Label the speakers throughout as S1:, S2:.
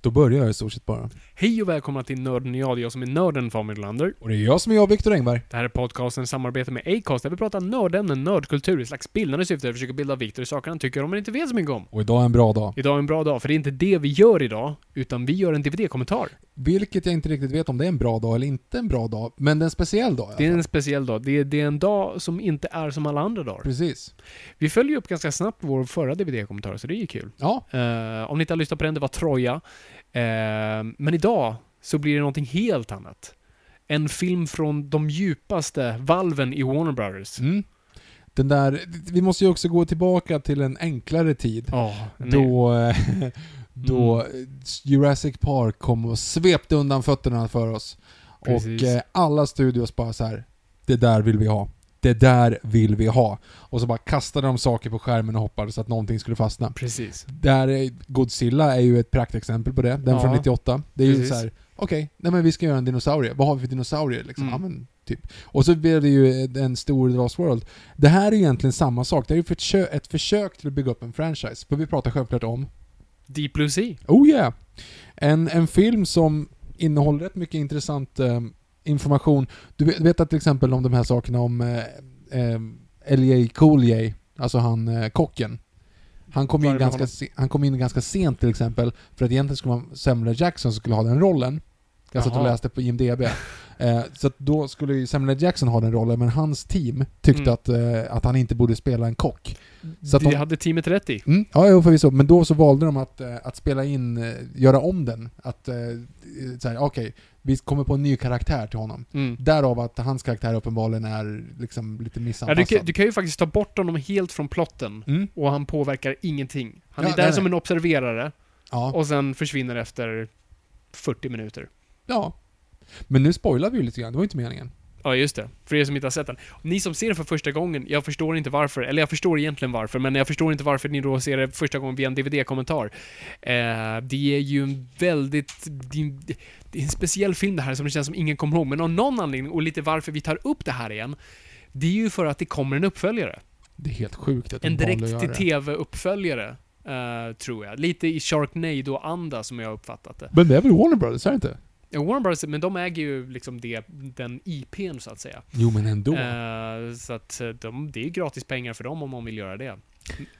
S1: Då börjar jag i stort sett bara.
S2: Hej och välkomna till Nörden och jag, det är jag som är nörden Fabian Nylander.
S1: Och det är jag som är jag, Viktor Engberg.
S2: Det här är podcasten i samarbete med Acast där vi pratar nördämnen, nördkultur i slags bildande syfte. Vi försöker bilda Viktor i saker han tycker om men inte vet så mycket om.
S1: Och idag är en bra dag.
S2: Idag är en bra dag, för det är inte det vi gör idag, utan vi gör en DVD-kommentar.
S1: Vilket jag inte riktigt vet om det är en bra dag eller inte en bra dag. Men det är en speciell dag i alla
S2: Det är
S1: fall.
S2: en speciell dag. Det är, det är en dag som inte är som alla andra dagar.
S1: Precis.
S2: Vi följer ju upp ganska snabbt vår förra DVD-kommentar, så det är ju kul.
S1: Ja.
S2: Eh, om ni inte har lyssnat på den, det var Troja. Eh, men idag så blir det någonting helt annat. En film från de djupaste valven i Warner Brothers.
S1: Mm. Den där, vi måste ju också gå tillbaka till en enklare tid.
S2: Ja, nej.
S1: Då, eh, då Jurassic Park kom och svepte undan fötterna för oss.
S2: Precis.
S1: Och eh, alla studios bara så här. det där vill vi ha. Det där vill vi ha. Och så bara kastade de saker på skärmen och hoppades att någonting skulle fastna.
S2: Precis.
S1: Där är Godzilla är ju ett praktexempel på det. Den
S2: Ja.
S1: från 98. Det är ju
S2: Precis.
S1: så här. okej, nej men vi ska göra en dinosaurie. Vad har vi för dinosaurier liksom?
S2: Mm.
S1: Ja men, typ. Och så blev det ju eh, en stor Lost World. Det här är ju egentligen samma sak. Det är ju ett försö- ett försök till att bygga upp en franchise. För vi pratar självklart om
S2: Deep Blue Sea.
S1: Oh yeah! En, en film som innehåller rätt mycket intressant eh, information. Du vet, vet att till exempel om de här sakerna om eh, eh, L.J. Cool J, alltså han eh, kocken. Han kom,
S2: Vad är
S1: in
S2: det med
S1: ganska
S2: honom?
S1: se, han kom in ganska sent till exempel, för att egentligen skulle man Samuel L. Jackson som skulle ha den rollen. Jag satt och
S2: Jaha.
S1: läste på IMDB. Eh, så att då skulle ju Samuel L. Jackson ha den rollen, men hans team tyckte
S2: Mm.
S1: att, eh, att han inte borde spela en kock. Så att
S2: det
S1: de-
S2: hade teamet rätt i.
S1: Mm, ja, jo, förvisso. Men då så valde de att, eh, att spela in, eh, göra om den. Att eh, så här, okej, vi kommer på en ny karaktär till honom.
S2: Mm.
S1: Därav att hans karaktär uppenbarligen är liksom lite
S2: Ja, du,
S1: missanpassad.
S2: kan- du kan ju faktiskt ta bort honom helt från plotten.
S1: Mm,
S2: Och han påverkar ingenting. Han
S1: Ja,
S2: är där
S1: nej,
S2: som
S1: nej.
S2: en observerare
S1: ja,
S2: och sen försvinner efter 40 minuter.
S1: ja. Men nu spoilar vi ju lite grann, det var ju inte meningen.
S2: Ja, just det. För er som inte har sett den. Ni som ser den för första gången, jag förstår inte varför. Eller jag förstår egentligen varför, men jag förstår inte varför ni då ser det första gången via en DVD-kommentar. Eh, det är ju en väldigt... Det är en- det är en speciell film det här som det känns som ingen kommer ihåg, men av någon anledning, och lite varför vi tar upp det här igen, det är ju för att det kommer en uppföljare.
S1: Det är helt sjukt att de
S2: En
S1: valde att göra det.
S2: direkt-till-TV-uppföljare, eh, tror jag. Lite i Sharknado-anda som jag har uppfattat det.
S1: Men det är väl Warner Brothers, är det inte?
S2: Ja, Warner Bros, men de äger ju liksom det, den IPn så att säga.
S1: Jo, men ändå.
S2: Eh, så att eh, de, det är gratis pengar för dem om man vill göra det.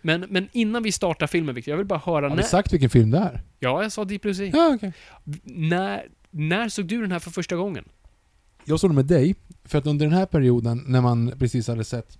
S2: Men, men innan vi startar filmen, Victor, jag vill bara höra
S1: Har
S2: när...
S1: vi sagt vilken film det är?
S2: Ja, jag sa Deep Blue Sea.
S1: Ja, okej.
S2: När, när såg du den här för första gången?
S1: Jag såg det med dig, för att under den här perioden när man precis hade sett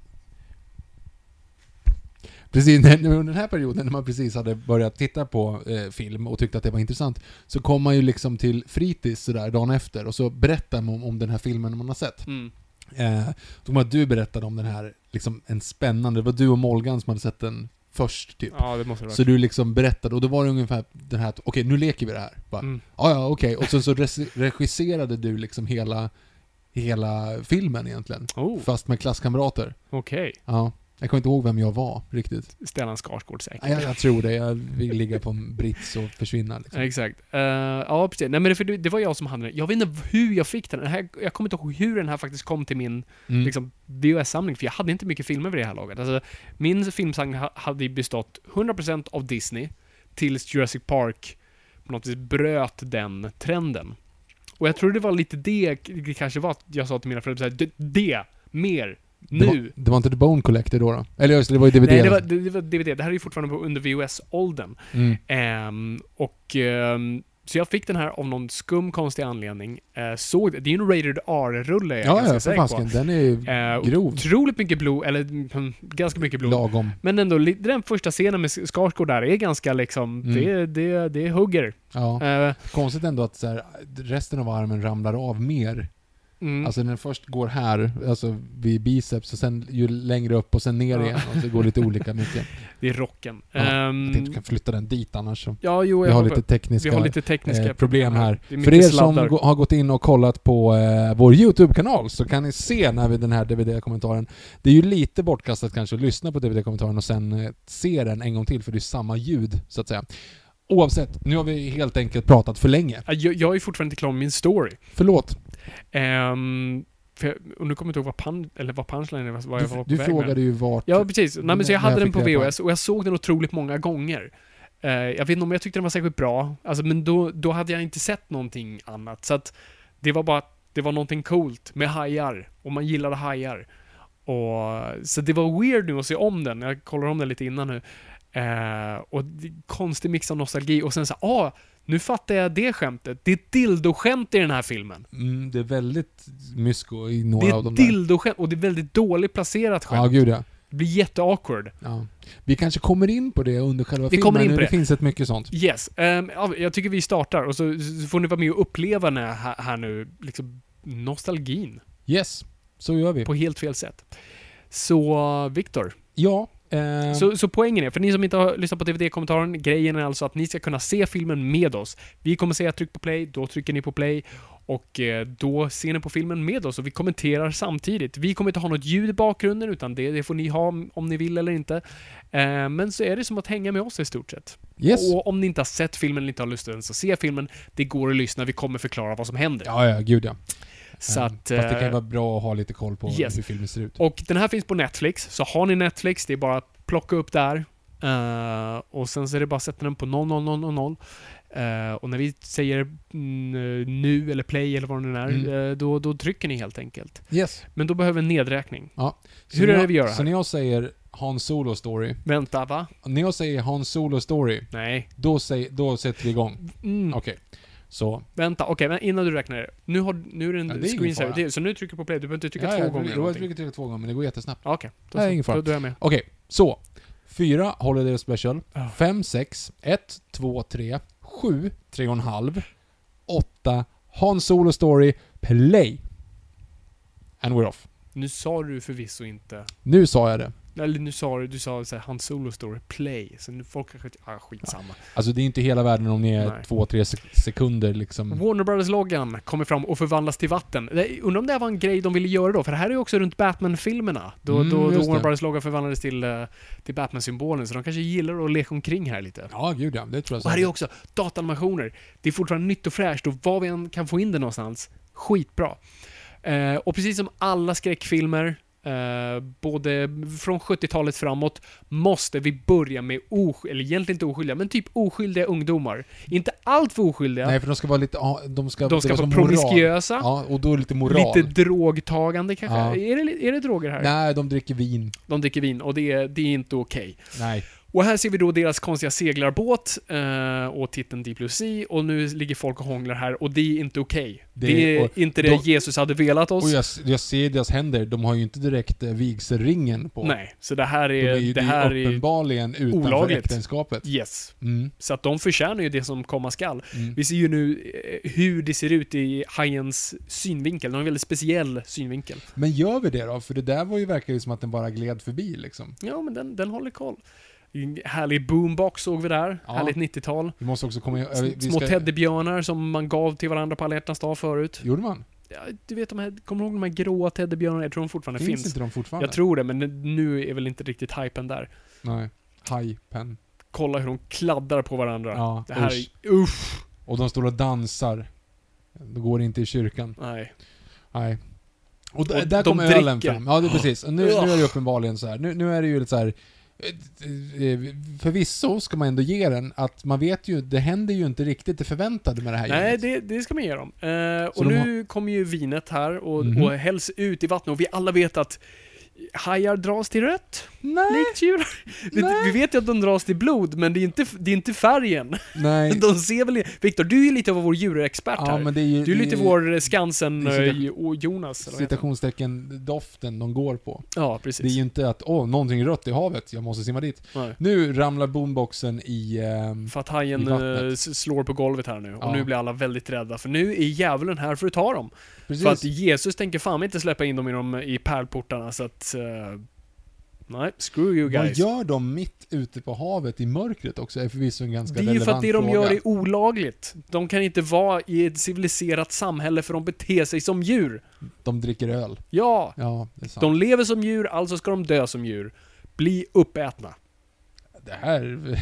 S1: Precis, när- när- under den här perioden när man precis hade börjat titta på eh, film och tyckte att det var intressant så kom man ju liksom till fritids sådär dagen efter och så berättar man om, om den här filmen man har sett.
S2: Mm.
S1: Eh, då var du berättade om den här, liksom en spännande, det var du och Molgan som hade sett den först typ.
S2: Ja, det måste det vara.
S1: Så du liksom berättade, och då var det ungefär den här att okej nu leker vi det här. Bara,
S2: Mm.
S1: Ja, ja, okej. Och sen så res- regisserade du liksom hela, hela filmen egentligen.
S2: Oh,
S1: Fast med klasskamrater.
S2: okej.
S1: Ja. Jag kommer inte ihåg vem jag var riktigt.
S2: Stellan Skarsgård säkert.
S1: Nej, Jag, jag tror det. Jag vill ligga på en brits och försvinna. Liksom.
S2: Exakt. Eh, ja, precis. Nej, men det, för det, det var jag som hade den. Jag vet inte hur jag fick den. den här, jag kommer inte ihåg hur den här faktiskt kom till min
S1: Mm.
S2: liksom, VHS-samling, för jag hade inte mycket filmer vid det här laget. Alltså, min filmsamling ha, hade ju bestått 100% av Disney, tills Jurassic Park på något vis bröt den trenden. Och jag tror det var lite det det kanske var att jag sa till mina föräldrar såhär, "Det- det, mer,
S1: Det,
S2: nu.
S1: var, det var inte The Bone Collector då? då? Eller just det, det var ju DVD.
S2: Nej, det var, det, det var DVD. Det här är ju fortfarande på- under VHS-åldern.
S1: mm.
S2: Ehm, och, ehm, så jag fick den här av någon skum konstig anledning. Eh, såg det. Det är ju en Rated R-rulle, är jag
S1: Ja,
S2: ganska
S1: ja, för
S2: säker på.
S1: fasken. Den är ju
S2: Eh,
S1: grov.
S2: Otroligt mycket blod, eller mm, ganska mycket blod.
S1: Lagom.
S2: Men ändå, li- den första scenen med Skarsgård där är ganska liksom,
S1: Mm.
S2: det, det, det hugger.
S1: Ja.
S2: Eh,
S1: Konstigt ändå att så här, resten av armen ramlar av mer.
S2: mm.
S1: Alltså när den först går här, alltså vid biceps, och sen ju längre upp och sen ner
S2: Ja.
S1: igen. Och så går det lite olika mycket.
S2: det är rocken.
S1: Ja,
S2: Ehm,
S1: Jag tänkte du kan flytta den dit annars. Så.
S2: ja, jo,
S1: Vi
S2: jag
S1: har
S2: hoppas-
S1: lite tekniska,
S2: vi har lite tekniska
S1: eh, problem här.
S2: Det är
S1: För er
S2: mycket
S1: som
S2: sladdar.
S1: gå- har gått in och kollat på eh, vår YouTube-kanal så kan ni se när vi den här DVD-kommentaren. Det är ju lite bortkastat kanske att lyssna på DVD-kommentaren och sen eh, se den en gång till för det är samma ljud så att säga. Oavsett, nu har vi helt enkelt pratat för länge.
S2: Ja, Jag, jag är fortfarande inte klar med min story.
S1: Förlåt,
S2: Ehm, för jag, och nu kommer jag inte ihåg vad, pan, eller vad punchline var, vad jag var på
S1: du, du
S2: väg med.
S1: frågade ju vart...
S2: Ja, precis. Nej, men så jag
S1: När
S2: hade
S1: jag
S2: den
S1: fick
S2: på
S1: reda på
S2: VHS och jag såg den otroligt många gånger. Eh, jag vet inte om jag tyckte den var särskilt bra, alltså, men då, då hade jag inte sett någonting annat. Så att det var bara att det var någonting coolt med hajar, och man gillade hajar. Och, så det var weird nu att se om den, jag kollar om den lite innan nu. Eh, och det- konstig mix av nostalgi och sen så här, ah, nu fattar jag det skämtet. Det är ett dildoskämt i den här filmen.
S1: Mm, det är väldigt mysko i
S2: Det
S1: några
S2: är
S1: av de
S2: ett
S1: där.
S2: dildoskämt, och det är väldigt dåligt placerat
S1: Ja,
S2: skämt.
S1: gud ja.
S2: Det blir jätteawkward.
S1: ja. Vi kanske kommer in på det under själva
S2: Vi
S1: filmen.
S2: kommer in på
S1: det.
S2: det.
S1: finns ett mycket sånt.
S2: Yes. ehm, ja, jag tycker vi startar och så, så får ni vara med och uppleva den här, här nu, liksom nostalgin
S1: Yes, så gör vi.
S2: på helt fel sätt. Så Viktor,
S1: Ja. Eh,
S2: så, så poängen är, för ni som inte har lyssnat på DVD-kommentaren, grejen är alltså att ni ska kunna se filmen med oss. Vi kommer säga tryck på play, då trycker ni på play och eh, då ser ni på filmen med oss och vi kommenterar samtidigt. Vi kommer inte ha något ljud i bakgrunden utan det, det får ni ha om ni vill eller inte. Eh, men så är det som att hänga med oss i stort sett.
S1: yes.
S2: Och om ni inte har sett filmen eller inte har lust ens att se filmen, det går att lyssna. Vi kommer förklara vad som händer.
S1: Ja, ja, gud ja.
S2: Så
S1: Eh,
S2: att,
S1: Fast det kan ju
S2: eh,
S1: vara bra att ha lite koll på
S2: yes.
S1: hur filmen ser ut.
S2: Och den här finns på Netflix, så har ni Netflix, det är bara att plocka upp där. Eh, och sen så är det bara att sätta den på 00000. Eh, och när vi säger mm, nu eller play eller vad det nu är,
S1: Mm.
S2: eh, då, då trycker ni helt enkelt.
S1: Yes.
S2: Men då behöver vi en nedräkning.
S1: Så
S2: Hur
S1: när
S2: är det
S1: jag-
S2: vi gör
S1: Så
S2: här?
S1: när jag säger Han Solo Story,
S2: Vänta, va?
S1: när jag säger Han Solo Story,
S2: Nej.
S1: då, säg, då sätter vi igång.
S2: Mm.
S1: Okej. Så.
S2: Vänta, okej, men innan du räknar det. Nu, har, nu är det en
S1: Ja, det är ingen
S2: screensaver
S1: fara.
S2: till, så nu trycker du på play. Du behöver inte trycka
S1: Ja,
S2: två
S1: ja,
S2: gånger.
S1: Jag
S2: eller
S1: har
S2: någonting.
S1: tryckt två gånger, men det går jättesnabbt.
S2: Ja, Okej, då,
S1: Nej,
S2: så.
S1: ingen fara.
S2: då, då är jag med.
S1: Okej, så. Fyra Holiday Special.
S2: Ja.
S1: Fem, sex. Ett, två, tre. Sju, tre och en halv. Åtta, Han Solo Story, Play. And we're off.
S2: Nu sa du förvisso inte...
S1: Nu sa jag det.
S2: Eller nu sa du, du sa såhär, Han Solo Story Play, så nu folk kanske... Ah, skitsamma.
S1: Alltså det är inte hela världen om ni är
S2: Nej.
S1: två, tre sek- sekunder liksom.
S2: Warner Brothers-loggan kommer fram och förvandlas till vatten. Det- Undrar om det här var en grej de ville göra då? För det här är ju också runt Batman-filmerna. Då,
S1: Mm,
S2: då, då
S1: just
S2: Warner
S1: det.
S2: Brothers-loggan förvandlades till, eh, till Batman-symbolen, så de kanske gillar att leka omkring här lite.
S1: Ja, gud ja. Det tror jag.
S2: Och här är ju
S1: säkert.
S2: också datanimationer. Det är fortfarande nytt och fräscht och var vi än kan få in det någonstans, skitbra. Eh, och precis som alla skräckfilmer, eh, både från 70-talet framåt, måste vi börja med, osk- eller egentligen inte oskyldiga, men typ oskyldiga ungdomar. Inte allt för oskyldiga.
S1: Nej, för de ska vara lite, ja, de ska,
S2: de
S1: det
S2: ska
S1: var
S2: vara
S1: som moral.
S2: promiskuösa,
S1: Ja, och då är det lite moral.
S2: lite drogtagande kanske.
S1: Ja.
S2: Är, det, är det droger här?
S1: Nej, de dricker vin.
S2: De dricker vin och det är, det är inte okej.
S1: Nej.
S2: Och här ser vi då deras konstiga seglarbåt eh, och titeln Deep Blue Sea och nu ligger folk och hånglar här och det är inte okej.
S1: Det-
S2: Det, är
S1: och-
S2: inte det
S1: då-
S2: Jesus hade velat
S1: Och
S2: oss.
S1: jag, jag ser deras händer, de har ju inte direkt eh, vigselringen på.
S2: Nej, så det här
S1: De
S2: är...
S1: är ju,
S2: det här
S1: är
S2: är...
S1: uppenbarligen utanför
S2: olagligt.
S1: äktenskapet.
S2: Yes.
S1: Mm,
S2: Så att de förtjänar ju det som komma skall.
S1: mm.
S2: Vi ser ju nu eh, hur det ser ut i hajens synvinkel. De har en väldigt speciell synvinkel.
S1: Men gör vi det då? För det där var ju verkar ju som att den bara gled förbi liksom.
S2: Ja, men den, den håller koll. En härlig boombox såg vi där.
S1: Ja.
S2: Härligt 90-tal.
S1: Vi måste också komma ihåg... eh, vi- vi
S2: Små
S1: ska-
S2: teddybjörnar som man gav till varandra på alla hjärtans dag förut.
S1: Gjorde man?
S2: ja, du vet de här, kommer du ihåg de här gråa teddybjörnarna? Jag tror de fortfarande
S1: Finns,
S2: finns.
S1: inte de fortfarande?
S2: Jag tror det, men nu är väl inte riktigt hypen där.
S1: Nej. Hajpen.
S2: Kolla hur de kladdar på varandra.
S1: Ja,
S2: det här
S1: usch.
S2: är... Usch!
S1: Och de står och dansar. De går inte i kyrkan.
S2: Nej.
S1: Nej. Och, d-
S2: Och de
S1: där kommer ölen
S2: dricker.
S1: fram. Ja, det är precis. Och nu, nu är det ju uppenbarligen så här. Nu, nu är det ju lite så här. eh, eh, Förvisso ska man ändå ge den att man vet ju, det händer ju inte riktigt det förväntade med det här
S2: Nej,
S1: gänget.
S2: det, det ska man ge dem. Eh,
S1: Så
S2: och
S1: de
S2: nu kommer ju vinet här och,
S1: Mhm.
S2: och hälls ut i vattnet och vi alla vet att hajar dras till rött,
S1: Nej!
S2: likt djur. Vi,
S1: Nej.
S2: vi vet ju att de dras till blod, men det är inte, det är inte färgen.
S1: Nej.
S2: De ser väl Viktor, du är ju lite av vår djurexpert
S1: Ja,
S2: här.
S1: men det är ju...
S2: du är lite
S1: det
S2: vår Skansen
S1: det är cita-
S2: eh, och Jonas. Eller vad heter han?
S1: Citationstecken doften de går på.
S2: ja,
S1: Det är
S2: precis.
S1: ju inte att åh, någonting är rött i havet, jag måste simma dit.
S2: Nej.
S1: Nu ramlar boomboxen i... ehm,
S2: För att
S1: I
S2: hajen
S1: vattnet.
S2: eh, s- slår på golvet här nu. Och
S1: Ja.
S2: nu blir alla väldigt rädda, för nu är djävulen här för att ta dem. För att
S1: precis.
S2: Jesus tänker fan inte släppa in dem i, de, i pärlportarna, så att... eh, nej, screw you
S1: Vad
S2: guys.
S1: gör de mitt ute på havet i mörkret också? är förvisso en ganska
S2: Det är ju för att
S1: relevant
S2: det de
S1: fråga.
S2: gör är olagligt. De kan inte vara i ett civiliserat samhälle för de beter sig som djur.
S1: De dricker öl.
S2: Ja,
S1: Ja, det är sant.
S2: de lever som djur, alltså ska de dö som djur. Bli uppätna.
S1: Det här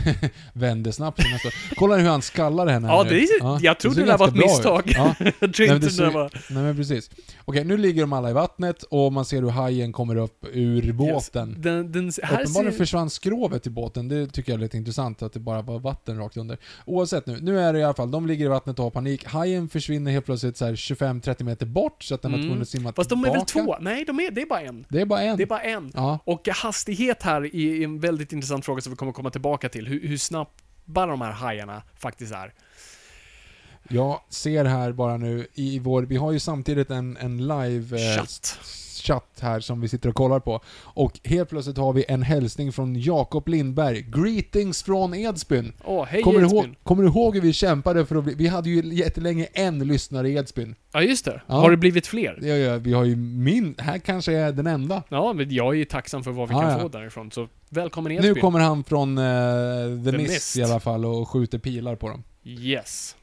S1: vänder snabbt. till nästa. Kolla hur han skallar henne. här
S2: Ja,
S1: nu.
S2: det är- jag trodde
S1: ser
S2: det där var ett
S1: ganska bra
S2: misstag.
S1: ut. Ja,
S2: Jag tror
S1: Nej, men
S2: inte
S1: det
S2: det
S1: såg-
S2: var...
S1: nej men precis. Okej, nu ligger de alla i vattnet och man ser hur hajen kommer upp ur båten.
S2: Yes. Den, den, här
S1: Uppenbarligen
S2: ser...
S1: försvann skrovet i båten, det tycker jag är lite intressant att det bara var vatten rakt under. Oavsett nu, nu är det i alla fall, de ligger i vattnet och har panik. Hajen försvinner helt plötsligt så här 25-30 meter bort så att den var
S2: Mm.
S1: tvungen att simma
S2: Fast de är
S1: tillbaka.
S2: väl två? Nej, de är, det är bara en.
S1: Det är bara en.
S2: Det är bara en.
S1: Ja,
S2: Och hastighet här är en väldigt intressant fråga som vi kommer komma tillbaka till. Hur, hur snabba de här hajarna faktiskt är.
S1: jag ser här bara nu i vår, vi har ju samtidigt en, en live... eh,
S2: Chatt.
S1: chatt här som vi sitter och kollar på. Och helt plötsligt har vi en hälsning från Jakob Lindberg. Greetings från Edsbyn.
S2: Åh, hej
S1: Kommer du,
S2: Edsbyn.
S1: ihåg, kommer du ihåg hur vi kämpade för att bli... Vi hade ju jättelänge en lyssnare i Edsbyn.
S2: Ja, just det.
S1: Ja.
S2: Har det blivit fler?
S1: Ja, ja, vi har ju min... Här kanske är den enda.
S2: Ja, men jag är ju tacksam för vad vi
S1: Ja,
S2: kan
S1: ja.
S2: få därifrån. Så välkommen Edsbyn.
S1: Nu kommer han från eh, The,
S2: The
S1: Mist,
S2: Mist.
S1: i alla fall och skjuter pilar på dem.
S2: Yes.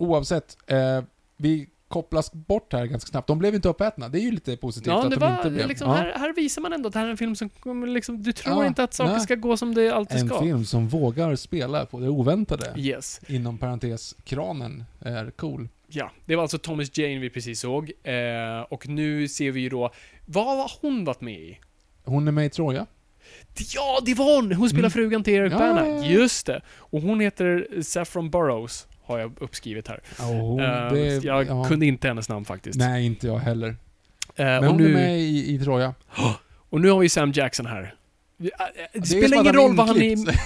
S1: Oavsett, eh, vi kopplas bort här ganska snabbt. De blev inte uppätna. Det är ju lite positivt
S2: Ja,
S1: att
S2: det
S1: de
S2: var,
S1: inte blev...
S2: liksom,
S1: Ja.
S2: här, här visar man ändå att det här är en film som kommer liksom, du tror
S1: Ja,
S2: inte att saker
S1: nej.
S2: ska gå som det alltid
S1: En
S2: ska.
S1: film som vågar spela på det oväntade.
S2: Yes.
S1: Inom parentes, kranen är cool.
S2: Ja, det var alltså Thomas Jane vi precis såg. Eh, och nu ser vi ju då, vad har hon varit med i?
S1: Hon är med i Troja.
S2: Ja, det var hon! Hon spelar
S1: Mm.
S2: frugan till Eric
S1: Ja,
S2: Bana.
S1: ja, ja.
S2: Just det. Och hon heter Saffron Burrows, har jag uppskrivit här.
S1: hon,
S2: Eh, jag kunde inte hennes namn faktiskt.
S1: Nej, inte jag heller.
S2: Eh,
S1: Men
S2: och,
S1: hon är
S2: nu,
S1: med i, i Troja.
S2: och nu har vi Sam Jackson här. Det, det
S1: som att
S2: spelar ingen
S1: han
S2: roll vad han är...
S1: inklipps.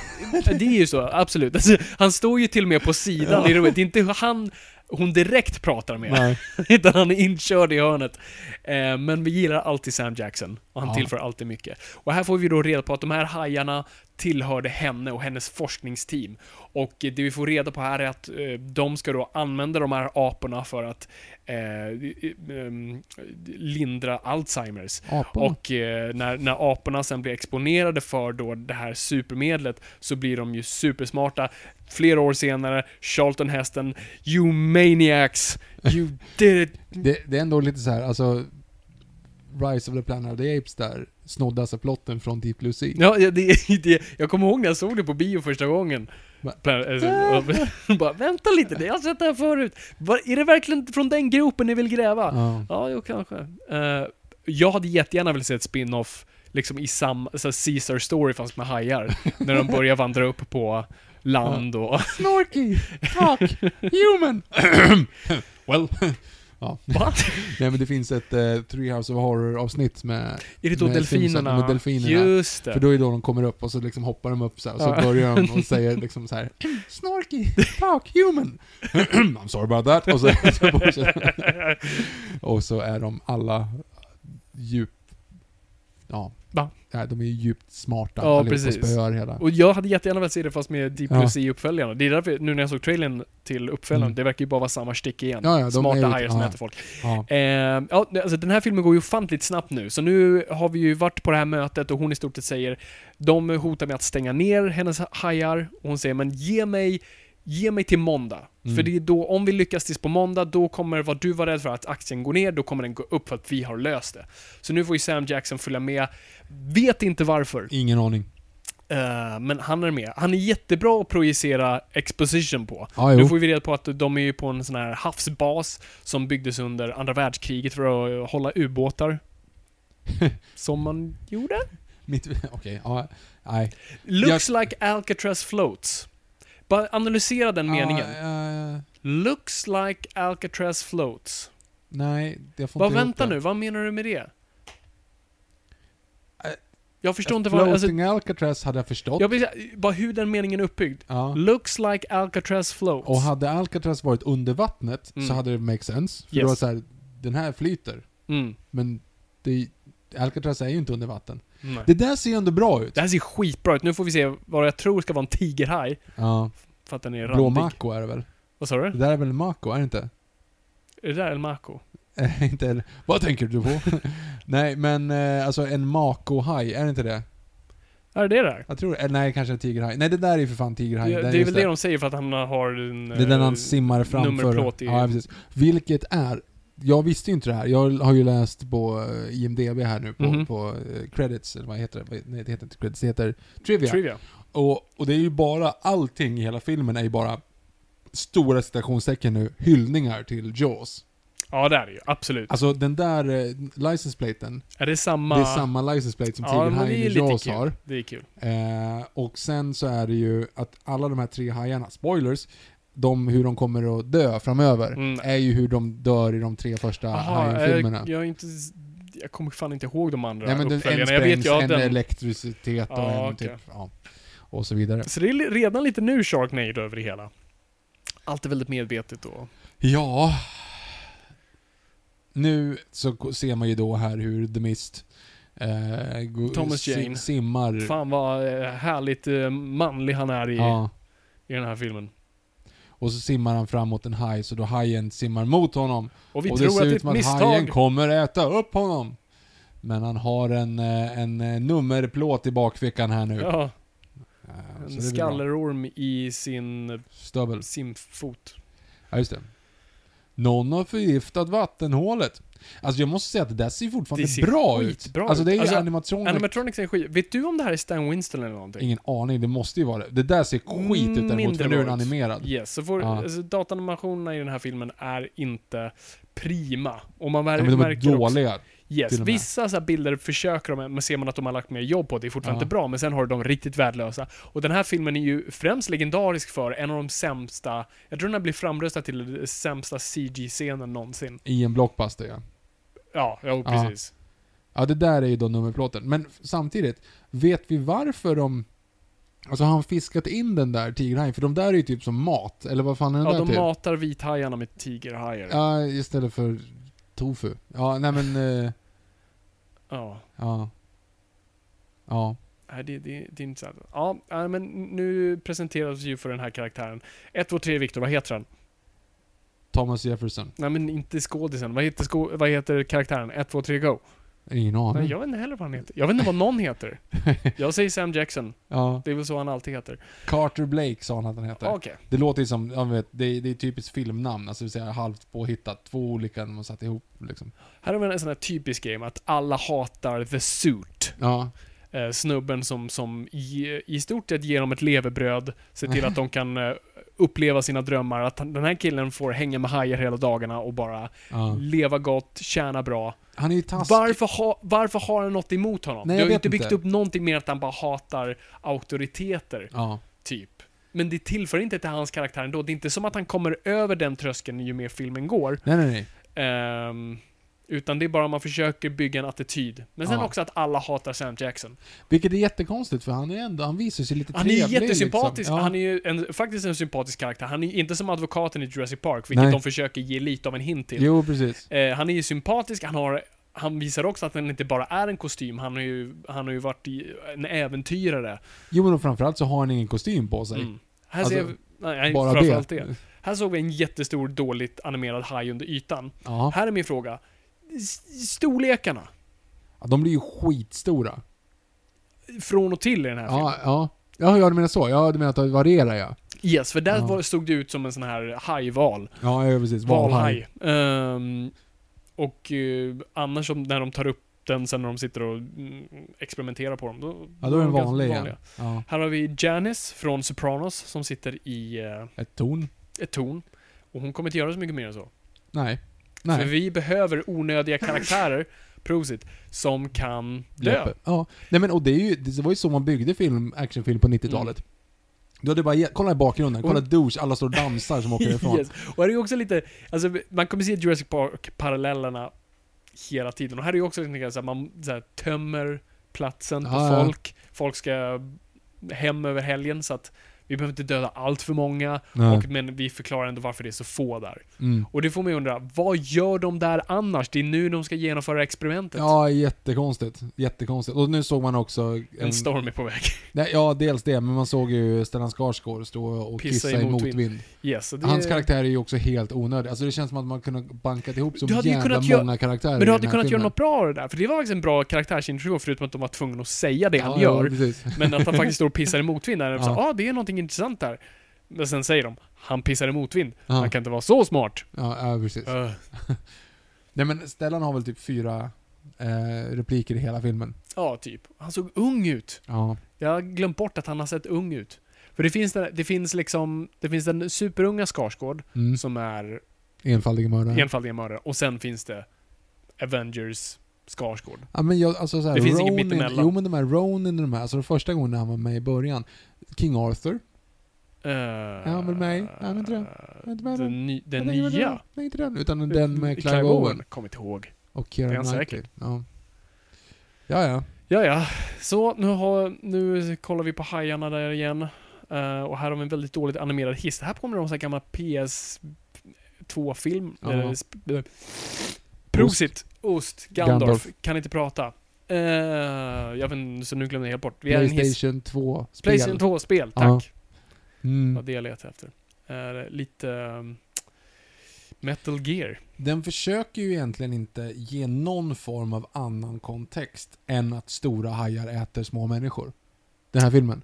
S2: Det är ju så, absolut. Alltså, han står ju till och med på sidan i rummet. Det är inte han hon direkt pratar med,
S1: Nej.
S2: utan han är inkörd i hörnet. Eh, men vi gillar alltid Sam Jackson, och han
S1: Ja.
S2: tillför alltid mycket. Och här får vi då reda på att de här hajarna tillhörde henne och hennes forskningsteam. Och eh, det vi får reda på här är att eh, de ska då använda de här aporna för att eh, ehm, lindra Alzheimers.
S1: Aporna.
S2: Och eh, när, när aporna sen blir exponerade för då det här supermedlet så blir de ju supersmarta. Flera år senare, Charlton-hästen, You maniacs, you did it.
S1: det, det är ändå lite så här, alltså... Rise of the Planet of the Apes där snodde alltså plotten från Deep Blue Sea.
S2: Ja, ja, det, det, jag kommer ihåg när jag såg det på bio första gången.
S1: Va?
S2: Plan- alltså, och- bara, vänta lite, det har jag sett det här förut. Var, är det verkligen från den gropen ni vill gräva?
S1: Ja.
S2: Ja, jo, kanske. Eh, jag hade jättegärna velat se ett spin-off liksom i samma, så här Caesar story fast med hajar. när de börjar vandra upp på land och...
S1: Snorky! Talk! Human! well... ja.
S2: Va?
S1: Nej men det finns ett eh, Treehouse of Horror-avsnitt med...
S2: Är det då
S1: Med
S2: delfinerna?
S1: Simpson, med delfinerna.
S2: Just det.
S1: För då är då de kommer upp och så liksom hoppar de upp så här, och så
S2: Ja.
S1: börjar de och säger liksom så här Snorky, talk, human. I'm sorry about that. Och så, så fortsätter de. och så är de alla djup... Ja.
S2: Va?
S1: Nej, de är ju djupt
S2: Ja,
S1: smarta allihopa,
S2: precis.
S1: spöar hela.
S2: Och jag hade jättegärna velat se det fast med Deep
S1: Ja.
S2: Blue Sea-uppföljarna. Det är därför, nu när jag såg trailern till uppföljaren,
S1: Mm.
S2: det verkar ju bara vara samma stick igen.
S1: Ja, ja, de är
S2: Smarta
S1: ju-
S2: hajar som
S1: ja.
S2: äter folk.
S1: Ja.
S2: Eh, ja, alltså den här filmen går ju ofantligt snabbt nu, så nu har vi ju varit på det här mötet och hon i stort sett säger de hotar med att stänga ner hennes hajar och hon säger men ge mig Ge mig till måndag. För
S1: Mm.
S2: det är då, om vi lyckas tills på måndag, då kommer vad du var rädd för att aktien går ner, då kommer den gå upp för att vi har löst det. Så nu får ju Sam Jackson följa med. Vet inte varför.
S1: Ingen aning.
S2: Eh, men han är med. Han är jättebra att projicera exposition på.
S1: Ja,
S2: nu
S1: jo.
S2: får vi reda på att de är ju på en sån här havsbas som byggdes under andra världskriget för att hålla ubåtar. som man gjorde.
S1: Mitt... Okej, ja. Nej.
S2: Looks like Alcatraz floats. Bara analysera den meningen.
S1: Ja, eh,
S2: Looks like Alcatraz floats.
S1: nej, jag får
S2: Vad
S1: inte ihop
S2: vänta
S1: det.
S2: nu, vad menar du med det?
S1: Eh,
S2: Jag förstår inte vad... Alltså,
S1: Floating Alcatraz hade jag förstått.
S2: jag vill säga, bara hur den meningen är uppbyggd.
S1: Ja.
S2: Looks like Alcatraz floats.
S1: Och hade Alcatraz varit under vattnet så
S2: Mm.
S1: hade det make sense. För
S2: Yes.
S1: då var det så här, den här flyter.
S2: mm.
S1: Men det, Alcatraz är ju inte under vatten.
S2: Nej.
S1: Det där ser ju ändå bra ut.
S2: Det här ser skitbra ut. Nu får vi se vad jag tror ska vara en tigerhaj.
S1: Ja.
S2: För att den är
S1: Blå
S2: randig.
S1: Mako är det väl?
S2: Vad sa du?
S1: Det där är väl en Mako, är det inte?
S2: Är det där El Mako?
S1: Eh, inte heller. Vad tänker du på? nej, men eh, alltså en Mako-haj, är det inte det?
S2: Är det det där?
S1: Jag tror det. Eh, Nej, kanske en tigerhaj. Nej, det där är ju för fan tigerhaj.
S2: det,
S1: Den-
S2: det är
S1: just
S2: väl det. de säger för att han har en...
S1: Det är den
S2: eh,
S1: han simmar framför.
S2: nummerplåt i-
S1: Ja, precis. Vilket är, jag visste ju inte det här. Jag har ju läst på eh, IMDB här nu, på,
S2: Mhm.
S1: på eh, credits, eller vad heter det? Vad- Nej, det heter inte credits, det heter trivia.
S2: Trivia.
S1: Och, och det är ju bara, allting i hela filmen är ju bara, stora citationstecken nu, hyllningar till Jaws.
S2: Ja, det är det ju. Absolut.
S1: Alltså den där eh, licenseplaten,
S2: är det samma...
S1: det är samma licenseplate som
S2: Ja, men det
S1: Tigerhajen
S2: är ju
S1: i
S2: lite
S1: Jaws
S2: kul.
S1: har.
S2: Det är kul.
S1: Eh, och sen så är det ju att alla de här tre hajarna, spoilers, de, hur de kommer att dö framöver,
S2: Mm.
S1: är ju hur de dör i de tre första
S2: Aha,
S1: hajfilmerna.
S2: jag, jag är inte... Jag kommer fan inte ihåg de andra
S1: Nej men den, en
S2: uppföljarna. Jag vet
S1: sprängs,
S2: ju att
S1: en
S2: den...
S1: elektricitet och
S2: Ja,
S1: en
S2: okej.
S1: typ, ja, och så vidare.
S2: Så det är li- redan lite nu Sharknado över det hela. Allt är väldigt medvetet då.
S1: Ja. Nu så ko- ser man ju då här hur The Mist eh, go-
S2: Thomas Jane.
S1: simmar.
S2: Fan vad eh, härligt eh, manlig han är i,
S1: Ja.
S2: i den här filmen.
S1: Och så simmar han fram mot en haj, så då hajen simmar mot honom.
S2: Och vi
S1: och det
S2: tror att
S1: ser
S2: det är
S1: ut
S2: ett
S1: som att hajen
S2: misstag.
S1: kommer äta upp honom. Men han har en, eh, en eh, nummerplåt i bakfickan här nu.
S2: Ja,
S1: Ja,
S2: en
S1: så det blir bra.
S2: skallerorm i sin
S1: Stövel.
S2: simfot.
S1: Ja, just det. Någon har förgiftat vattenhålet. Alltså jag måste säga att det där ser fortfarande
S2: Det ser
S1: bra ut.
S2: skitbra
S1: alltså det är
S2: ut.
S1: ju
S2: Alltså,
S1: animationer.
S2: Animatronics är skit. Vet du om det här är Stan Winston eller någonting?
S1: Ingen aning, det måste ju vara det. Det där ser skit ut däremot,
S2: Mindre
S1: för nu är den
S2: bra ut.
S1: animerad.
S2: Yes, så får,
S1: Ja.
S2: alltså, datanimationerna i den här filmen är inte prima. Och man
S1: Ja,
S2: mär,
S1: men de är
S2: märker också-
S1: dåliga. till
S2: Yes,
S1: och med.
S2: vissa så här bilder försöker de, men ser man att de har lagt mer jobb på det, är fortfarande
S1: Ja.
S2: inte bra, men sen har de riktigt värdelösa. Och den här filmen är ju främst legendarisk för en av de sämsta, jag tror den här blir framröstad till sämsta CG-scenen någonsin.
S1: I en blockbuster ja.
S2: Ja, jo,
S1: Ja.
S2: precis.
S1: Ja, det där är ju då nummerplåten. Men f- samtidigt, vet vi varför de... Alltså har han fiskat in den där tigerhajen? För de där är ju typ som mat, eller vad fan är den
S2: Ja,
S1: där
S2: de
S1: till?
S2: matar vithajarna med tigerhajar. Ja.
S1: Ja, istället för tofu. Ja, nej men... eh, ja. Ja.
S2: Nej, det, det, det är inte sant. Ja, nej, men nu presenteras vi ju för den här karaktären. 1, 2, 3, Viktor, vad heter han?
S1: Thomas Jefferson.
S2: Nej, men inte skådisen. Vad heter, sko- vad heter karaktären? 1, 2, 3, go.
S1: Ingen aning.
S2: Nej, jag vet inte heller vad han heter. Jag vet inte vad någon heter. Jag säger Sam Jackson.
S1: Ja.
S2: Det är väl så han alltid heter.
S1: Carter Blake sa han att han heter.
S2: Okej.
S1: Det låter ju som, jag vet, det, är- det är typiskt filmnamn, alltså det vill säga halvt påhittat. Två olika man satt ihop liksom.
S2: Här har vi en sån här typisk game att alla hatar The Suit.
S1: Ja.
S2: eh, snubben som, som i, i stort sett ger dem ett levebröd, ser till att de kan eh, uppleva sina drömmar, att han, den här killen får hänga med hajar hela dagarna och bara
S1: ja.
S2: leva gott, tjäna bra.
S1: Han är ju taskig.
S2: Varför, ha, varför har han något emot honom?
S1: Nej,
S2: det
S1: jag
S2: har ju
S1: vet
S2: inte byggt
S1: inte.
S2: upp någonting mer än att han bara hatar auktoriteter,
S1: Ja.
S2: typ. Men det tillför inte till hans karaktär ändå. Det är inte som att han kommer över den tröskeln ju mer filmen går.
S1: Nej, nej, nej.
S2: Ehm, utan det är bara man försöker bygga en attityd. Men sen
S1: Ja.
S2: också att alla hatar Sam Jackson.
S1: Vilket är jättekonstigt för han är ändå, han visar sig lite
S2: Han är
S1: trevlig.
S2: ju jättesympatisk.
S1: Liksom.
S2: Han är ju en, faktiskt en sympatisk karaktär. Han är ju inte som advokaten i Jurassic Park, vilket
S1: Nej.
S2: de försöker ge lite av en hint till.
S1: Jo, precis.
S2: Eh, han är ju sympatisk, han har han visar också att han inte bara är en kostym, han har ju, han har ju varit i, en äventyrare.
S1: Jo, men framförallt så har han ingen kostym på sig.
S2: Mm. Här
S1: Alltså,
S2: ser vi, nej,
S1: bara
S2: bara framförallt
S1: det.
S2: det. Här såg vi en jättestor, dåligt animerad haj under ytan.
S1: Ja.
S2: Här är min fråga. S- Storlekarna,
S1: Ja, De blir ju skitstora.
S2: från och till i den här filmen.
S1: Ja, ja. Ja, ja, du menar så. Ja, du menar att det varierar ja.
S2: Yes, för där
S1: Ja.
S2: var, stod det ut som en sån här hajval.
S1: Ja, ja precis.
S2: Valhaj. Ehm, och eh, annars som när de tar upp den sen när de sitter och mm, experimenterar på dem, då,
S1: Ja, då är den
S2: de ganska
S1: vanlig igen.
S2: vanliga.
S1: Ja.
S2: Här har vi Janice från Sopranos som sitter i eh,
S1: Ett torn?
S2: ett torn. Och hon kommer inte göra så mycket mer än så.
S1: Nej.
S2: För
S1: Nej.
S2: vi behöver onödiga karaktärer, prosit, som kan dö.
S1: Löper. Ja. Nej men och det, är ju, det var ju så man byggde film, actionfilm
S2: Mm.
S1: på 90-talet. Du hade bara, ge- kolla i bakgrunden, kolla douche, alla står och dansar som åker ifrån.
S2: Yes. Och här är ju också lite, alltså man kommer se Jurassic Park-parallellerna hela tiden. Och här är ju också lite så att man så här, tömmer platsen på
S1: Ja, Ah, ja.
S2: folk. Folk ska hem över helgen så att vi behöver inte döda allt för många.
S1: Nej.
S2: Och, men vi förklarar ändå varför det är så få där.
S1: Mm.
S2: Och det får man ju undra, vad gör de där annars? Det är nu de ska genomföra experimentet.
S1: Ja, jättekonstigt. Jättekonstigt. Och nu såg man också...
S2: En storm är på väg.
S1: nej, ja, dels det, men man såg ju Stellan Skarsgård stå och
S2: Pissa
S1: kissa,
S2: i
S1: i
S2: motvind.
S1: motvind.
S2: Yes, så det
S1: Hans karaktär är ju också helt onödig. Alltså det känns som att man kunde bankat ihop så
S2: Du hade ju
S1: jävla
S2: kunnat göra-
S1: många karaktärer
S2: men du
S1: i
S2: hade
S1: den här
S2: kunnat göra
S1: filmen.
S2: något bra av det där, för det var faktiskt en bra karaktärsintroduktion förutom att de var tvungna att säga det han
S1: Ja, ja,
S2: gör.
S1: precis.
S2: Men att han faktiskt står och pissar i motvind. Där. Ja.
S1: Ja.
S2: ah, det är någonting intressant där. Men sen säger de, han pissar i motvind.
S1: Ja.
S2: Han kan inte vara så smart.
S1: Ja, ja, precis.
S2: Eh,
S1: Nej men Stellan har väl typ fyra eh, repliker i hela filmen.
S2: ja, typ. Han såg ung ut.
S1: Ja.
S2: Jag har glömt bort att han har sett ung ut. För det finns, den, det finns liksom, det finns den superunga Skarsgård
S1: Mm.
S2: som är
S1: Enfaldige mördare.
S2: enfaldiga mördare. Och sen finns det Avengers Skarsgård.
S1: Ja men jag, alltså så här,
S2: Det finns inget
S1: Ronin,
S2: mittemellan.
S1: Jo men de här Ronin och de här, alltså den första gången när han var med i början. King Arthur.
S2: Uh,
S1: Ja, men mig. Ja, men inte den. inte med
S2: Den, ny, den
S1: Nej, det var
S2: nya. Eh,
S1: Nej inte den, utan den med Clive, Owen.
S2: Kom inte ihåg.
S1: Och
S2: Det är
S1: Keira
S2: han
S1: Knightley. Ja. ja ja.
S2: Ja, ja. Så nu, har, nu kollar vi på hajarna där igen. Eh, och här har vi en väldigt dåligt animerad hiss. Det här påminner om en gammal PS2-film.
S1: Ja.
S2: Eller sp- eh, Prosit! Ost. Gandalf.
S1: Gandalf.
S2: Kan inte prata. Eh, jag vet inte, så nu glömde jag helt bort. Vi är i en hiss.
S1: Playstation 2 spel.
S2: Playstation 2-spel,
S1: Ja.
S2: tack. Det var
S1: Mm.
S2: det jag letade efter. Eh, lite... ehm, Metal Gear.
S1: Den försöker ju egentligen inte ge någon form av annan kontext än att stora hajar äter små människor. Den här filmen.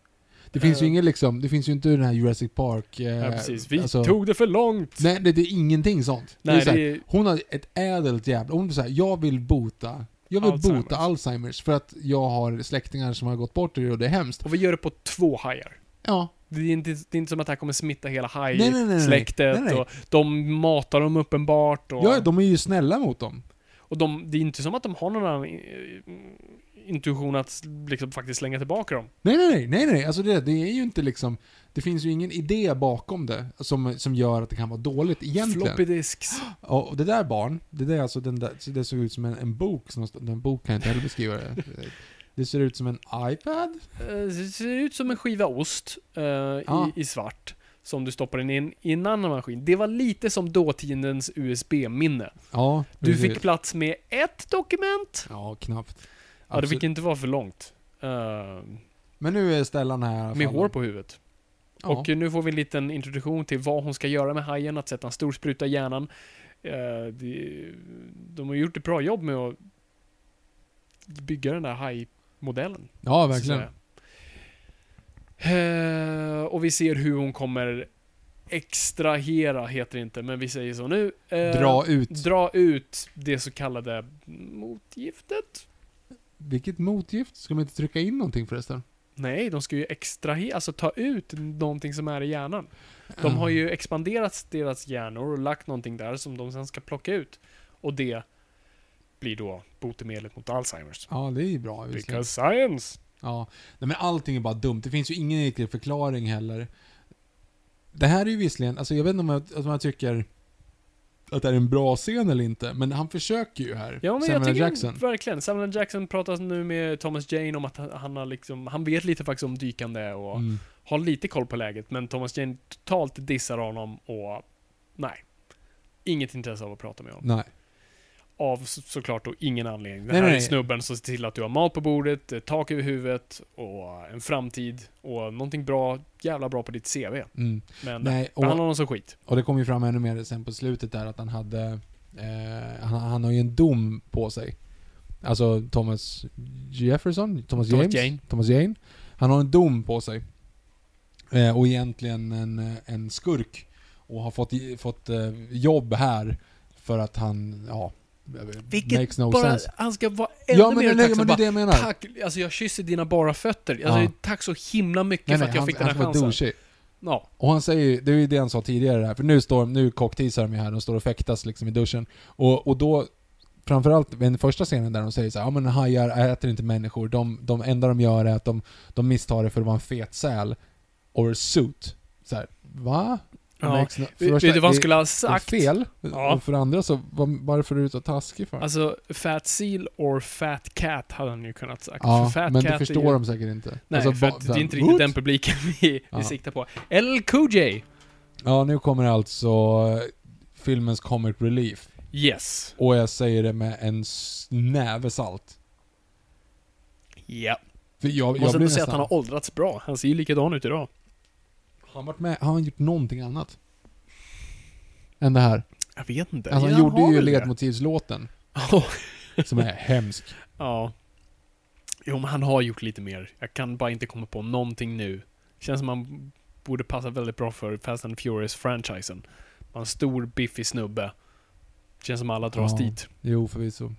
S1: Det finns ju
S2: Eh.
S1: ingen liksom, det finns ju inte den här Jurassic Park... Eh,
S2: Ja, precis. Vi
S1: alltså-
S2: tog det för långt!
S1: Nej, det, det är ingenting sånt. det är
S2: Nej,
S1: så här,
S2: det är...
S1: Hon har ett ädelt jävla... Hon säger jag vill bota... Jag vill
S2: Alzheimers.
S1: bota Alzheimers för att jag har släktingar som har gått bort och det är hemskt.
S2: Och vi gör det på två hajar.
S1: Ja,
S2: Det är, inte, det är inte som att det här kommer smitta hela
S1: Nej, nej, nej, nej. Nej,
S2: haj-släktet
S1: nej.
S2: och de matar dem uppenbart och,
S1: ja de är ju snälla mot dem.
S2: och de, det är inte som att de har någon annan eh, intuition att liksom faktiskt slänga tillbaka dem.
S1: Nej, nej, nej, nej, nej. Alltså det, det är ju inte liksom... Det finns ju ingen idé bakom det som, som gör att det kan vara dåligt egentligen.
S2: Floppy disks.
S1: Ja, och det där barn, det där är alltså den där, så det såg ut som en, en bok som stod, den bok kan jag inte heller beskriva det. Det ser ut som en iPad?
S2: Eh, Det ser ut som en skiva ost eh,
S1: Ja.
S2: i, i svart som du stoppar in i en- i en annan maskin. Det var lite som dåtidens USB-minne.
S1: Ja,
S2: Du fick plats med ett dokument.
S1: Ja, knappt.
S2: Ja, det
S1: Absolut.
S2: fick inte vara för långt. Eh,
S1: Men nu är Stellan här i alla
S2: med
S1: fall.
S2: hår på huvudet.
S1: Ja.
S2: Och nu får vi en liten introduktion till vad hon ska göra med hajen, att sätta en stor spruta i hjärnan. Eh, det- De har gjort ett bra jobb med att bygga den där hajmodellen.
S1: ja,
S2: så att
S1: verkligen.
S2: säga. Eh, Och vi ser hur hon kommer extrahera, heter det inte, men vi säger så nu. Eh,
S1: Dra ut.
S2: Dra ut det så kallade motgiftet.
S1: Vilket motgift? Ska man inte trycka in någonting förresten?
S2: Nej, de ska ju extrahera, alltså ta ut någonting som är i hjärnan. De har ju expanderat deras hjärnor och lagt någonting där som de sen ska plocka ut. Och det blir då botemedlet mot Alzheimers.
S1: Ja, det är ju bra. visserligen.
S2: Because science!
S1: Ja. Nej, men allting är bara dumt. Det finns ju ingen riktig förklaring heller. Det här är ju visserligen, alltså jag vet inte om jag, om jag tycker att det här är en bra scen eller inte, men han försöker ju här.
S2: Ja men
S1: Samuel
S2: jag tycker
S1: Jackson.
S2: verkligen, Samuel L. Jackson pratar nu med Thomas Jane om att han, han har liksom, han vet lite faktiskt om dykande och
S1: Mm.
S2: har lite koll på läget, men Thomas Jane totalt dissar honom och nej. Inget intresse av att prata med honom.
S1: Nej.
S2: Av så, såklart då ingen anledning. Den
S1: Nej,
S2: här
S1: nej,
S2: är
S1: nej.
S2: snubben som ser till att du har mat på bordet, eh, tak över huvudet och en framtid och någonting bra, jävla bra på ditt CV.
S1: Mm.
S2: Men nej,
S1: Nej,
S2: behandlar
S1: och,
S2: honom som skit.
S1: och det kom ju fram ännu mer sen på slutet där att han hade... Eh, han, han har ju en dom på sig. Alltså Thomas Jefferson? Thomas,
S2: Thomas
S1: James?
S2: Jane.
S1: Thomas Jane. Han har en dom på sig. Eh, och egentligen en, eh, en skurk. Och har fått, i- fått eh, jobb här för att han, ja...
S2: Vilket
S1: makes no
S2: bara,
S1: sense.
S2: han ska vara ännu
S1: Ja men,
S2: mer
S1: det- nej,
S2: tacksam.
S1: men det är det
S2: Bara,
S1: jag menar.
S2: Tack, alltså jag kysser dina bara fötter. Alltså,
S1: Ja.
S2: Tack så himla mycket
S1: nej,
S2: för
S1: nej,
S2: att jag
S1: han,
S2: fick den
S1: han
S2: här
S1: ska vara
S2: chansen.
S1: douchig.
S2: Ja.
S1: Och han säger ju- det är ju det han sa tidigare här, för nu står nu cockteasar de ju här, de står och fäktas liksom i duschen. Och, och då, framförallt vid den första scenen där de säger så här, ja men hajar äter inte människor, de, de enda de gör är att de, de misstar det för att vara en fet säl. Or suit. Så här, va?
S2: Ja.
S1: Makes no- för det
S2: Vet
S1: första,
S2: du vad han
S1: det-
S2: skulle ha
S1: det är
S2: sagt?
S1: fel.
S2: Ja.
S1: Och för det andra så, var, varför är du så taskig för?
S2: Alltså, Fat Seal or Fat Cat hade han ju kunnat sagt.
S1: ja,
S2: för fat
S1: men det
S2: cat
S1: förstår
S2: är ju...
S1: de säkert inte.
S2: Nej,
S1: Alltså,
S2: för
S1: ba-
S2: att det
S1: så
S2: är
S1: här,
S2: inte riktigt
S1: "What?"
S2: den publiken vi,
S1: Ja.
S2: vi siktar på. LQJ!
S1: Ja, nu kommer alltså eh, filmens comic relief.
S2: Yes.
S1: Och jag säger det med en s- näve salt.
S2: Ja.
S1: För jag, jag
S2: Måste
S1: blir
S2: ändå
S1: nästan...
S2: säga att
S1: Han
S2: han
S1: har
S2: har åldrats bra. Han ser ju likadan ut idag.
S1: han varit med, har han gjort någonting annat? Än det här.
S2: Jag vet inte.
S1: Alltså,
S2: Ja,
S1: han gjorde
S2: har
S1: ju
S2: väl det.
S1: ledmotivslåten,
S2: Ja.
S1: som är hemsk.
S2: ja. Jo, men han har gjort lite mer. Jag kan bara inte komma på någonting nu. Känns som han borde passa väldigt bra för Fast and Furious-franchisen. Man är en stor, biffig snubbe. Känns som alla dras
S1: Ja.
S2: dit.
S1: Jo, förvisso.
S2: Um,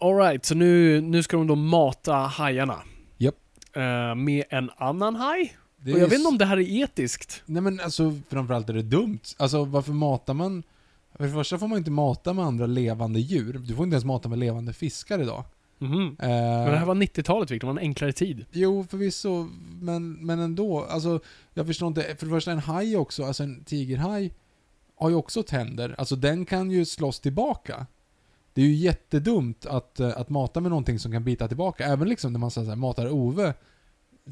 S2: Alright, så nu, nu ska de då mata hajarna.
S1: Japp.
S2: Eh, med en annan haj?
S1: Det
S2: Och
S1: är
S2: jag
S1: ju
S2: vet inte
S1: s-
S2: om det här är etiskt.
S1: Nej men alltså, framförallt är det dumt. Alltså varför matar man... För det första får man inte mata med andra levande djur. Du får inte ens mata med levande fiskar idag.
S2: Mhm.
S1: Eh,
S2: Men det här var 90-talet Victor, det var en enklare tid.
S1: Jo, förvisso, men, men ändå. Alltså, jag förstår inte. För det första, en haj också, alltså en tigerhaj, har ju också tänder. Alltså den kan ju slåss tillbaka. Det är ju jättedumt att, eh, att mata med någonting som kan bita tillbaka. Även liksom när man så här, matar Ove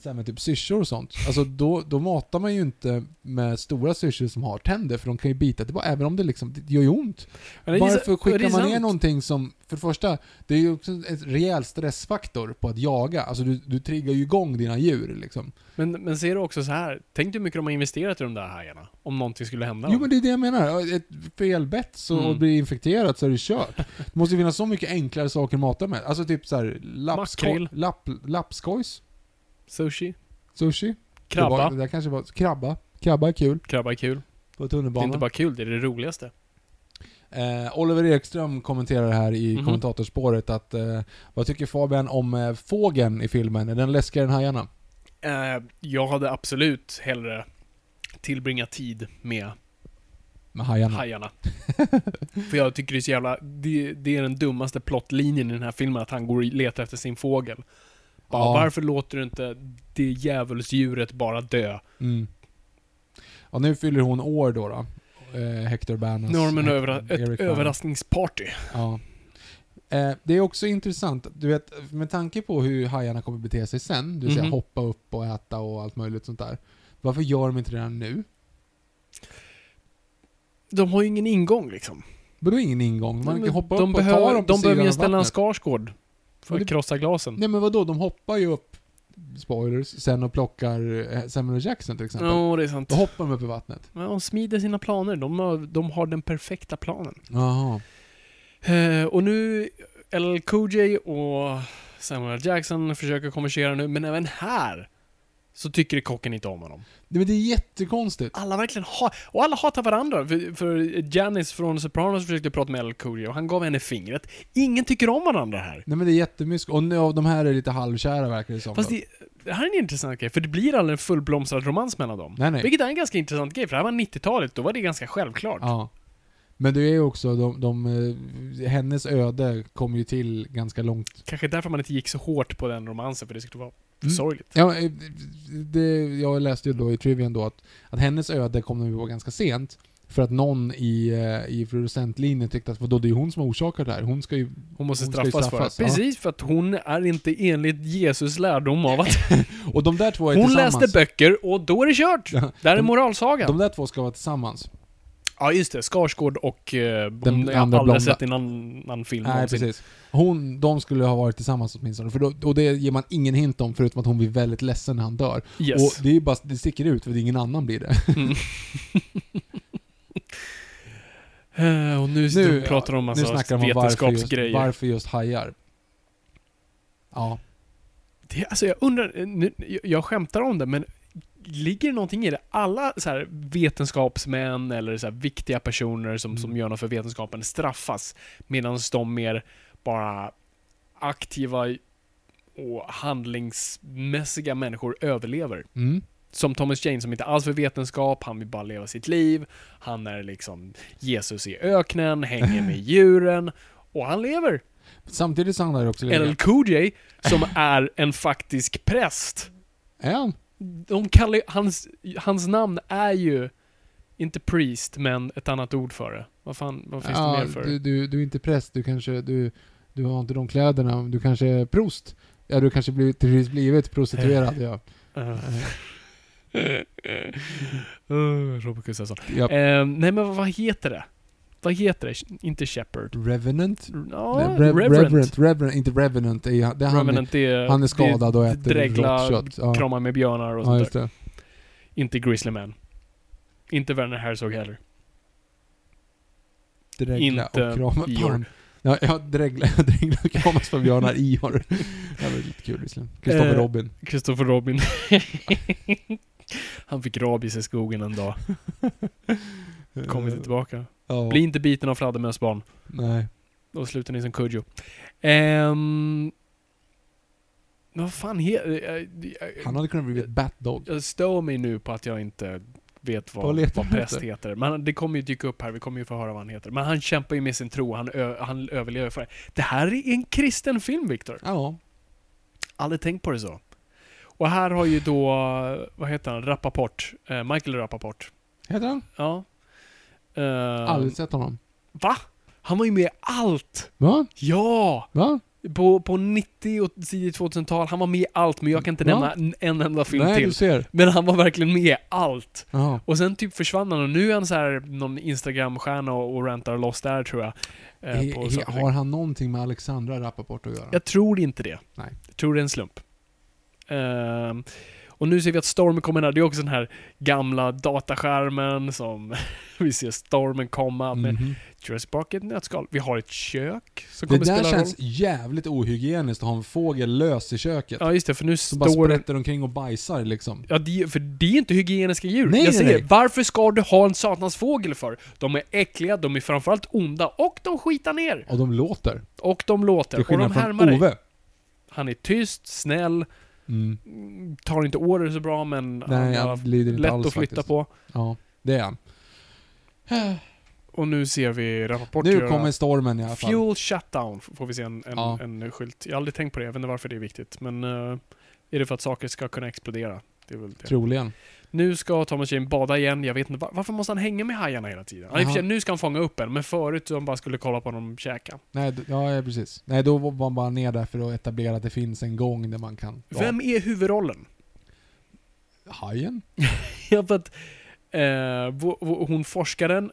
S1: så här, med typ syrsor och sånt. Alltså då, då matar man ju inte med stora syrsor som har tänder, för de kan ju bita tillbaka. Även om det liksom, det gör ju ont.
S2: Men det är
S1: Varför
S2: så- det är
S1: skickar man
S2: sant.
S1: ner någonting som, för det första, det är ju också en rejäl stressfaktor på att jaga. Alltså du, du triggar ju igång dina djur liksom.
S2: Men, men ser du också så här. tänk dig hur mycket de har investerat i de där hajarna. Om någonting skulle hända
S1: Jo
S2: dem.
S1: men det är det jag menar. Ett felbett så
S2: Mm.
S1: blir infekterat så är det kört. Det måste ju finnas så mycket enklare saker att mata med. Alltså typ såhär,
S2: Makrill.
S1: lapsko- lapp, lappskojs,
S2: Sushi,
S1: sushi. Det, var,
S2: krabba.
S1: det där kanske var, krabba. Krabba är kul.
S2: Krabba är kul.
S1: På
S2: Det är inte
S1: tunnelbanan.
S2: bara kul, det är det roligaste.
S1: Eh, Oliver Ekström kommenterar här i
S2: Mhm.
S1: kommentatorspåret att eh, vad tycker Fabian om eh, fågeln i filmen? Är den läskigare än hajarna?
S2: Eh, jag hade absolut hellre tillbringat tid med
S1: Med hajarna?
S2: hajarna. För jag tycker det är så jävla... Det, det är den dummaste plottlinjen i den här filmen, att han går och letar efter sin fågel. Bara,
S1: Ja.
S2: Varför låter du inte det djävulsdjuret bara dö?
S1: Mm. Ja, nu fyller hon år då. då. Eh, Hector Bernas.
S2: Nu har de en
S1: Hec-
S2: övra- ett
S1: Eric Bana.
S2: överraskningsparty.
S1: Ja. Eh, det är också intressant, du vet, med tanke på hur hajarna kommer bete sig sen, du vill säga
S2: Mhm.
S1: hoppa upp och äta och allt möjligt sånt där. Varför gör de inte det här nu?
S2: De har ju ingen ingång liksom.
S1: Men då är ingen ingång, man kan hoppa
S2: de
S1: upp och ta
S2: behöver,
S1: dem på
S2: de behöver
S1: sidan
S2: ju
S1: av
S2: ställa en
S1: vattnet.
S2: Skarsgård för
S1: Men
S2: att
S1: det-
S2: krossa glasen.
S1: Nej men vadå, de hoppar ju upp, spoilers, sen och plockar eh, Samuel L. Jackson till exempel.
S2: Ja, det är sant.
S1: Då hoppar de upp i vattnet.
S2: Men de smider sina planer. De har, de har den perfekta planen.
S1: Jaha.
S2: Eh, och nu, LL Cool J och Samuel Jackson försöker konversera nu, men även här så tycker kocken inte om honom.
S1: Nej, men det är jättekonstigt.
S2: Alla verkligen ha och alla hatar varandra. För, för Janice från Sopranos försökte prata med LL Cool J och han gav henne fingret. Ingen tycker om varandra här.
S1: Nej men det är jättemysko. Och nu, av de här är lite halvkära verkar det som.
S2: Fast
S1: då.
S2: det, det här är en intressant grej, för det blir aldrig en fullblomstrad romans mellan dem.
S1: Nej, nej.
S2: Vilket är en ganska intressant grej, för det här var 90-talet, då var det ganska självklart.
S1: Ja. Men det är ju också de, de, eh, hennes öde kom ju till ganska långt.
S2: Kanske därför man inte gick så hårt på den romansen, för det skulle vara för
S1: Mm.
S2: sorgligt.
S1: Ja, eh, det, jag läste ju då i Trivian då att, att hennes öde kom de ju på ganska sent. För att någon i, eh, i producentlinjen tyckte att vadå, det är ju hon som har orsakat det här. Hon ska ju...
S2: Hon måste
S1: Hon ska ju
S2: straffas,
S1: straffas,
S2: för
S1: ja.
S2: det. Precis, för att hon är inte enligt Jesus lärdom av att
S1: Och de där två är
S2: hon
S1: tillsammans.
S2: läste böcker och då är det kört.
S1: Ja,
S2: Där är
S1: de-
S2: moralsagan.
S1: De där två ska vara tillsammans.
S2: ja, just det. Skarsgård och... Eh, hon
S1: Den
S2: har
S1: andra
S2: aldrig
S1: blonda.
S2: sett i någon annan film
S1: Nej,
S2: någonsin.
S1: precis. Hon, de skulle ha varit tillsammans åtminstone. För då, och det ger man ingen hint om förutom att hon blir väldigt ledsen när han dör.
S2: Yes.
S1: Och det är ju bara, det sticker ut för att ingen annan blir det.
S2: Eh, och nu, nu pratar de om massa
S1: nu snackar de om varför just,
S2: vetenskapsgrejer.
S1: varför just hajar. Ja.
S2: Det, alltså jag undrar, nu, jag skämtar om det, men ligger det någonting i det? Alla så här vetenskapsmän eller så här viktiga personer som, som gör något för vetenskapen straffas, medan de mer bara aktiva och handlingsmässiga människor överlever.
S1: Mm.
S2: Som Thomas Jane som inte alls för vetenskap, han vill bara leva sitt liv. Han är liksom Jesus i öknen, hänger med djuren och han lever.
S1: Samtidigt så handlar det också
S2: LL
S1: lite...
S2: Cool J, som är en faktisk präst.
S1: Är han?
S2: De kallar ju- hans, hans namn är ju inte priest, men ett annat ord för det. Vad fan, vad finns det mer för?
S1: Du, du, du är inte präst, du kanske... Du, du har inte de kläderna, men du kanske är prost. Ja, du kanske blivit, till sist blivit prostituerad, ja.
S2: Eh. Uh, Robert Gustafsson.
S1: ja.
S2: Eh, nej men vad heter det? Vad heter det? Inte Shepard.
S1: Revenant?
S2: Ja,
S1: Nej, Rev-
S2: Reverend.
S1: Reverend, Reverend, inte Revenant. Det är, han- det är han,
S2: Revenant är,
S1: han
S2: det
S1: är skadad och äter
S2: eh, dreglar,
S1: rått kött. Ja.
S2: kramar med björnar och
S1: ja,
S2: sånt
S1: just
S2: där.
S1: det.
S2: Inte Grizzly Man. Inte Werner Herzog heller.
S1: Dregla
S2: Inte
S1: och krama
S2: Ior.
S1: barn. Ja, ja dregla, dregla och kramas för björnar Ior. Det var lite kul visserligen. Kristoffer
S2: Eh.
S1: Robin.
S2: Christopher Robin. Han fick rabies i skogen en dag. Kom inte tillbaka.
S1: Ja.
S2: Bli inte biten av fladdermöss barn.
S1: Nej.
S2: Då slutar ni som Kujo. Ehm... men Vad fan heter...
S1: Han hade kunnat bli ett Batdog.
S2: eh, Jag stör mig nu på att jag inte vet
S1: Vad
S2: vad,
S1: letar
S2: vad
S1: du
S2: präst
S1: efter?
S2: heter. Men det kommer ju dyka upp här, vi kommer ju få höra vad han heter. Men han kämpar ju med sin tro, han, ö- han överlever för det. Det här är en kristen film, Viktor.
S1: Ja.
S2: Aldrig tänkt på det så. Och här har ju då, vad heter han, Rappaport, eh, Michael Rappaport.
S1: Heter han?
S2: Ja. Eh,
S1: Aldrig sett honom.
S2: Va? Han var ju med i allt!
S1: Va?
S2: Ja!
S1: Va?
S2: På, på 90 och tidigt 2000-tal, han var med i allt, men jag kan inte
S1: Va?
S2: nämna en- en enda film
S1: Nej,
S2: till.
S1: du ser.
S2: Men han var verkligen med i allt!
S1: Ja.
S2: Och sen typ försvann han och nu är han så här någon Instagram-stjärna och, och rantar loss där tror jag. Eh,
S1: He,
S2: på
S1: he,
S2: saker och ting.
S1: har han någonting med Alexandra Rappaport att göra?
S2: Jag tror inte det.
S1: Nej.
S2: Jag tror det är en slump. Ehm, och nu ser vi att stormen kommer här. Det är också den här gamla dataskärmen som vi ser stormen komma med
S1: Mhm.
S2: Jurassic Park i ett nötskal. Vi har ett kök som
S1: Det
S2: kommer
S1: där
S2: spela
S1: känns
S2: roll.
S1: jävligt ohygieniskt att ha en fågel lös i köket.
S2: Ja, just det, för nu
S1: som bara
S2: står det...
S1: sprätter omkring och bajsar liksom.
S2: Ja, det, för det är inte hygieniska djur.
S1: Nej,
S2: jag
S1: nej,
S2: säger,
S1: nej.
S2: varför ska du ha en satans fågel för? De är äckliga, de är framförallt onda och de skitar ner.
S1: Och de låter.
S2: Och de låter. Och
S1: Till
S2: de
S1: skillnad från
S2: härmar dig.
S1: Ove.
S2: Han är tyst, snäll,
S1: Mm.
S2: tar inte order så bra men
S1: Nej,
S2: han
S1: han
S2: har
S1: lider inte
S2: lätt
S1: alls
S2: att flytta
S1: faktiskt.
S2: på.
S1: Ja, det är han.
S2: Och nu ser vi Rappaport
S1: Nu
S2: göra
S1: kommer stormen i alla fall.
S2: Fuel shutdown, f- får vi se en, en,
S1: Ja.
S2: en skylt. Jag har aldrig tänkt på det, jag vet inte varför det är viktigt. Men eh, är det för att saker ska kunna explodera? Det är väl det.
S1: Troligen.
S2: Nu ska Thomas Jane bada igen, jag vet inte var, varför måste han hänga med hajarna hela tiden? Ja, i och för
S1: Aha.
S2: sig, nu ska han fånga upp en, men förut så han bara skulle kolla på honom käka.
S1: Nej, d- ja, ja, precis. Nej, då var man bara ner där för att etablera att det finns en gång där man kan... Ja.
S2: Vem är huvudrollen?
S1: Hajen?
S2: Ja, för att eh, vå- vå- hon forskaren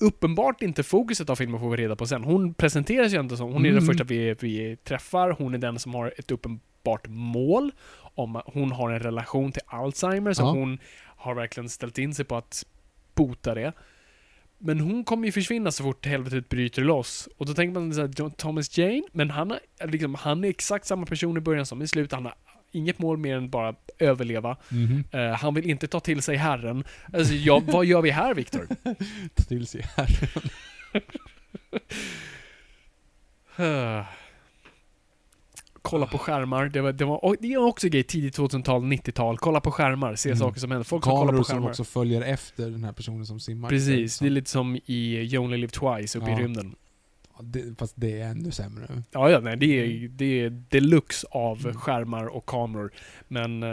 S2: uppenbart inte fokuset av filmen får vi reda på sen. Hon presenteras ju inte som, hon är den
S1: Mm.
S2: första vi, vi träffar, hon är den som har ett uppenbart mål. Om, att- hon har en relation till Alzheimer, så
S1: Ja.
S2: hon har verkligen ställt in sig på att bota det. Men hon kommer ju försvinna så fort helvetet bryter loss. Och då tänker man såhär, Thomas Jane, men han, har, liksom, han är exakt samma person i början som i slutet. Han har inget mål mer än bara överleva.
S1: Mhm.
S2: Eh, han vill inte ta till sig Herren. Alltså, ja, vad gör vi här, Viktor?
S1: Ta till sig här.
S2: Eh, Kolla på skärmar. Det var, det var, och det är också en grej, tidigt 2000-tal, 90-tal. Kolla på skärmar, se
S1: Mm.
S2: saker som händer. Folk som kollar
S1: Kameror
S2: på
S1: som
S2: skärmar.
S1: också följer efter den här personen som simmar. liksom-
S2: Precis,
S1: Så-
S2: det är lite som i You Only Live Twice uppe
S1: Ja.
S2: i rymden.
S1: ja, det, fast det är ännu sämre.
S2: Ja, ja, nej, det är, det är deluxe av
S1: Mm.
S2: skärmar och kameror. Men eh,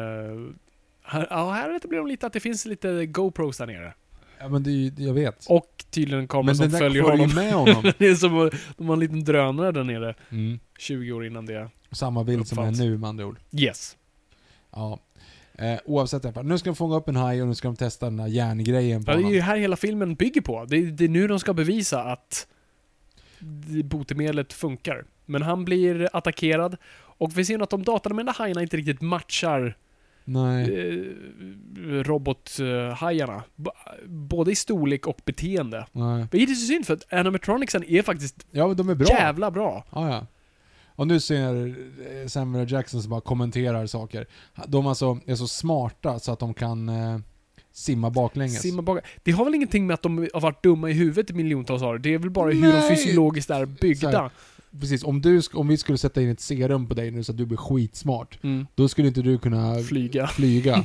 S2: här, ja, här blir de lite att det finns lite GoPros där nere.
S1: Ja, men det är ju- jag vet.
S2: Och tydligen en kamera
S1: men
S2: som
S1: den där
S2: följer
S1: följer ju
S2: honom.
S1: med honom.
S2: Det är som att de har en liten drönare där nere,
S1: Mm.
S2: 20 år innan det.
S1: Samma bild som är
S2: Uppfanns.
S1: nu med andra ord.
S2: Yes.
S1: Ja. Eh, oavsett i alla fall. Nu ska de fånga upp en haj och nu ska de testa den här järngrejen på
S2: Ja, det är
S1: honom.
S2: ju här hela filmen bygger på. Det är, det är nu de ska bevisa att det- botemedlet funkar. Men han blir attackerad och vi ser att de dataanvända hajarna inte riktigt matchar
S1: Nej.
S2: eh, robothajarna. B- både i storlek och beteende.
S1: Nej.
S2: Vilket är så synd för att animatronicsen är faktiskt
S1: Ja, men de är bra.
S2: jävla bra.
S1: Ja, ja. Och nu ser eh, Samuel L. Jackson som bara kommenterar saker. De alltså är så smarta så att de kan eh, simma baklänges.
S2: Simma bak. Det har väl ingenting med att de har varit dumma i huvudet i miljontals år? Det är väl bara hur de
S1: Nej.
S2: fysiologiskt är
S1: Så
S2: byggda?
S1: här. Precis, om, du, sk- om vi skulle sätta in ett serum på dig nu så att du blir skitsmart,
S2: Mm.
S1: då skulle inte du kunna
S2: Flyga.
S1: flyga.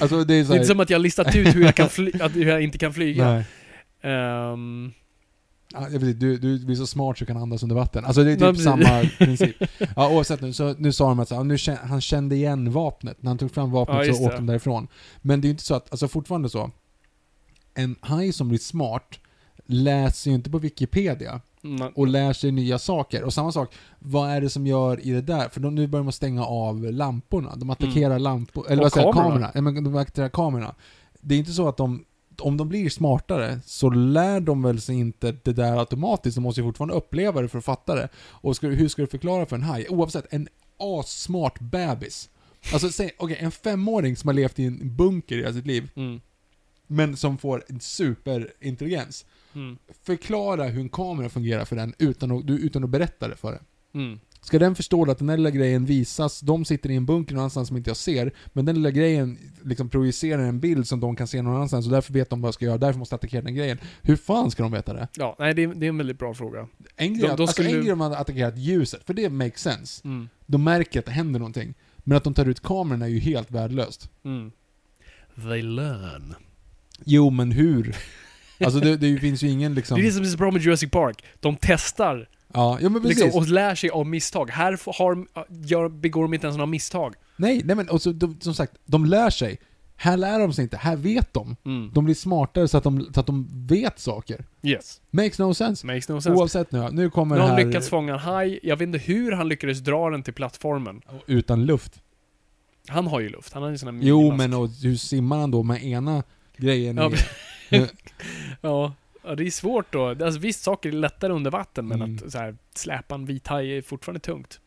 S1: Alltså det är
S2: Det är
S1: så här,
S2: inte som att jag har listat ut hur jag, kan fly- att hur jag inte kan flyga.
S1: Nej.
S2: Ehm,
S1: Ja, jag vet, inte, du, du blir så smart så du kan andas under vatten. Alltså det är typ
S2: Ja, precis.
S1: samma princip. Ja, oavsett nu, så nu sa de att så, här, nu kän- han kände igen vapnet. När han tog fram
S2: Ja,
S1: vapnet
S2: just
S1: så åkte
S2: det.
S1: de därifrån. Men det är ju inte så att, alltså fortfarande så. En haj som blir smart läser ju inte på Wikipedia
S2: na-
S1: och lär sig nya saker. Och samma sak, vad är det som gör i det där? För de, nu börjar man stänga av lamporna. De attackerar lampor, eller
S2: Mm. Och
S1: vad säger jag,
S2: kamerorna.
S1: kamerorna. Ja, men de attackerar kamerorna. Det är inte så att de, om de blir smartare, så lär de väl sig inte det där automatiskt. De måste ju fortfarande uppleva det för att fatta det. Och ska, hur ska du förklara för en haj? Oavsett, en assmart bebis. Alltså säg, okej, en femåring som har levt i en bunker i hela sitt liv,
S2: mm,
S1: men som får en superintelligens
S2: mm,
S1: förklara hur en kamera fungerar för den utan att, du- utan att berätta det för den.
S2: mm.
S1: Ska den förstå att den här lilla grejen visas, de sitter i en bunker någonstans som inte jag ser, men den lilla grejen liksom projicerar en bild som de kan se någon annanstans och därför vet de vad jag ska göra, därför måste jag attackera den grejen. Hur fan ska de veta det?
S2: Ja, nej det är, det är en väldigt bra fråga.
S1: En
S2: De-
S1: grej,
S2: de
S1: att- alltså,
S2: skulle-
S1: en grej om man hade attackerat ljuset, för det makes sense.
S2: Mm,
S1: De märker att det händer någonting. Men att de tar ut kameran är ju helt värdelöst.
S2: mm. They learn.
S1: Jo, men hur? Alltså det, det finns ju ingen
S2: Det
S1: liksom...
S2: är det som är så bra med Jurassic Park. De testar
S1: Ja, ja men precis.
S2: liksom, och lär sig av misstag. Här f- har, gör, begår de inte ens några misstag.
S1: Nej, nej men och så, de, som sagt, de lär sig. Här lär de sig inte, här vet de.
S2: Mm.
S1: De blir smartare så att de, så att de vet saker.
S2: Yes.
S1: Makes no sense.
S2: Makes no sense.
S1: Oavsett nu, nu kommer
S2: Nu
S1: det
S2: har
S1: här
S2: han lyckats fånga en haj. Jag vet inte hur han lyckades dra den till plattformen.
S1: utan luft.
S2: Han har ju luft. Han har ju sån här
S1: Jo,
S2: minimask.
S1: men och, hur simmar han då med ena grejen?
S2: Ja,
S1: i-
S2: Ja, ja, det är svårt då. Alltså, visst, saker är lättare under vatten, men
S1: Mm.
S2: att så här, släpa en vit haj är fortfarande tungt.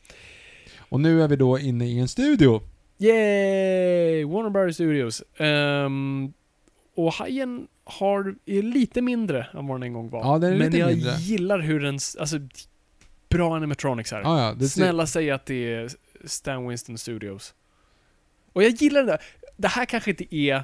S1: och nu är vi då inne i en studio.
S2: Yay! Warner Bros Studios. Ehm, och hajen har, är lite mindre än vad den en gång var.
S1: Ja, den är
S2: men
S1: lite
S2: jag
S1: mindre.
S2: gillar hur den... s- Alltså, bra animatronics här.
S1: Ja, ja, det ser,
S2: Snälla säg att det är Stan Winston Studios. Och jag gillar det där. Det här kanske inte är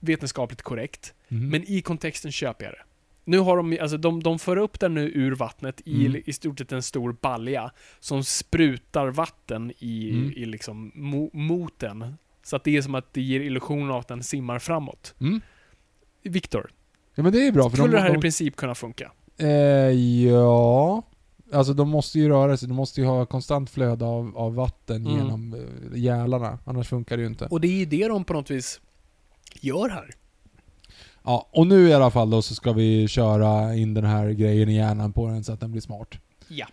S2: vetenskapligt korrekt,
S1: Mhm.
S2: men i kontexten köper jag det. Nu har de, alltså de, de för upp den nu ur vattnet i,
S1: Mm.
S2: i stort sett en stor balja som sprutar vatten i,
S1: Mm.
S2: i liksom mo, mot den. Så att det är som att det ger illusionen av att den simmar framåt.
S1: Mm.
S2: Viktor,
S1: Ja, men det är bra för
S2: skulle det här
S1: de,
S2: i
S1: de,
S2: princip kunna funka?
S1: eh, Ja... Alltså de måste ju röra sig, de måste ju ha konstant flöde av, av vatten
S2: Mm.
S1: genom eh, gälarna, annars funkar det ju inte.
S2: Och det är ju det de på något vis gör här.
S1: Ja, och nu i alla fall då så ska vi köra in den här grejen i hjärnan på den så att den blir smart.
S2: Ja.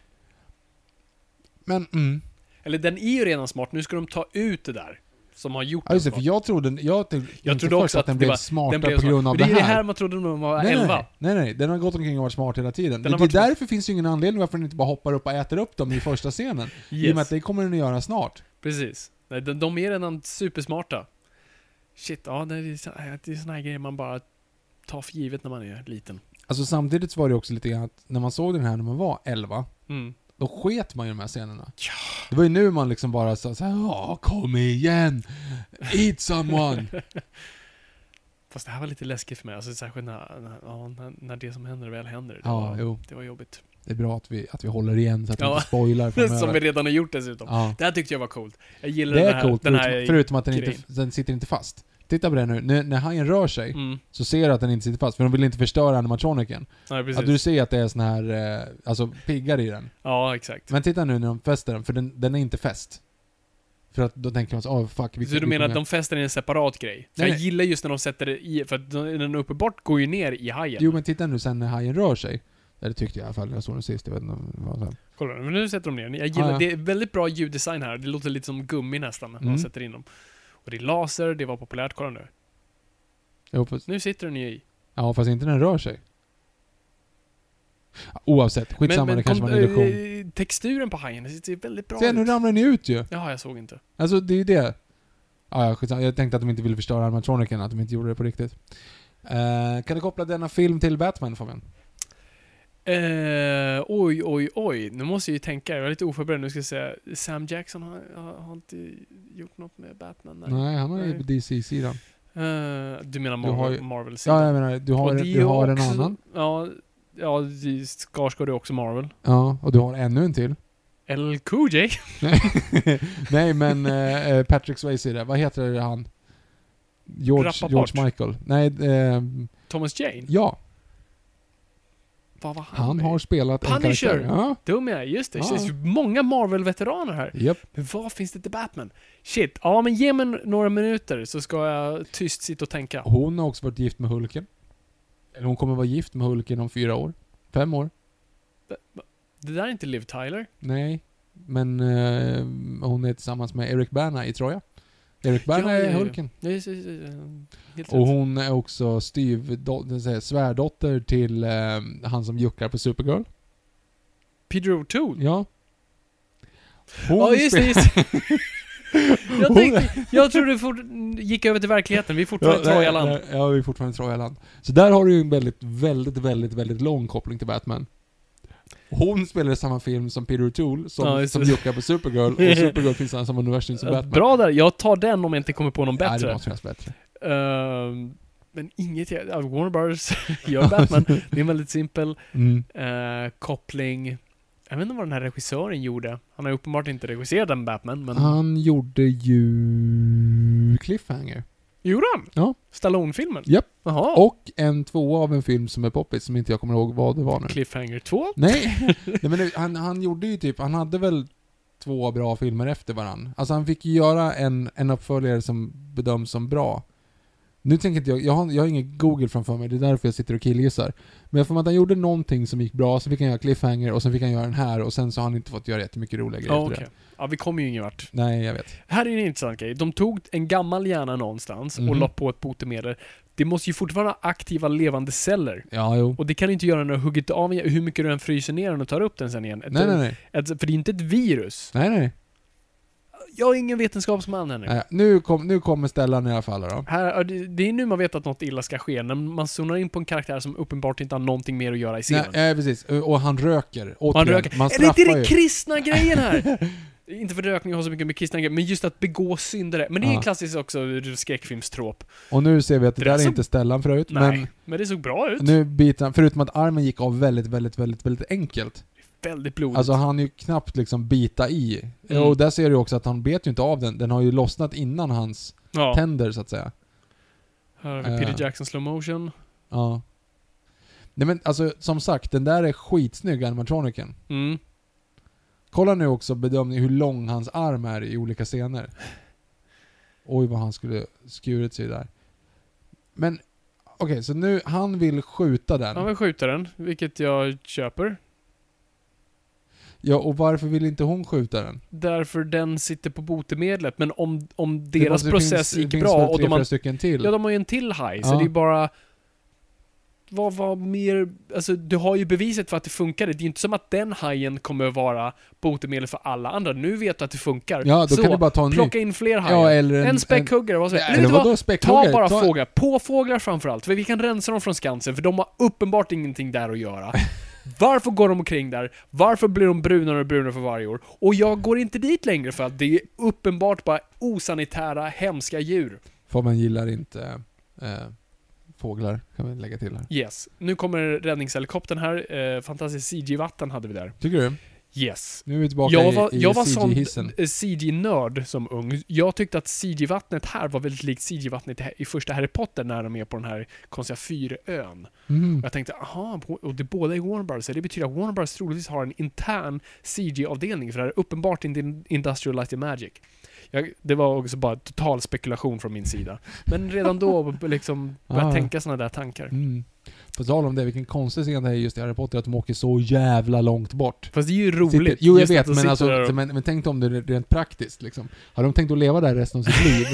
S1: Men, mm.
S2: Eller den är ju redan smart, nu ska de ta ut det där som har gjort
S1: Ja, just det,
S2: den
S1: för
S2: smart.
S1: jag trodde, jag tänkte
S2: Jag
S1: inte
S2: trodde
S1: först
S2: också
S1: att
S2: att
S1: den
S2: det
S1: blev
S2: var-
S1: smartare
S2: Den blev
S1: på
S2: smart.
S1: grund av
S2: Men
S1: det
S2: det är
S1: här.
S2: ju det här man trodde när man var
S1: nej,
S2: 11.
S1: nej, nej, nej, den har gått omkring och varit smart hela tiden.
S2: Den har
S1: det,
S2: varit-
S1: det är därför finns ju ingen anledning varför den inte bara hoppar upp och äter upp dem i första scenen. I och med att
S2: Yes.
S1: det kommer den att göra snart.
S2: Precis. Nej, de, de är redan supersmarta. Shit, ja det är, så- äh, det är såna här grejer man bara tar för givet när man är liten.
S1: Alltså samtidigt så var det också lite grann att när man såg den här när man var 11,
S2: Mm.
S1: då sket man ju de här scenerna. Det var ju nu man liksom bara sa såhär, ja kom igen, eat someone.
S2: Fast det här var lite läskigt för mig, alltså, särskilt när, när, ja, när, när det som händer väl händer. Det,
S1: Ja,
S2: var,
S1: jo.
S2: det var jobbigt.
S1: Det är bra att vi, att vi håller igen så att vi
S2: Ja.
S1: inte spoilar framöver.
S2: Som vi redan har gjort dessutom.
S1: ja.
S2: Det här tyckte jag var coolt. Jag gillar
S1: Det
S2: den
S1: är
S2: här...
S1: coolt, liksom
S2: den här
S1: förutom, förutom att den, inte,
S2: grejen.
S1: den sitter inte fast. Titta på det nu, när, när hajen rör sig
S2: Mm.
S1: så ser du att den inte sitter fast, för de vill inte förstöra animatroniken.
S2: Nej, precis.
S1: Att du ser att det är sån här, eh, alltså piggar i den.
S2: Ja, exakt.
S1: Men titta nu när de fäster den, för den, den är inte fäst. För att då tänker man så, oh, fuck. Vi,
S2: så du
S1: vi
S2: menar att
S1: kommer-
S2: de fäster i en separat grej? För
S1: Nej,
S2: jag
S1: nej.
S2: gillar just när de sätter det i, för att de- den uppe bort går ju ner i hajen.
S1: Jo men titta nu sen när hajen rör sig. Eller tyckte jag i alla fall, när jag såg den sist. Jag vet inte om det var så här.
S2: Kolla, men nu sätter de ner den. Jag gillar,
S1: Ah, ja.
S2: det är väldigt bra ljuddesign här. Det låter lite som gummi nästan, när man
S1: Mm.
S2: sätter in dem. Och det är laser, det var populärt, kolla nu.
S1: Jo, fast,
S2: Nu sitter den ju i.
S1: ja fast inte när den rör sig. Oavsett, skitsamma, det kanske
S2: kom-
S1: var en illusion.
S2: eh, texturen på hajen, det ser väldigt bra
S1: Se
S2: ut.
S1: nu ramlar den ju ut ju.
S2: Jaha, jag såg inte.
S1: Alltså det är ju det. Ah, ja, skitsamma. jag tänkte att de inte ville förstöra animatroniken, att de inte gjorde det på riktigt. Eh, kan du koppla denna film till Batman Fabian?
S2: Eh, oj, oj, oj. Nu måste jag ju tänka. Jag är lite oförberedd. Nu ska jag säga Sam Jackson har, har, har inte gjort något med Batman. Nej.
S1: Nej, han har ju
S2: Nej.
S1: DC-sidan.
S2: Eh, du menar
S1: Du har ju-
S2: Marvel, marvel
S1: Ja, jag menar, du har, du har en annan.
S2: Ja, ja det- Skarsgård är också Marvel.
S1: Ja, och du har ännu en till.
S2: LL Cool J.
S1: Nej, men eh, eh, Patrick Swayze är det. Vad heter det han? George,
S2: Rappaport.
S1: George Michael. Nej, eh,
S2: Thomas Jane.
S1: ja.
S2: Vad var han
S1: Han
S2: med?
S1: har spelat en
S2: Punisher.
S1: karaktär. Ja,
S2: Dum jag är, just det.
S1: Ja.
S2: Det finns ju många Marvel-veteraner här.
S1: japp.
S2: Men vad finns det till Batman? Shit. Ja, men ge mig några minuter så ska jag tyst sitta och tänka.
S1: Hon har också varit gift med Hulken. Eller hon kommer vara gift med Hulken om fyra år. Fem år.
S2: Det där är inte Liv Tyler.
S1: Nej. Men eh, hon är tillsammans med Eric Bana i Troja. Eric Bana
S2: Ja, ja,
S1: är
S2: ja.
S1: Hulken.
S2: Nej, så- så- så- Helt
S1: Och
S2: rätt.
S1: hon är också styvdot- det vill säga svärdotter till eh, han som juckar på Supergirl.
S2: Peter O'Toole.
S1: Ja. Hon
S2: Ja, just det.
S1: spelar-
S2: Just. det. jag,
S1: Hon-
S2: tänkte, jag trodde du fort, gick över till verkligheten. Vi är
S1: Ja,
S2: fortfarande i
S1: nej,
S2: Trojaland.
S1: nej, ja, vi är fortfarande i Trojaland. Så där har du ju en väldigt, väldigt, väldigt, väldigt lång koppling till Batman. Hon spelar i samma film som Peter O'Toole, som,
S2: Ja, just
S1: som
S2: det.
S1: juckar på Supergirl, och Supergirl finns i samma universum som
S2: Eh,
S1: Batman.
S2: Bra där. Jag tar den om jag inte kommer på någon
S1: Ja,
S2: bättre.
S1: det måste finnas bättre.
S2: Ehm, men inget... jag- ja, Warner Bros gör Batman. Det är en väldigt simpel
S1: Mm.
S2: eh, koppling. Jag vet inte vad den här regissören gjorde. Han har ju uppenbart inte regisserat en Batman, men...
S1: Han gjorde ju Cliffhanger.
S2: Gjorde han?
S1: Ja.
S2: Stallone-filmen?
S1: Japp.
S2: Jaha.
S1: Och en tvåa av en film som är poppis, som inte jag kommer ihåg vad det var nu.
S2: Cliffhanger 2?
S1: Nej, Nej men det, han, han gjorde ju typ, han hade väl två bra filmer efter varann. Alltså han fick ju göra en, en uppföljare som bedöms som bra. Nu tänker inte jag, jag har, jag har inget Google framför mig, det är därför jag sitter och killgissar. Men jag får med att han gjorde någonting som gick bra, så fick han göra Cliffhanger och sen fick han göra den här och sen så har han inte fått göra jättemycket roliga grejer
S2: Ja,
S1: efter
S2: okej. Ja, vi kommer ju ingen vart.
S1: det. Nej, jag vet.
S2: Här är en intressant grej. De tog en gammal hjärna någonstans och
S1: Mhm.
S2: la på ett botemedel. Det måste ju fortfarande ha aktiva levande celler.
S1: Ja, jo.
S2: Och det kan du inte göra när du har huggit av hur mycket du än fryser ner den och tar upp den sen igen. Ett,
S1: Nej, nej, nej.
S2: Ett, för det är ju inte ett virus.
S1: Nej, nej, nej.
S2: Jag är ingen vetenskapsman Henrik.
S1: nej. Nu, kom, nu kommer Stellan i alla fall då.
S2: Här, ja, det, det är nu man vet att något illa ska ske, när man zonar in på en karaktär som uppenbart inte har någonting mer att göra i
S1: Nej,
S2: scenen.
S1: eh, precis. Och han röker. Återigen.
S2: man röker.
S1: Man
S2: är det inte
S1: straffar
S2: den
S1: ju.
S2: kristna grejen här? inte för rökning har så mycket med kristna grejer, men just att begå syndare. Men det är en
S1: Ja.
S2: klassisk också skräckfilmstrop.
S1: Och nu ser vi att det
S2: Det är
S1: där är
S2: så-
S1: inte Stellan förut,
S2: Nej,
S1: men
S2: men, det såg bra ut.
S1: Nu biter han, förutom att armen gick av väldigt, väldigt, väldigt, väldigt enkelt.
S2: Väldigt blodigt.
S1: Alltså han ju knappt liksom bita i.
S2: Mm.
S1: Och där ser du också att han bet ju inte av den. Den har ju lossnat innan hans
S2: ja.
S1: tänder så att säga.
S2: Här har vi Peter
S1: Eh.
S2: Jackson slow motion.
S1: Ja. Nej men alltså som sagt, den där är skitsnygg animatroniken.
S2: Mm.
S1: Kolla nu också bedömning hur lång hans arm är i olika scener. Oj vad han skulle skurit sig där. Men okej, så nu, han vill skjuta den.
S2: Han vill skjuta den, vilket jag köper.
S1: Ja, och varför vill inte hon skjuta den?
S2: Därför den sitter på botemedlet, men om, om
S1: Det
S2: deras
S1: måste- det
S2: process
S1: finns-
S2: gick
S1: det finns
S2: bra
S1: väl
S2: och
S1: tre,
S2: de har
S1: fyra stycken till.
S2: Ja, de har ju en till haj, så
S1: Ja.
S2: det är bara... Vad var mer... Alltså, du har ju beviset för att det funkade. Det är ju inte som att den hajen kommer att vara botemedel för alla andra. Nu vet du att det funkar.
S1: Ja, då
S2: så,
S1: kan du bara ta en ny.
S2: plocka in fler hajar.
S1: Ja, eller en...
S2: en späckhuggare, vad som helst.
S1: Eller
S2: Vet du vad?
S1: vadå
S2: Ta
S1: späckhuggare?
S2: bara fåglar. Påfåglar framförallt, för vi kan rensa dem från Skansen, för de har uppenbart ingenting där att göra. Varför går de omkring där? Varför blir de brunare och brunare för varje år? Och jag går inte dit längre för att det är uppenbart bara osanitära, hemska djur.
S1: För man gillar inte eh, fåglar, kan vi lägga till här.
S2: Yes. Nu kommer räddningshelikoptern här. Eh, fantastiskt CG-vatten hade vi där.
S1: Tycker du?
S2: Yes.
S1: Nu är vi tillbaka
S2: Jag var,
S1: i, i
S2: jag var sån
S1: CG-hissen.
S2: eh, CG-nörd som ung. Jag tyckte att CG-vattnet här var väldigt likt CG-vattnet i- i första Harry Potter när de är på den här konstiga fyrön.
S1: Mhm.
S2: Jag tänkte, aha, bo- och det båda är Warner Bros. Det betyder att Warner Bros troligtvis har en intern CG-avdelning för det här är uppenbart inte in- Industrial Light and Magic. Jag, det var också bara total spekulation från min sida. Men redan då liksom började
S1: Ah.
S2: jag tänka såna där tankar.
S1: Mm. På tal om det, vilken konstig scen det är just i Harry Potter, att de åker så jävla långt bort.
S2: Fast det är ju roligt.
S1: Sitter, jo, jag
S2: Just att
S1: vet,
S2: de
S1: men,
S2: sitter
S1: alltså,
S2: där och-
S1: men, men tänk om det är rent praktiskt liksom. Har de tänkt att leva där resten av sitt liv?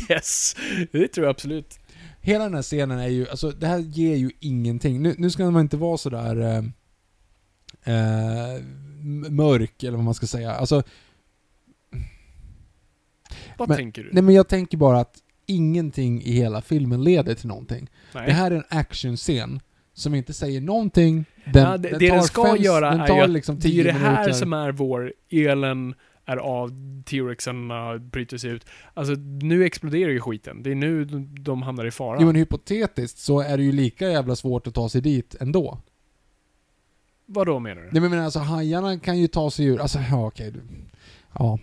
S2: yes! Det tror jag absolut.
S1: Hela den här scenen är ju, alltså det här ger ju ingenting. Nu, nu ska man inte vara sådär eh, eh, m- mörk eller vad man ska säga. Alltså,
S2: Vad
S1: Men-
S2: tänker du?
S1: nej men jag tänker bara att ingenting i hela filmen leder till någonting.
S2: Nej.
S1: Det här är en actionscen som inte säger någonting. Den,
S2: ja, det,
S1: den
S2: det
S1: tar
S2: den ska
S1: fem-
S2: göra
S1: den
S2: är
S1: tar
S2: ju att
S1: liksom
S2: det är ju
S1: tio
S2: det här
S1: minuter.
S2: som är vår elen är av, T-rexen uh, bryter sig ut. Alltså nu exploderar ju skiten. Det är nu de, de hamnar i fara.
S1: Jo men hypotetiskt så är det ju lika jävla svårt att ta sig dit ändå.
S2: Vad då menar du?
S1: Nej men jag menar, alltså hajarna kan ju ta sig ur, alltså ja okej. du- Ja.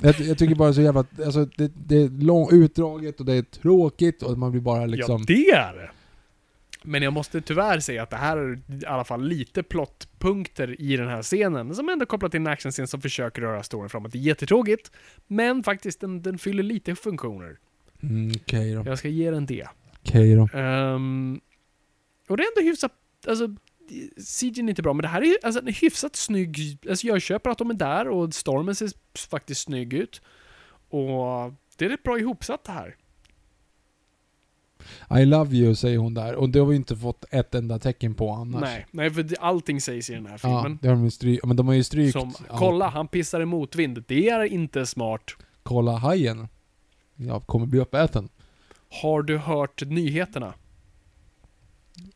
S1: Jag, jag tycker bara så jävla, alltså det, det är lång, utdraget och det är tråkigt och man blir bara liksom...
S2: Ja, det är det. Men jag måste tyvärr säga att det här är i alla fall lite plottpunkter i den här scenen som ändå kopplat till en actionscen som försöker röra storyn framåt. Det är jättetråkigt, men faktiskt den, den fyller lite funktioner.
S1: Mm, okej då.
S2: Jag ska ge den det.
S1: Okej då.
S2: Ehm, och det är ändå hyfsat, alltså CG är inte bra, men det här är ju- alltså, en hyfsat snygg, alltså jag köper att de är där och stormen ser s- faktiskt snygg ut. Och det är rätt bra ihopsatt det här.
S1: I love you säger hon där och det har vi inte fått ett enda tecken på annars.
S2: Nej, nej, för det- allting sägs i den här filmen.
S1: Ja, det har de ju strykt. Men de har ju strykt...
S2: Som,
S1: ja,
S2: kolla, han pissar i motvind. Det är inte smart.
S1: kolla hajen. Jag kommer bli uppäten.
S2: Har du hört nyheterna?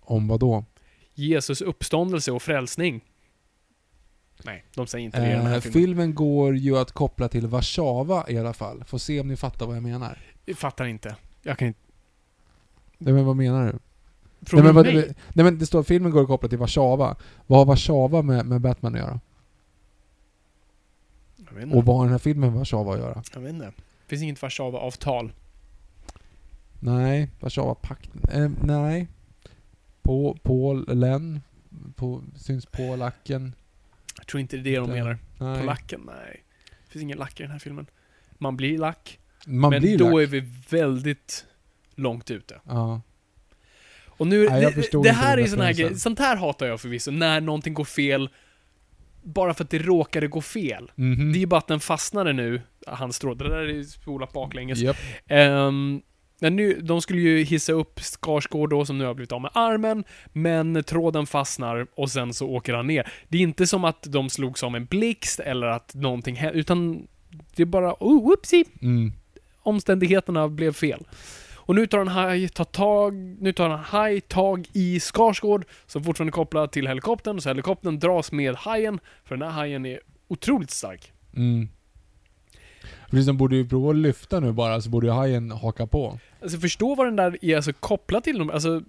S1: Om vad då?
S2: Jesus uppståndelse och frälsning. Nej, de säger inte det i den här
S1: Eh,
S2: filmen.
S1: filmen går ju att koppla till Warszawa i alla fall. Får se om ni fattar vad jag menar.
S2: Jag fattar inte. Jag kan inte...
S1: Nej men vad menar du?
S2: Frågar
S1: nej, men, vad,
S2: du mig?
S1: nej men det står att filmen går att koppla till Warszawa. Vad har Warszawa med, med Batman att göra?
S2: Jag vet
S1: Och
S2: inte.
S1: vad har den här filmen med Warszawa att göra?
S2: Jag vet inte. Finns inget Warszawa-avtal.
S1: Nej, Warszawapakten. Eh, nej. På, Polen. På, syns polacken.
S2: Jag tror inte det är det de
S1: Inte.
S2: menar.
S1: Nej.
S2: Polacken? Nej. Finns ingen lack i den här filmen. Man blir lack.
S1: Man
S2: men
S1: blir
S2: då
S1: lack.
S2: är vi väldigt långt ute.
S1: Ja.
S2: Och nu,
S1: Nej, jag
S2: det,
S1: förstod
S2: det
S1: inte
S2: här
S1: den
S2: är sån här grej,
S1: referensen.
S2: sånt här hatar jag förvisso, när någonting går fel bara för att det råkade gå fel.
S1: Mhm.
S2: Det är ju bara att den fastnade nu, hans tråd. Det där är ju spolat baklänges.
S1: Japp.
S2: Ehm, men nu, de skulle ju hissa upp Skarsgård då, som nu har blivit av med armen, men tråden fastnar och sen så åker han ner. Det är inte som att de slogs av en blixt eller att någonting hände, utan det är bara, oh, whoopsie,
S1: Mm.
S2: omständigheterna blev fel. Och nu tar en haj tar tag, nu tar en haj tag i Skarsgård, som fortfarande är kopplad till helikoptern, så helikoptern dras med hajen, för den här hajen är otroligt stark.
S1: Mm. Precis, de borde ju prova att lyfta nu bara, så borde ju hajen haka på.
S2: Alltså förstå vad den där är alltså kopplad till, dem. alltså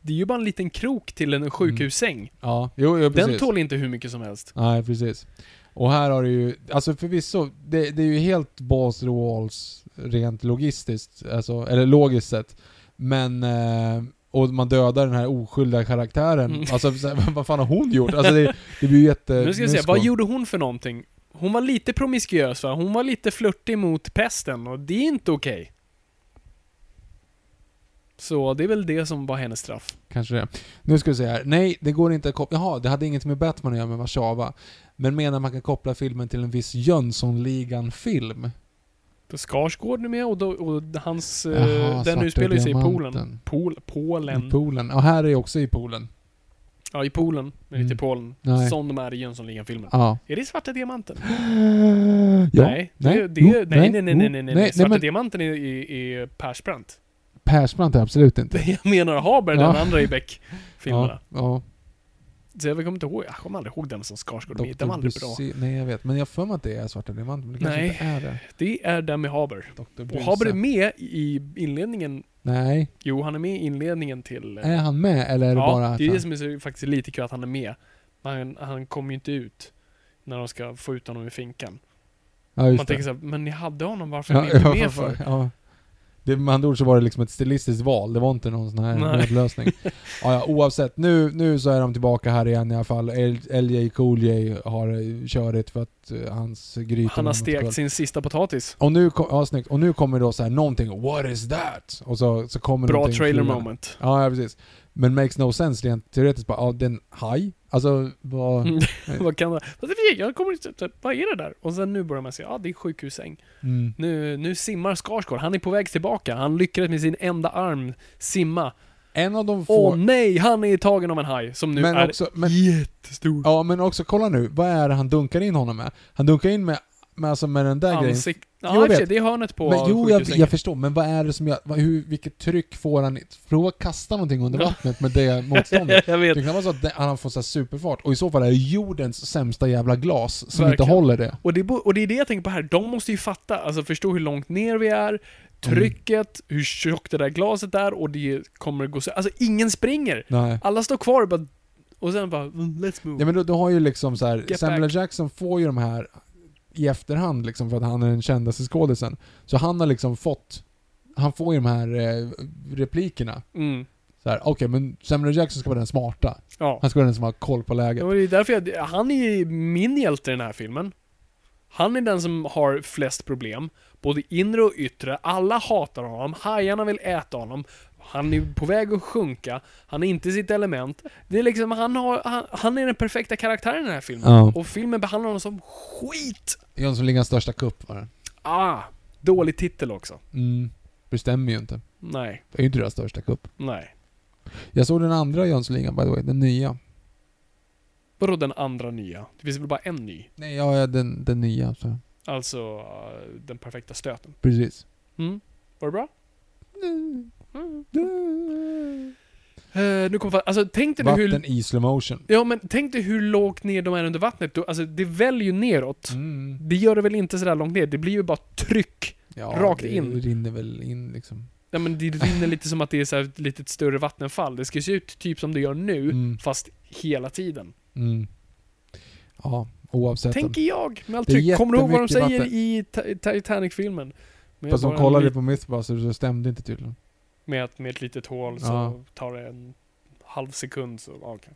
S2: det är ju bara en liten krok till en sjukhussäng.
S1: Ja, jo, jo precis.
S2: Den tål inte hur mycket som helst.
S1: Nej, precis. Och här har du ju, alltså förvisso, det, det är ju helt balls walls rent logistiskt, alltså, eller logiskt sett. Men, eh, och man dödar den här oskyldiga karaktären.
S2: Mm.
S1: Alltså så här, vad fan har hon gjort? Alltså det, det blir ju jätte...
S2: Nu ska vi se,
S1: mysko.
S2: vad gjorde hon för någonting? Hon var lite promiskuös va? Hon var lite flörtig mot pesten och det är inte okej. Så det är väl det som var hennes straff.
S1: Kanske det. Nu ska vi se här. Nej, det går inte att koppla... Jaha, det hade inget med Batman att göra med Warszawa. Men menar man kan koppla filmen till en viss Jönssonligan-film?
S2: Då Skarsgård nu med och, då, och hans... eh,
S1: Jaha,
S2: den
S1: Svarta
S2: utspelar ju sig i Polen.
S1: Diamanten.
S2: Pol,
S1: I
S2: Polen.
S1: Polen. Ja, här är också i Polen.
S2: ja, i Polen. Men inte i
S1: Mm.
S2: Polen.
S1: Nej.
S2: Som de är i Jönssonligan-filmen.
S1: Ja.
S2: Är det Svarta Diamanten?
S1: Ja.
S2: Nej, det, det,
S1: Jo.
S2: nej, nej, nej,
S1: Jo.
S2: nej, nej, nej, Svarta
S1: men
S2: Diamanten är, är, är Persbrandt.
S1: Persbrandt är absolut inte.
S2: Det jag menar Haber, den
S1: Ja.
S2: andra i Beck-filmerna.
S1: Ja, ja.
S2: Så jag kommer inte ihåg, jag kommer aldrig ihåg den som Skarsgård var med i. Den var
S1: Dr.
S2: aldrig bra.
S1: Bruse- Nej, jag vet. Men jag har för mig att det är Svarta Diamanten, men det kanske
S2: Nej.
S1: inte är det.
S2: Det är den med Haber.
S1: Dr.
S2: Och
S1: Bruse.
S2: Haber är med i inledningen,
S1: Nej.
S2: jo han är med i inledningen till... eh,
S1: Är han med, eller är det
S2: ja,
S1: bara... att
S2: det är
S1: han-
S2: det som är så, faktiskt lite kul att han är med. Men han, han kommer ju inte ut när de ska få ut honom i finkan.
S1: Ja, just
S2: Man
S1: det.
S2: tänker såhär, men ni hade honom, varför är ni inte med för?
S1: Ja. Det, med andra ord så var det liksom ett stilistiskt val, det var inte någon sån här
S2: Nej.
S1: nödlösning. ja, ja, oavsett, nu, nu så är de tillbaka här igen i alla fall. L- LJ Cool J har eh, körigt för att eh, hans grytor...
S2: Han har
S1: något kul.
S2: stekt sin sista potatis.
S1: Och nu, kom, ja, snyggt. och nu kommer då så här någonting, what is that? Och så, så kommer
S2: Bra
S1: någonting
S2: trailer
S1: flygande.
S2: moment.
S1: Ja, ja, precis. Men makes no sense rent teoretiskt bara, ja, den haj? Alltså, vad...
S2: Mm.
S1: Mm.
S2: Vad kan det Fast i och för sig, Jag kommer inte... Vad är det där? Och sen nu börjar man säga, ja ah, det är sjukhussäng.
S1: mm.
S2: Nu, nu simmar Skarsgård. Han är på väg tillbaka. Han lyckades med sin enda arm simma.
S1: En av de få...
S2: Åh nej, han är tagen av en haj som nu
S1: men
S2: är
S1: också, men,
S2: jättestor.
S1: Ja, men också kolla nu, vad är det han dunkar in honom med? Han dunkar in med Men alltså med den där grejen.
S2: Ansikt...
S1: Jo,
S2: Ja,
S1: jag
S2: i och för sig,
S1: vet.
S2: det är hörnet på
S1: Men, jo, jag,
S2: sjukhussängen.
S1: jag förstår, men vad är det som gör, vad, hur, vilket tryck får han? i- Prova att kasta någonting under
S2: Ja.
S1: vattnet med det motståndet.
S2: jag
S1: Det
S2: vet.
S1: kan vara så att det- han har fått så här superfart, och i så fall är det jordens sämsta jävla glas som
S2: Verkligen.
S1: inte håller det.
S2: Och det, bo- och det är det jag tänker på här, de måste ju fatta, alltså förstå hur långt ner vi
S1: Mm.
S2: är, trycket, hur tjockt det där glaset är och det kommer gå så... Alltså ingen springer!
S1: Nej.
S2: Alla står kvar och bara... Och sen bara, mm, let's move.
S1: Ja men du, du har ju liksom så här,
S2: Get
S1: Samuel
S2: back.
S1: L. Jackson får ju de här i efterhand liksom för att han är den kändaste skådisen. Så han har liksom fått, han får ju de här eh, replikerna.
S2: Mm.
S1: Så här, okej men Samuel L. Jackson ska vara den smarta.
S2: Ja.
S1: Han ska vara den som har koll på läget.
S2: Ja, men det är därför jag, han är min hjälte i den här filmen. Han är den som har flest problem, både inre och yttre. Alla hatar honom, hajarna vill äta honom, han är på väg att sjunka, han är inte i sitt element. Det är liksom, han, har, han, han är den perfekta karaktären i den här filmen.
S1: Ja.
S2: Och filmen behandlar honom som skit!
S1: Jönssonligans största kupp var det.
S2: Ah, dålig titel också.
S1: Mm. Det stämmer ju inte.
S2: Nej,
S1: Det är ju inte deras största kupp.
S2: nej.
S1: Jag såg den andra Jönssonligan by the way, den nya.
S2: Vadå den andra nya? Det finns väl bara en ny?
S1: Nej, ja, ja, den, den nya. Så.
S2: Alltså, eh, den perfekta stöten.
S1: Precis.
S2: Mm. Var det bra? Eh, nu kommer, alltså, tänk dig nu hur
S1: Vatten i slow motion.
S2: Ja, men tänk dig hur lågt ner de är under vattnet. Du, alltså, det väller ju neråt.
S1: Mm.
S2: Det gör det väl inte sådär långt ner? Det blir ju bara tryck.
S1: Ja,
S2: Rakt
S1: det
S2: in.
S1: rinner väl in liksom.
S2: Ja, men det rinner lite som att det är så här ett litet större vattenfall. Det ska se ut typ som det gör nu,
S1: Mm.
S2: fast hela tiden.
S1: Mm. Ja, oavsett.
S2: Tänker jag, med allt
S1: Det är
S2: tryck. Kommer du ihåg vad de
S1: jättemycket
S2: säger
S1: vatten.
S2: i Ti- Titanic-filmen? Med,
S1: Fast
S2: bara
S1: de
S2: en
S1: kollade
S2: lit-
S1: på Mythbusters så det stämde inte tydligen.
S2: med, att- med ett litet hål så
S1: Ja.
S2: tar det en halv sekund. Så, ja, okej.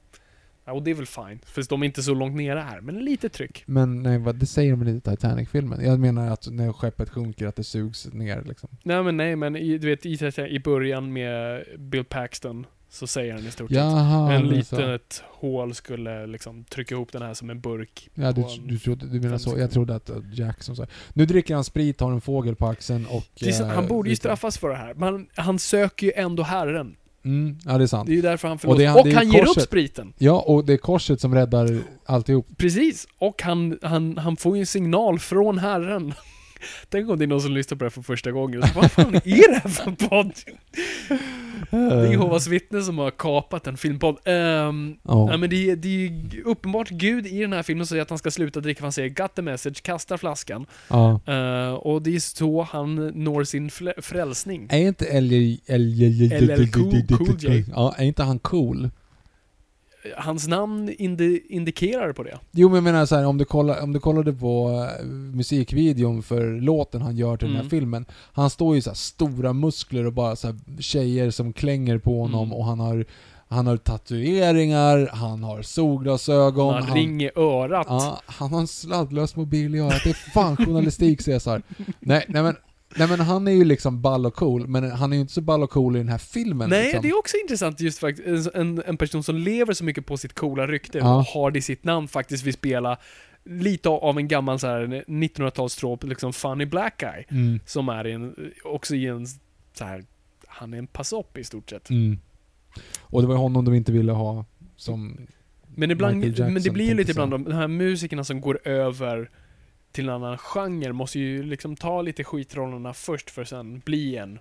S2: ja, och det är väl fine. För de är inte så långt nere här, men lite tryck.
S1: Men nej, vad, det säger de väl inte i Titanic-filmen? Jag menar att när skeppet sjunker att det sugs ner liksom.
S2: Nej men nej men i, du vet i, i början med Bill Paxton så säger han i stort sett
S1: Jaha,
S2: en
S1: det är så.
S2: litet hål skulle liksom trycka ihop den här som en burk.
S1: Ja, du,
S2: på en-
S1: du, trodde, du menar
S2: fem
S1: så?
S2: sekunder.
S1: Jag trodde att eh, Jack som sa... Nu dricker han sprit, har en fågel på axeln och...
S2: Det är så-
S1: eh,
S2: han borde ju
S1: lite-
S2: straffas för det här, men han söker ju ändå Herren.
S1: Mm, ja, det är sant.
S2: Det är ju därför han förlorar.
S1: det är han-
S2: Och,
S1: det är ju
S2: han ger upp
S1: korset.
S2: spriten.
S1: Ja, och det är korset som räddar alltihop.
S2: Precis. Och han, han, han får ju en signal från Herren. Tänk om det är någon som lyssnar på det här för första gången. Så, Vad fan är det här för podd? Det är Jehovas vittne som har kapat en filmpodd. Ehm,
S1: Ja.
S2: Nej men det, är- det är ju uppenbart Gud i den här filmen säger att han ska sluta dricka, för han säger 'Got the message' kastar flaskan.
S1: ja.
S2: Eh, och det är så han når sin flä- frälsning.
S1: Är inte LL... LL...
S2: LL Cool- Cool J.
S1: Ja, är inte han cool?
S2: Eh, Hans namn indi- indikerar på det.
S1: Jo men jag menar såhär, om, du kollar- om du kollade på eh, musikvideon för låten han gör till den
S2: Mm.
S1: här filmen. Han står ju såhär stora muskler och bara såhär tjejer som klänger på honom
S2: Mm.
S1: och han har, han har tatueringar, han har solglasögon.
S2: han ring i örat.
S1: ja, han har en sladdlös mobil i örat. Det är fan journalistik Cesar. Nej, nej men, nej men han är ju liksom ball och cool, men han är ju inte så ball och cool i den här filmen
S2: Nej,
S1: liksom.
S2: det är också intressant just faktiskt. En, en person som lever så mycket på sitt coola rykte
S1: Ja.
S2: och har det i sitt namn faktiskt vill spela lite av en gammal så här 1900-talstråp, liksom funny black guy.
S1: Mm,
S2: Som är i en, också i en så här, han är en passopp i stort sett.
S1: mm. Och det var ju honom de inte ville ha som
S2: Men,
S1: Michael
S2: ibland,
S1: Jackson
S2: men det blir ju
S1: tänkte
S2: lite
S1: så.
S2: ibland de, de här musikerna som går över till en annan genre måste ju liksom ta lite skitrollerna först för sen bli en.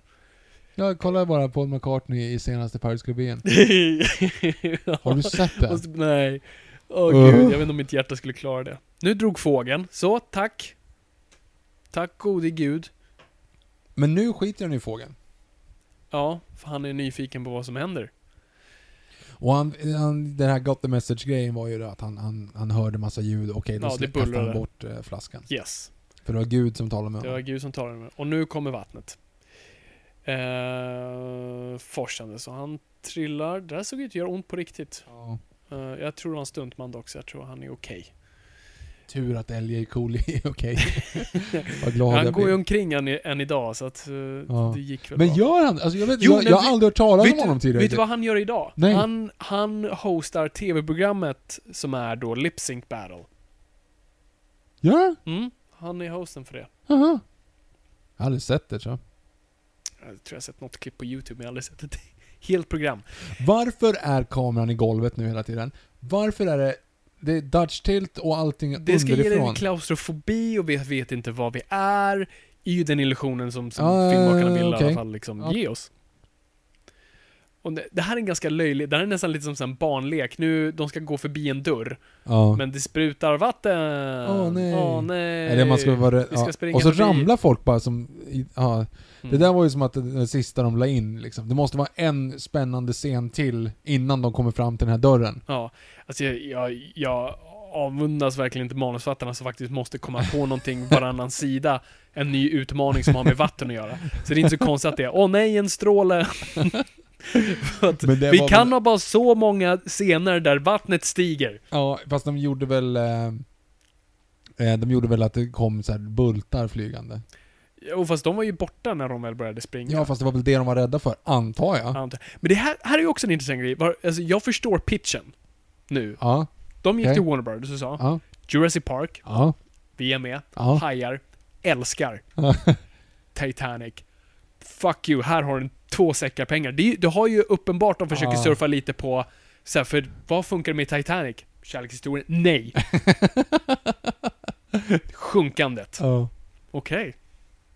S1: Ja, kolla bara Paul McCartney i senaste Paris Club-en. Har du sett den?
S2: Måste- Nej. Åh
S1: Uh.
S2: gud, jag vet inte om mitt hjärta skulle klara det. Nu drog fågeln. Så, tack. Tack gode gud.
S1: Men nu skiter han i fågeln.
S2: Ja, för han är nyfiken på vad som händer.
S1: Och han, han, den här got the message-grejen var ju då att han, han, han hörde massa ljud, okej då
S2: Ja, det
S1: ja, kastade han
S2: bullrade.
S1: bort eh, flaskan.
S2: Yes.
S1: För det var Gud som talade med
S2: Det var
S1: honom.
S2: Gud som talade med mig. Och nu kommer vattnet. Eh, forsande, så han trillar. Det här såg ut att göra ont på riktigt.
S1: Ja,
S2: Eh, jag tror det var en stuntman dock, så jag tror han är okej.
S1: tur att LJ Cooley är okej. Vad glad
S2: han
S1: jag
S2: går ju
S1: blir.
S2: omkring än, i- än idag, så att eh,
S1: Ja.
S2: det gick väl
S1: Men
S2: bra.
S1: gör han alltså jag, vet,
S2: Jo,
S1: jag,
S2: men
S1: jag har
S2: vi-
S1: aldrig hört talas om
S2: du-
S1: honom tidigare.
S2: Vet du vad han gör idag?
S1: Nej.
S2: Han, han hostar tv-programmet som är då Lip Sync Battle.
S1: Ja,
S2: Mm, han är hosten för det.
S1: aha. Jag har aldrig sett det tror jag.
S2: Jag tror jag har sett något klipp på YouTube, men jag har aldrig sett ett helt program.
S1: Varför är kameran i golvet nu hela tiden? Varför är det det är Dutch tilt och allting
S2: Det ska ge dig
S1: underifrån.
S2: en klaustrofobi och vi vet inte vad vi är. är ju den illusionen som, som
S1: Ja, ja,
S2: filmmakarna
S1: ja,
S2: vill i alla
S1: okej.
S2: fall liksom
S1: Ja.
S2: ge oss. Och det, det här är en ganska löjlig, det här är nästan lite som en barnlek. Nu, de ska gå förbi en dörr,
S1: ja.
S2: men det sprutar vatten.
S1: Åh, nej.
S2: Åh, nej.
S1: Eller man ska vara rädd.
S2: eh, vi ska
S1: ja.
S2: springa
S1: Och så
S2: förbi.
S1: ramlar folk bara som... i- Ja.
S2: Mm.
S1: Det där var ju som att det, det sista de la in liksom. Det måste vara en spännande scen till innan de kommer fram till den här dörren.
S2: Ja, alltså jag, jag, jag avundas verkligen inte manusförfattarna som faktiskt måste komma på någonting varannan sida, en ny utmaning som har med vatten att göra. Så det är inte så konstigt att det är, åh nej, en stråle. För att
S1: Men det
S2: vi
S1: var
S2: kan
S1: väl-
S2: ha bara så många scener där vattnet stiger.
S1: Ja, fast de gjorde väl... Eh, eh, de gjorde väl att det kom så här bultar flygande.
S2: Och fast de var ju borta när de väl började springa.
S1: Ja, fast det var väl det de var rädda för, antar jag.
S2: Antar- Men det här, här är ju också en intressant grej. Var- Alltså, jag förstår pitchen nu.
S1: Ja,
S2: De gick
S1: Okej.
S2: till Warner Brothers och sa,
S1: ja,
S2: Jurassic Park,
S1: ja.
S2: vi är med.
S1: ja.
S2: hajar, älskar
S1: Ja.
S2: Titanic. Fuck you, här har du två säckar pengar. Det, är ju- du har ju uppenbart de försöker
S1: Ja.
S2: surfa lite på, så här, för vad funkar med Titanic? Kärlekshistorien? Nej. Sjunkandet.
S1: Ja.
S2: Okej.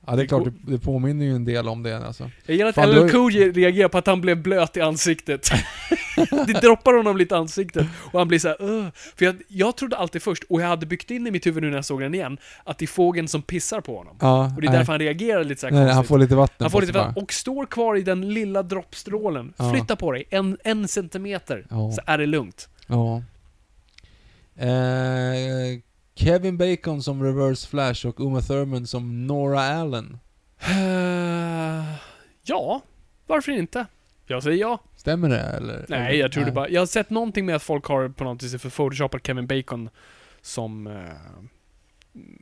S1: Ja, det är klart, det, det påminner ju en del om det alltså.
S2: Jag gillar
S1: Fan,
S2: att
S1: du har
S2: LL
S1: ju-
S2: Cool J reagerar på att han blev blöt i ansiktet. det droppar honom lite i ansiktet och han blir så här, "Ugh." För jag, jag trodde alltid först, och jag hade byggt in i mitt huvud nu när jag såg den igen, att det är fågeln som pissar på honom.
S1: Ja,
S2: Och det är därför han reagerar lite så här
S1: nej, nej, han
S2: konstigt.
S1: får lite vatten
S2: Han får
S1: på
S2: lite
S1: sig
S2: vatten och står kvar i den lilla droppstrålen.
S1: Ja.
S2: Flytta på dig en, en centimeter,
S1: Ja.
S2: så är det lugnt.
S1: Ja. Eh, Kevin Bacon som Reverse Flash och Uma Thurman som Nora Allen.
S2: Eh, ja, varför inte? Jag säger ja.
S1: Stämmer det eller?
S2: Nej, jag tror det bara... Jag har sett någonting med att folk har på något vis för photoshopat Kevin Bacon som eh,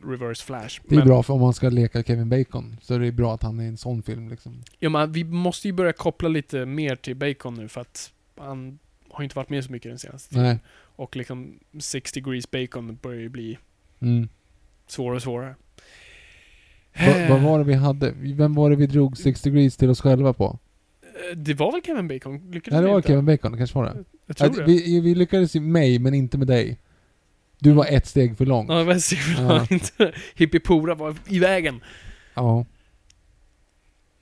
S2: reverse flash.
S1: Det är bra för om man ska leka Kevin Bacon, så är det bra att han är i en sån film liksom.
S2: Ja, men vi måste ju börja koppla lite mer till Bacon nu för att han har ju inte varit med så mycket den senaste tiden.
S1: Nej.
S2: Och liksom 6 degrees Bacon börjar ju bli
S1: Mm.
S2: svårare och svårare.
S1: Va, vad var det vi hade? Vem var det vi drog Six Degrees till oss själva på?
S2: Eh, Det var väl Kevin Bacon? Lyckades
S1: Nej, det
S2: vi
S1: var
S2: inte?
S1: Kevin Bacon, det kanske var det.
S2: Jag tror
S1: Att
S2: det.
S1: vi, vi lyckades med mig, men inte med dig. Du var ett steg för lång.
S2: Ja, det var
S1: Ja.
S2: Sigvard inte. Hippiepora var i vägen.
S1: Ja.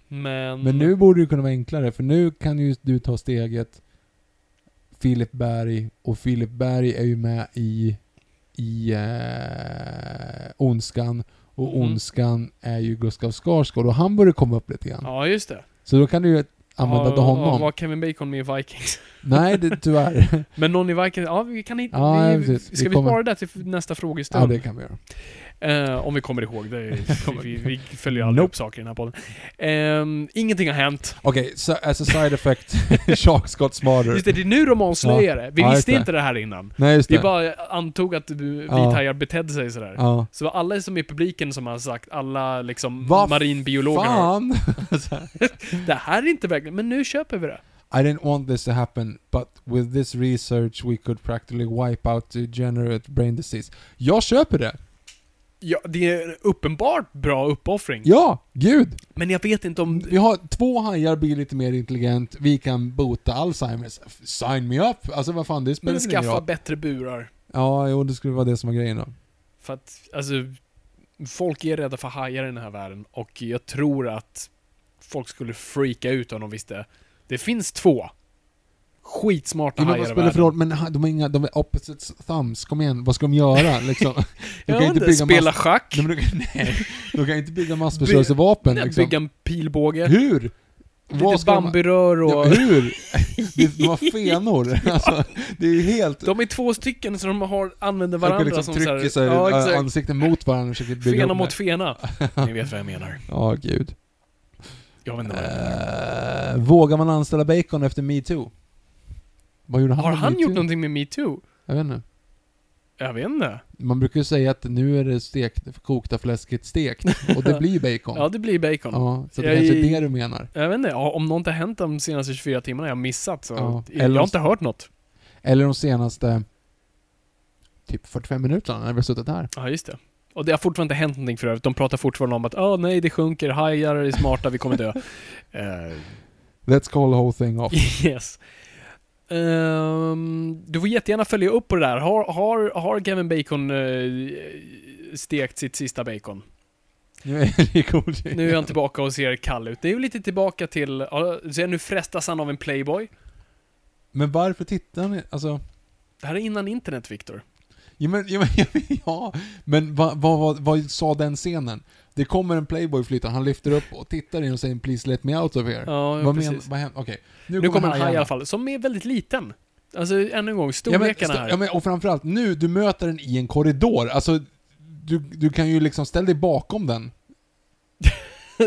S2: Men...
S1: Men nu borde det kunna vara enklare, för nu kan ju du ta steget Filip Berg, och Filip Berg är ju med i, i eh, Ondskan, och
S2: Mhm.
S1: Ondskan är ju Gustav Skarsgård, och han börjar komma upp lite grann.
S2: Ja, just det.
S1: Så då kan du ju använda
S2: ja,
S1: honom.
S2: Var Kevin Bacon med i Vikings?
S1: Nej, det, tyvärr.
S2: Men någon i Vikings? Ja, vi kan hitta...
S1: Ja,
S2: vi,
S1: precis.
S2: Ska vi,
S1: Vi kommer-
S2: spara det till nästa
S1: ja,
S2: frågestund?
S1: det kan vi göra.
S2: eh, om vi kommer ihåg det. är- Vi, vi följer aldrig
S1: Nope.
S2: upp saker i den här podden. Ehm, ingenting har hänt.
S1: Okej, so, as a side effect, Sharks got smarter.
S2: Just det, det är nu de avslöjar det. Vi
S1: Ja, just
S2: visste
S1: det.
S2: inte det här innan.
S1: Nej, just
S2: Vi
S1: det.
S2: bara antog att eh, vithajar betedde sig sådär.
S1: Ja.
S2: Så alla som är i publiken som har sagt, alla liksom
S1: Vad
S2: marinbiologer har-
S1: Fan!
S2: Det här är inte verkligen, men nu köper vi det.
S1: I didn't want this to happen, but with this research we could practically wipe out degenerate brain disease. Jag köper det!
S2: Ja, det är en uppenbart bra uppoffring.
S1: Ja, gud!
S2: Men jag vet inte om...
S1: Vi har två hajar, blir lite mer intelligent, vi kan bota Alzheimers. F- Sign me up! Alltså vad fan, det spelar
S2: Men
S1: väl ingen
S2: skaffa
S1: roll.
S2: bättre burar.
S1: Ja, jo, det skulle vara det som var grejen då.
S2: För att, alltså... Folk är rädda för hajar i den här världen och jag tror att folk skulle freaka ut om de visste. Det finns två skitsmarta
S1: Ja, men vad
S2: hajar i
S1: spelar det för
S2: världen.
S1: roll? Men ha- de är inga, de är opposite thumbs, kom igen, vad ska de göra liksom? De
S2: Jag vet inte, spela schack,
S1: Nej, men de kan, nej, de kan inte bygga massförstörelsevapen
S2: nej,
S1: liksom.
S2: bygga en pilbåge,
S1: Hur?
S2: lite
S1: ska de-
S2: bambirör
S1: Ja,
S2: och...
S1: men hur? Det, de har fenor. Alltså, det är ju helt...
S2: De är två stycken så de har, använder
S1: de
S2: varandra
S1: liksom
S2: som
S1: trycker så
S2: här, ja,
S1: här,
S2: exakt.
S1: ansikten mot varandra och försöker bygga
S2: Fena
S1: upp
S2: mot
S1: det.
S2: fena. Ni vet vad jag menar.
S1: Ja, gud.
S2: Jag vet inte vad jag menar.
S1: Eh, vågar man anställa Bacon efter metoo? Vad gjorde han
S2: Har
S1: med
S2: han
S1: metoo?
S2: gjort någonting med metoo?
S1: Jag vet inte.
S2: Jag vet inte.
S1: Man brukar ju säga att nu är det stekt, kokta fläsket stekt. Och det blir bacon.
S2: Ja, det blir bacon.
S1: Ja, så det
S2: Jag-
S1: kanske är det du menar.
S2: Jag vet inte, ja, om något har hänt de senaste 24 timmarna jag har missat så...
S1: Ja,
S2: Jag
S1: eller-
S2: har inte hört något.
S1: Eller de senaste... Typ 45 minuterna när vi har suttit här.
S2: Ja, just det. Och det har fortfarande inte hänt någonting för övrigt. De pratar fortfarande om att åh nej, det sjunker, hajar är smarta, vi kommer dö. Eh,
S1: Let's call the whole thing off.
S2: yes. Ehm, du får jättegärna följa upp på det där. Har, har, har Kevin Bacon eh, stekt sitt sista bacon?
S1: Nu är det cool.
S2: Nu är han tillbaka och ser kall ut. Det är ju lite tillbaka till, ja, se, nu frestas han av en playboy.
S1: Men varför tittar ni? Alltså,
S2: Det här är innan internet, Viktor.
S1: ja men, ja, men, ja, men, ja. men vad, vad, vad, vad sa den scenen? Det kommer en playboy flytta, han lyfter upp och tittar in och säger 'Please let me out of here'
S2: Ja,
S1: Vad
S2: precis.
S1: menar, vad händer? Okej.
S2: Nu kommer en haj i
S1: hajarna.
S2: alla fall, som är väldigt liten. Alltså, ännu en gång,
S1: Ja men,
S2: storlekarna
S1: ja,
S2: här.
S1: men, och framförallt nu, du möter den i en korridor. Alltså, du, du kan ju liksom ställa dig bakom den.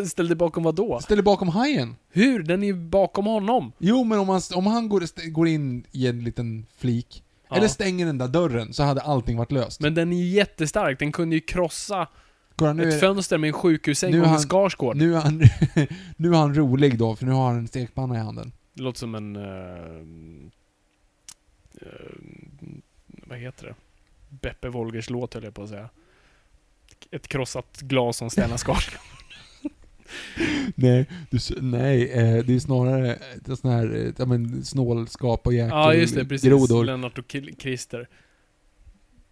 S2: Ställ dig bakom vad då?
S1: Ställ dig bakom hajen.
S2: Hur? Den är ju bakom honom.
S1: Jo, men om han, om han går, st- går in i en liten flik,
S2: Ja.
S1: eller stänger den där dörren, så hade allting varit löst.
S2: Men den är ju jättestark, den kunde ju krossa
S1: Kolla, nu,
S2: ett
S1: är,
S2: fönster med en sjukhussäng
S1: nu
S2: och
S1: har
S2: en
S1: han-
S2: Skarsgård.
S1: nu, är han, nu är han rolig då, för nu har han en stekpanna i handen.
S2: Det låter som en... eh, eh, vad heter det? Beppe Wolgers låt höll jag på att säga. Ett krossat glas som Stellan Skarsgård.
S1: Nej, du, s- nej eh, det är snarare eh, sån här eh, ja, men, snålskap och jäkel,
S2: ja, just det. Precis.
S1: grodor.
S2: Lennart och Kil- Christer.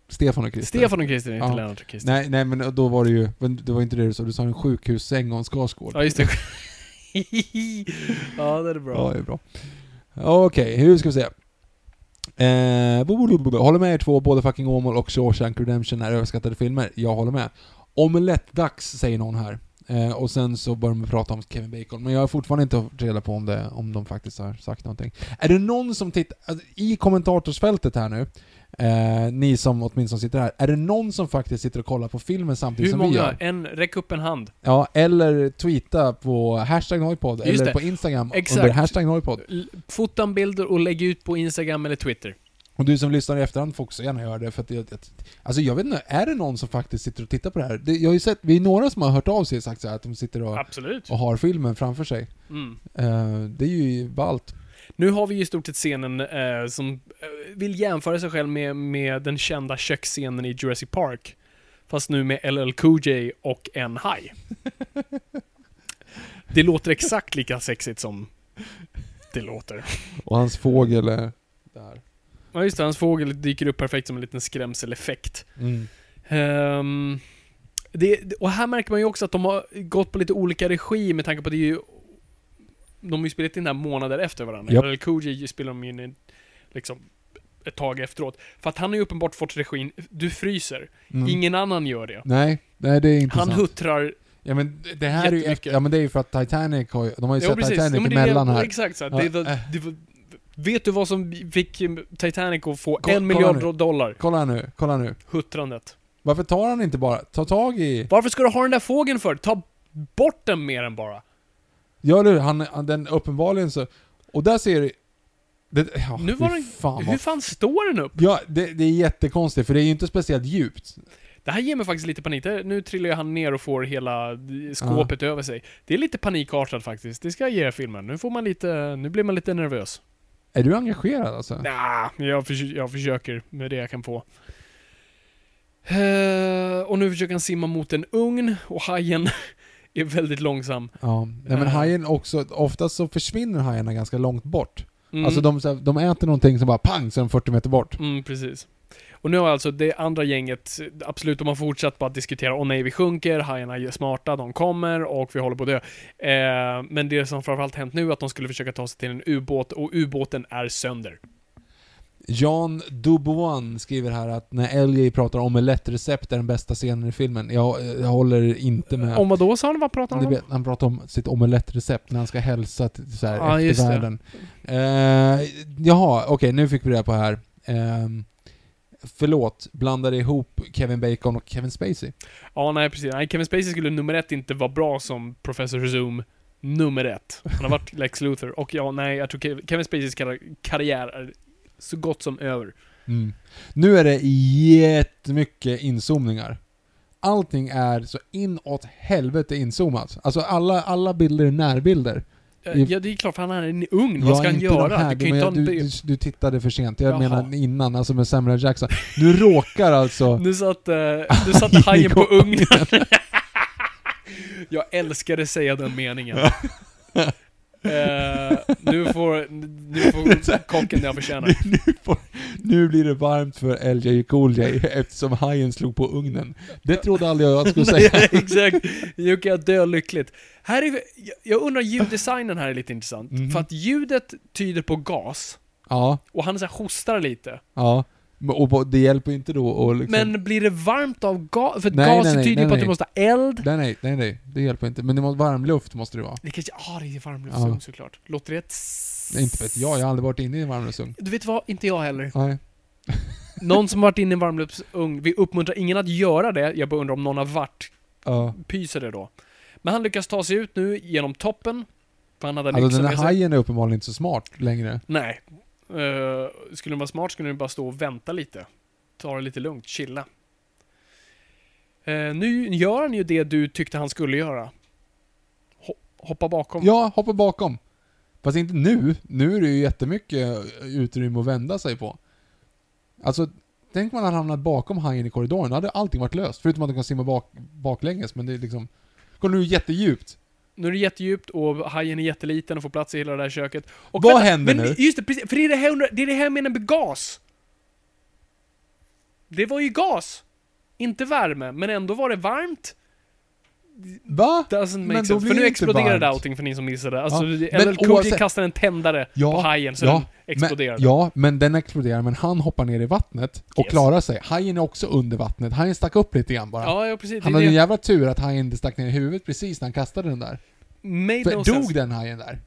S1: Stefan och Christer.
S2: Stefan och Christer, inte
S1: Ja.
S2: Lennart och Christer.
S1: Nej, nej men då var det ju, men det var inte det du sa, du sa en sjukhussäng och en Skarsgård.
S2: Ja, just det. ja, det är
S1: Ja,
S2: bra.
S1: det är bra. Okej, hur ska vi se? Eh, bo- bo- bo- bo. håller med er två, både fucking Åmål och Shawshank Redemption är överskattade filmer. Jag håller med. Omelettdags säger någon här. Eh, och sen så börjar man prata om Kevin Bacon, men jag har fortfarande inte fått reda på om, det, om de faktiskt har sagt någonting. Är det någon som tittar, alltså, i kommentatorsfältet här nu, eh, ni som åtminstone sitter här, är det någon som faktiskt sitter och kollar på filmen samtidigt
S2: Hur
S1: som vi
S2: många?
S1: gör?
S2: En, räck upp en hand.
S1: Ja, eller tweeta på hashtag Noipod,
S2: Just
S1: eller
S2: det.
S1: på Instagram
S2: Exakt.
S1: under hashtag Noipod.
S2: L- Fota en bild och lägg ut på Instagram eller Twitter.
S1: Och du som lyssnar i efterhand får också gärna göra det, för att jag, jag, alltså jag vet inte, är det någon som faktiskt sitter och tittar på det här? Det, jag har ju sett, vi är några som har hört av sig och sagt så här, att de sitter och,
S2: Absolut.
S1: och har filmen framför sig.
S2: Mm.
S1: Eh, det är ju ballt.
S2: Nu har vi ju i stort sett scenen eh, som eh, vill jämföra sig själv med, med den kända köksscenen i Jurassic Park. Fast nu med LL Cool J och en haj. Det låter exakt lika sexigt som det låter.
S1: Och hans fågel är där.
S2: Ja just det, hans fågel dyker upp perfekt som en liten skrämseleffekt.
S1: Mm.
S2: Ehm, det, och här märker man ju också att de har gått på lite olika regi med tanke på att det är ju... De har ju spelat in det här månader efter varandra.
S1: Japp.
S2: Eller Koji spelar de ju in i, liksom ett tag efteråt. För att han har ju uppenbart fått regin, du fryser.
S1: Mm.
S2: Ingen annan gör det.
S1: Nej, nej det är
S2: Han
S1: intressant.
S2: huttrar,
S1: ja men det här är ju,
S2: Jättemycket.
S1: ja men det är ju för att Titanic har ju, de har ju
S2: ja
S1: sett
S2: precis.
S1: Titanic
S2: Ja, men det är-
S1: emellan här.
S2: Exakt så. här.
S1: Ja,
S2: Det, var- det, var- vet du vad som fick Titanic att få
S1: Kolla-
S2: en miljard
S1: kolla
S2: dollar?
S1: Kolla nu, kolla nu.
S2: Huttrandet.
S1: Varför tar han inte bara, ta tag i,
S2: Varför ska du ha den där fågeln för? Ta bort den mer än bara.
S1: gör du, han, han, den uppenbarligen så, och där ser du, det, ja,
S2: Nu
S1: fy
S2: var den-
S1: fan vad
S2: Hur fan står den upp?
S1: Ja, det, det är jättekonstigt, för det är ju inte speciellt djupt.
S2: Det här ger mig faktiskt lite panik. Det- Nu trillar ju han ner och får hela skåpet över sig. Det är lite panikartat faktiskt. Det ska jag ge er filmen. Nu får man lite, nu blir man lite nervös.
S1: Är du engagerad alltså?
S2: Nja, jag, förs- jag försöker med det jag kan få. Eh, och nu försöker han simma mot en ugn och hajen är väldigt långsam.
S1: Ja. Nej men
S2: Eh.
S1: hajen också, oftast så försvinner hajarna ganska långt bort.
S2: Mm,
S1: Alltså de, så här- de äter någonting som bara pang, så är de 40 meter bort.
S2: mm, precis. Och nu har alltså det andra gänget, absolut, de har fortsatt bara diskutera, åh nej vi sjunker, hajarna är smarta, de kommer och vi håller på att dö. Eh, men det som framförallt hänt nu är att de skulle försöka ta sig till en ubåt och ubåten är sönder.
S1: Jan Dubois skriver här att när LJ pratar om lättrecept är den bästa scenen i filmen. Jag, eh, jag håller inte med.
S2: Om vad då sa han? Vad pratade
S1: Ni
S2: han om?
S1: vet, han pratar om sitt omelettrecept när han ska hälsa till så här,
S2: Ja, just det.
S1: eftervärlden. Eh, jaha, okej, nu fick vi det på här. Eh, förlåt, blandade ihop Kevin Bacon och Kevin Spacey.
S2: Ja, nej precis. Nej, Kevin Spacey skulle nummer ett inte vara bra som Professor Zoom nummer ett. Han har varit Lex Luthor. Och ja, nej, jag tror Kev- Kevin Spaceys kar- karriär är så gott som över.
S1: Mm. Nu är det jättemycket inzoomningar. Allting är så inåt helvete inzoomat. Alltså alla, alla bilder är närbilder.
S2: Eh,
S1: I-
S2: Ja, det är klart, för han är en ung.
S1: Jag
S2: Vad ska
S1: är
S2: han
S1: inte någon
S2: göra?
S1: Här,
S2: Du kan ju inte
S1: men
S2: ha
S1: jag,
S2: en
S1: du, du,
S2: bild.
S1: du tittade för sent. Jag
S2: Jaha.
S1: menar innan, alltså med Samuel Jackson. Du råkar alltså...
S2: Nu satt, eh, nu satt hajen på ugnen. jag älskade säga den meningen. Eh, nu får, nu får kocken det han förtjänar.
S1: nu, får, nu blir det varmt för LJ Cooley eftersom hajen slog på ugnen. Det trodde aldrig jag att jag skulle säga.
S2: Nej, exakt. Nu kan jag dö lyckligt. Här är, jag- jag undrar, ljuddesignen här är lite intressant.
S1: Mhm.
S2: För att ljudet tyder på gas,
S1: Ja,
S2: och han så här hostar lite.
S1: ja. Men- Och vad- det hjälper ju inte då och liksom...
S2: Men blir det varmt av gas? För att
S1: Nej,
S2: gas
S1: nej, nej,
S2: tyder ju
S1: nej,
S2: på att
S1: nej.
S2: du måste ha eld.
S1: Nej, nej, nej, nej. Det hjälper inte. Men det må, varmluft måste det vara.
S2: Det kanske, ja ah, det är varmluftsugn
S1: Ja.
S2: såklart. Låter det...
S1: Nej, Inte vet jag, jag har aldrig varit inne i en varmluftsugn.
S2: Du vet vad, inte jag heller.
S1: Nej.
S2: Någon som varit inne i en varmluftsugn, vi uppmuntrar ingen att göra det, jag bara undrar om någon har varit,
S1: Ja.
S2: pyser det då. Men han lyckas ta sig ut nu genom toppen, för han hade en
S1: Alltså
S2: yxa
S1: den
S2: med
S1: här
S2: sig.
S1: hajen är uppenbarligen inte så smart längre.
S2: Nej. Eh, skulle den vara smart skulle den bara stå och vänta lite. Ta det lite lugnt, chilla. Eh, nu gör han ju det du tyckte han skulle göra. Ho- hoppa bakom.
S1: Ja, hoppa bakom. Fast inte nu. Nu är det ju jättemycket utrymme att vända sig på. Alltså, tänk om man hade hamnat bakom hajen i korridoren. Då hade allting varit löst. Förutom att de kan simma bak, baklänges, men det är liksom... Går nu jättedjupt.
S2: Nu är det jättedjupt och hajen är jätteliten och får plats i hela det här köket. Och
S1: Vad händer
S2: men
S1: nu?
S2: Just det, precis, för det är det här, jag undrar- det är det här jag menar med gas. Det var ju gas. Inte värme, men ändå var det varmt.
S1: Va?
S2: Doesn't make
S1: Men då
S2: sense.
S1: blir
S2: För
S1: det
S2: nu
S1: inte
S2: exploderade
S1: varmt.
S2: allting för ni som missade. Alltså,
S1: Ja,
S2: ja,
S1: men
S2: LL Cool J
S1: oavsett-
S2: kastade en tändare på hajen så den exploderade.
S1: Men, ja, men den exploderar, men han hoppar ner i vattnet och
S2: Yes.
S1: klarar sig. Hajen är också under vattnet. Hajen stack upp lite grann bara.
S2: ja, ja, precis.
S1: han
S2: det,
S1: hade en
S2: det,
S1: jävla tur att hajen inte stack ner i huvudet precis när han kastade den där.
S2: made
S1: För
S2: no
S1: dog
S2: sense.
S1: den hajen där?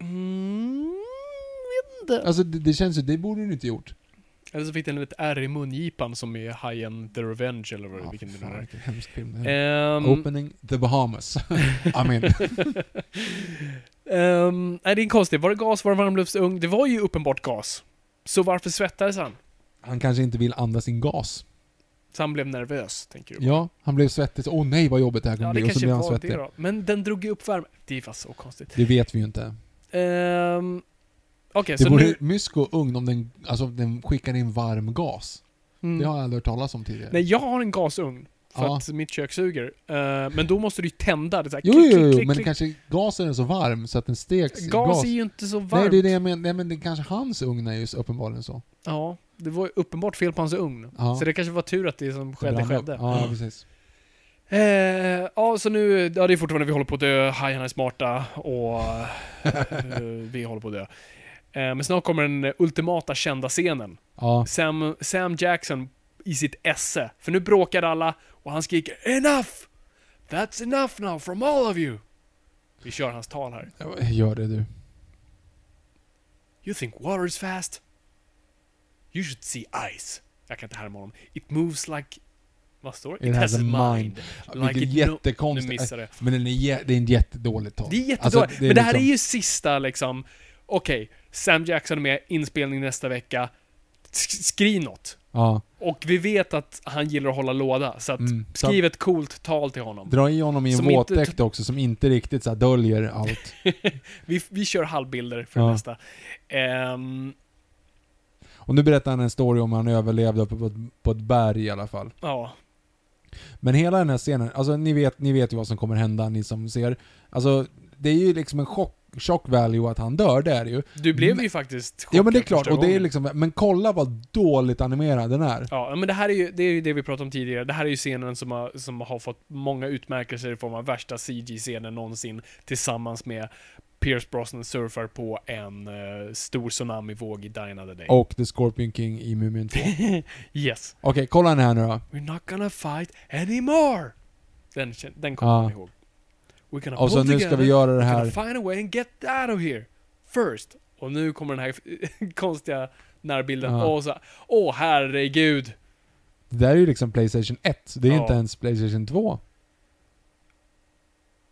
S2: Mm, vet inte.
S1: Alltså det, det känns ju, det borde den inte gjort.
S2: Eller så fick den ett R i mungipan som är hajen The Revenge eller vad det
S1: Ja,
S2: vilken det
S1: fan,
S2: nu
S1: vilken hemsk film det är.
S2: är. Ehm,
S1: Opening the Bahamas. I mean.
S2: ehm, nej, det är konstigt. Var det gas? Var det varmluftsugn? Det var ju uppenbart gas. Så varför svettades han?
S1: Han kanske inte vill andas in gas.
S2: Så han blev nervös, tänker du?
S1: Ja, han blev svettig. så, Åh nej vad jobbigt det här kommer
S2: ja det
S1: bli. Och så
S2: kanske
S1: blev han
S2: var det
S1: svettig.
S2: då. Men den drog ju upp värme. Det var så konstigt.
S1: Det vet vi ju inte.
S2: Ehm, Okej,
S1: Det
S2: så
S1: vore
S2: nu...
S1: mysko ugn om den, alltså, om den skickar in varm gas.
S2: Mm.
S1: Det har jag aldrig hört talas om tidigare.
S2: Nej, jag har en gasugn. För
S1: Ja.
S2: att mitt kök suger. Eh, men då måste du ju tända. Det är så här,
S1: Jo,
S2: klick,
S1: jo, jo,
S2: klick,
S1: men
S2: klick,
S1: kanske gasen är så varm så att den steks i
S2: klick.
S1: gas.
S2: Gas är ju inte så varmt.
S1: Nej, det är det jag menar. Nej, men det kanske hans ugn är just uppenbarligen så.
S2: Ja, det var ju uppenbart fel på hans ugn.
S1: Ja.
S2: Så det kanske var tur att det som
S1: Det
S2: skedde
S1: brann upp.
S2: skedde. Mm.
S1: Ja, precis.
S2: Eh, ja, så nu, ja det är fortfarande vi håller på att dö, hajarna är smarta och eh, vi håller på att dö. Eh, men snart kommer den ultimata kända scenen.
S1: Ja.
S2: Sam, Sam Jackson i sitt esse. För nu bråkar alla och han skriker “Enough! That's enough now from all of you!” Vi kör hans tal här.
S1: Gör det du.
S2: You think water is fast? You should see ice. Jag kan inte härma honom. It moves like... Vad står det?
S1: It has a mind.
S2: Like
S1: Vilket
S2: it no-
S1: jättekonstigt-
S2: Nu missade jag.
S1: Men den är, jä- det är en jättedåligt tal.
S2: Det är jättedåligt.
S1: Alltså,
S2: Men det här
S1: liksom-
S2: är ju sista liksom... Okej, Sam Jackson är med, inspelning nästa vecka. Sk- Skriv något.
S1: Ja.
S2: Och vi vet att han gillar att hålla låda, så att
S1: Mm, så-
S2: skriv ett coolt tal till honom.
S1: Dra i honom i en
S2: Som inte-
S1: våtdräkt också som inte riktigt så här, döljer allt.
S2: Vi, vi kör halvbilder för det
S1: Ja.
S2: nästa. Ehm,
S1: Och nu berättar han en story om hur han överlevde uppe på ett, på ett berg i alla fall.
S2: ja.
S1: Men hela den här scenen, alltså ni vet, ni vet ju vad som kommer hända, ni som ser. Alltså, det är ju liksom en chock, shock value att han dör, det är det ju.
S2: Du blev
S1: Men-
S2: ju faktiskt chockad
S1: Mm. Ja men det är klart,
S2: första
S1: och det är
S2: gången.
S1: liksom, men kolla vad dåligt animerad den är.
S2: Ja, men det här är ju det, är ju det vi pratade om tidigare. Det här är ju scenen som har, som har fått många utmärkelser i form av värsta CG-scenen någonsin tillsammans med Pierce Brosnan surfar på en eh, stor tsunamivåg i Die Another Day.
S1: Och The Scorpion King i Mumien 2. Okej,
S2: Yes.
S1: kolla den här nu då.
S2: We're not gonna fight anymore! Den, kän- den kommer
S1: Ja.
S2: man ihåg. We're gonna
S1: Och så
S2: pull
S1: nu
S2: together,
S1: ska vi göra det
S2: we're
S1: här.
S2: gonna find a way and get out of here. First. Och nu kommer den här konstiga närbilden.
S1: Ja.
S2: Och så, åh herregud!
S1: Det där är ju liksom Playstation 1, det är
S2: Ja.
S1: inte ens Playstation 2.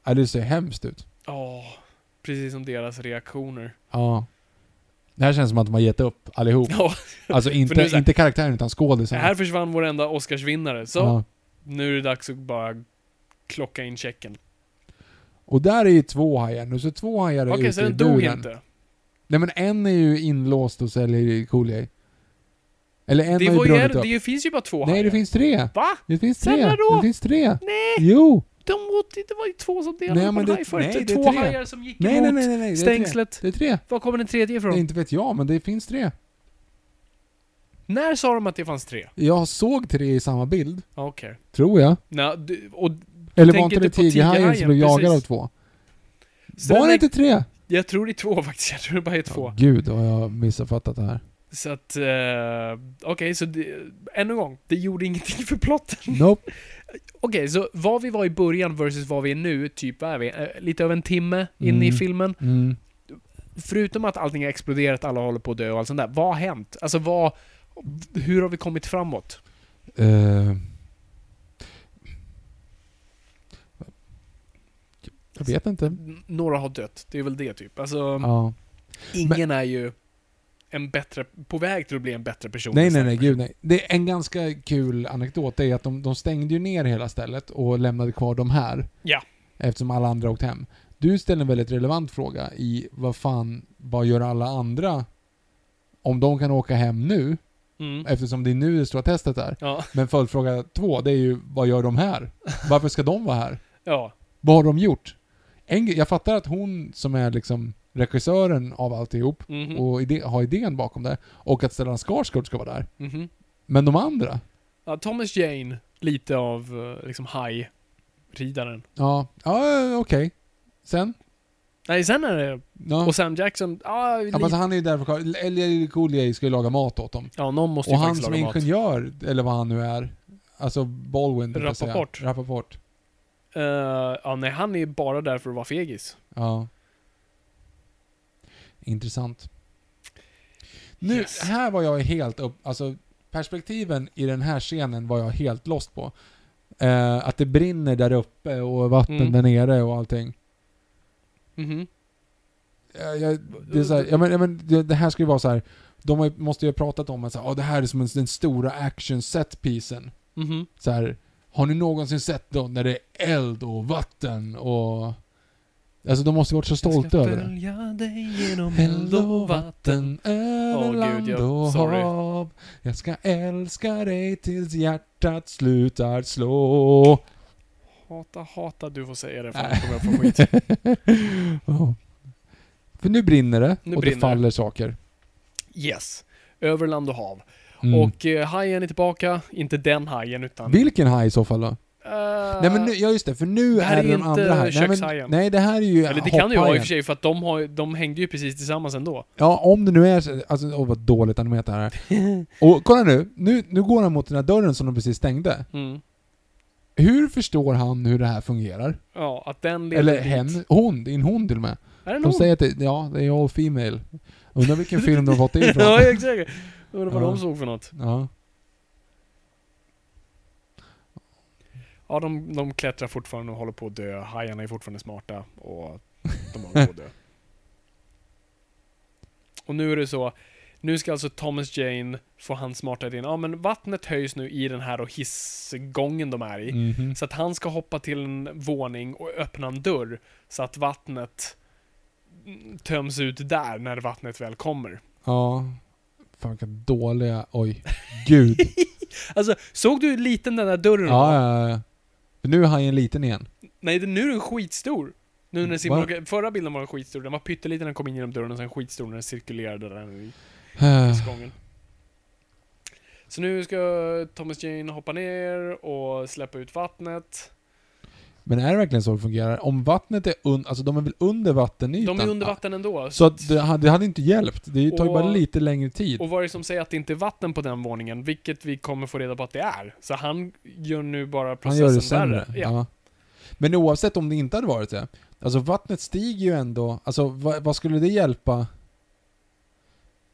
S1: Ja, det ser hemskt ut.
S2: Ja, precis som deras reaktioner.
S1: Ja. Det här känns som att de har gett upp allihop.
S2: Ja,
S1: Alltså
S2: nu
S1: inte,
S2: är det så här-
S1: inte karaktären utan skådisen.
S2: här försvann vår enda Oscarsvinnare. Så,
S1: Ja.
S2: nu är det dags att bara klocka in checken.
S1: Och där är ju två hajar nu, så två hajar är
S2: Okej,
S1: ute
S2: så
S1: i
S2: den dog
S1: buren.
S2: inte.
S1: Nej men en är ju inlåst och säljer Cooley. Eller en
S2: Det,
S1: har ju
S2: var ju,
S1: brunnit upp.
S2: det finns ju bara två
S1: Nej,
S2: hajar.
S1: det finns tre.
S2: Va?
S1: Det finns tre.
S2: Snälla då?
S1: Det finns tre.
S2: Nej!
S1: Jo!
S2: De åt, det var ju två som delade
S1: Nej,
S2: på
S1: men
S2: en
S1: det-
S2: haj förut.
S1: nej, det är
S2: två
S1: tre.
S2: hajar som gick
S1: Nej,
S2: emot
S1: nej, nej, nej, nej. Det är tre.
S2: stängslet.
S1: Det är tre.
S2: Var kommer den tredje ifrån?
S1: Nej, inte vet jag, men det finns tre.
S2: När sa de att det fanns tre?
S1: Jag såg tre i samma bild,
S2: Okej.
S1: tror jag.
S2: Nå, du, och
S1: Eller var
S2: tänker
S1: inte det
S2: inte på
S1: tigerhajen som
S2: tigerhajen,
S1: blev jagad av
S2: precis.
S1: två?
S2: så
S1: var
S2: den
S1: det
S2: är,
S1: inte tre?
S2: Jag tror det är två faktiskt. Jag tror det bara är två.
S1: Ja, gud, har jag missuppfattat det här.
S2: Så att... eh, Okej, så det, ännu en gång. Det gjorde ingenting för plotten.
S1: Nope.
S2: Okej, så vad vi var i början versus vad vi är nu, typ vad är vi? Eh, Lite över en timme in i
S1: Mm.
S2: filmen.
S1: Mm.
S2: Förutom att allting har exploderat, alla håller på att dö och allt sånt där. Vad har hänt? Alltså vad... Hur har vi kommit framåt?
S1: Eh. jag vet inte.
S2: N- Några har dött, det är väl det typ. Alltså,
S1: Mm. Ja.
S2: ingen är ju en bättre... På väg till att bli en bättre person. Liksom.
S1: Nej, nej,
S2: istället.
S1: nej, gud nej. Det är en ganska kul anekdot det är att de, de stängde ju ner hela stället och lämnade kvar de här.
S2: Ja.
S1: Eftersom alla andra åkt hem. Du ställer en väldigt relevant fråga i vad fan, vad gör alla andra om de kan åka hem nu?
S2: Mm.
S1: Eftersom det är nu det stora testet är.
S2: Ja,
S1: Men följdfråga två, det är ju vad gör de här? Varför ska de vara här?
S2: ja.
S1: Vad har de gjort? En, gre- jag fattar att hon som är liksom regissören av alltihop
S2: Mhm.
S1: och ide, har idén bakom det och att Stellan Skarsgård ska vara där.
S2: mhm.
S1: Men de andra?
S2: Ja, Thomas Jane, lite av eh, liksom haj-ridaren.
S1: Ja, ja eh, okej. Sen?
S2: Nej, sen är det...
S1: Ja.
S2: Och Sam Jackson, ah, ja,
S1: ja, men
S2: lite-
S1: så han är ju där för att Elia Coolier ska ju laga mat åt dem.
S2: ja någon måste
S1: Och
S2: ju
S1: han
S2: faktiskt
S1: som
S2: laga
S1: är
S2: mat.
S1: ingenjör, eller vad han nu är, alltså Baldwin, tänkte jag säga.
S2: Rappaport.
S1: Rappaport.
S2: Eh, ja, nej, han är bara där för att vara fegis.
S1: Ja. Intressant. Nu,
S2: Yes.
S1: här var jag helt upp... Alltså, perspektiven i den här scenen var jag helt lost på. Eh, att det brinner där uppe och vatten
S2: Mm.
S1: där nere och allting.
S2: Mhm.
S1: jag, jag, det, är så här, ja, men, ja, men, det, det här ska ju vara så här. De har, ju- måste ju ha pratat om att så här, "Ah, det här är som en, den stora action set piecen
S2: Mhm.
S1: så här, Har ni någonsin sett då när det är eld och vatten och... Alltså de måste ju varit så stolta över det.
S2: följa dig genom
S1: Eld och vatten över
S2: Åh, gud,
S1: land
S2: jag-
S1: och
S2: sorry.
S1: hav. Jag ska älska dig tills hjärtat slutar slå.
S2: Hata, hata, du får säga det för
S1: Nej.
S2: annars kommer jag få skit.
S1: Ja. För nu brinner det
S2: Nu
S1: och
S2: brinner det.
S1: det faller saker.
S2: Yes. Över land och hav.
S1: Mm.
S2: Och eh, hajen är tillbaka. Inte den hajen, utan...
S1: Vilken haj i så fall då?
S2: Eh,
S1: Nej men nu, ja just det, för nu
S2: Det här
S1: är
S2: är
S1: det de
S2: inte
S1: andra här. Nej, men,
S2: kökshajen.
S1: nej det här är ju
S2: Eller det kan det ju vara i och
S1: hopphajen.
S2: för sig, för att de, har, de hängde ju precis tillsammans ändå.
S1: Ja, om det nu är så- alltså åh vad dåligt animerat det här är. Och kolla nu, nu, nu går han mot den här dörren som de precis stängde.
S2: Mm.
S1: Hur förstår han hur det här fungerar?
S2: Ja, att den leder
S1: Eller
S2: dit.
S1: hen, hon, det är en hon till och med.
S2: Är det
S1: De
S2: någon?
S1: säger att det, ja, det är all female. Undrar vilken film de har fått det ifrån.
S2: ja, exakt. Undrar vad
S1: Ja.
S2: de såg för något.
S1: Ja.
S2: Ja, de, de klättrar fortfarande och håller på att dö. Hajarna är fortfarande smarta och de håller på att dö. Och nu är det så. Nu ska alltså Thomas Jane få han smarta idén. Ja, men vattnet höjs nu i den här och hissgången de är i.
S1: Mhm.
S2: Så att han ska hoppa till en våning och öppna en dörr så att vattnet mm, töms ut där när vattnet väl kommer.
S1: Ja. Fan vilka dåliga, oj. Gud.
S2: Alltså, såg du hur liten den där dörren
S1: Ja,
S2: var?
S1: ja, ja. För nu är hajen liten igen.
S2: Nej, den- nu är den skitstor. Nu när
S1: Va?
S2: Simon, förra bilden var den skitstor, den var pytteliten när den kom in genom dörren och sen skitstor när den cirkulerade där i
S1: Eh,
S2: skången. Så nu ska Thomas Jane hoppa ner och släppa ut vattnet.
S1: Men är det verkligen så det fungerar? Om vattnet är under, alltså de är väl under vattenytan?
S2: De är under vatten ändå.
S1: Så att det, hade- det hade inte hjälpt. Det tar ju
S2: Och-
S1: bara lite längre tid.
S2: Och vad är det som säger att det inte är vatten på den våningen? Vilket vi kommer få reda på att det är. Så han gör nu bara
S1: Han
S2: processen
S1: gör det sämre.
S2: värre. Ja.
S1: Ja. Men oavsett om det inte hade varit det. Alltså vattnet stiger ju ändå. Alltså vad, vad skulle det hjälpa?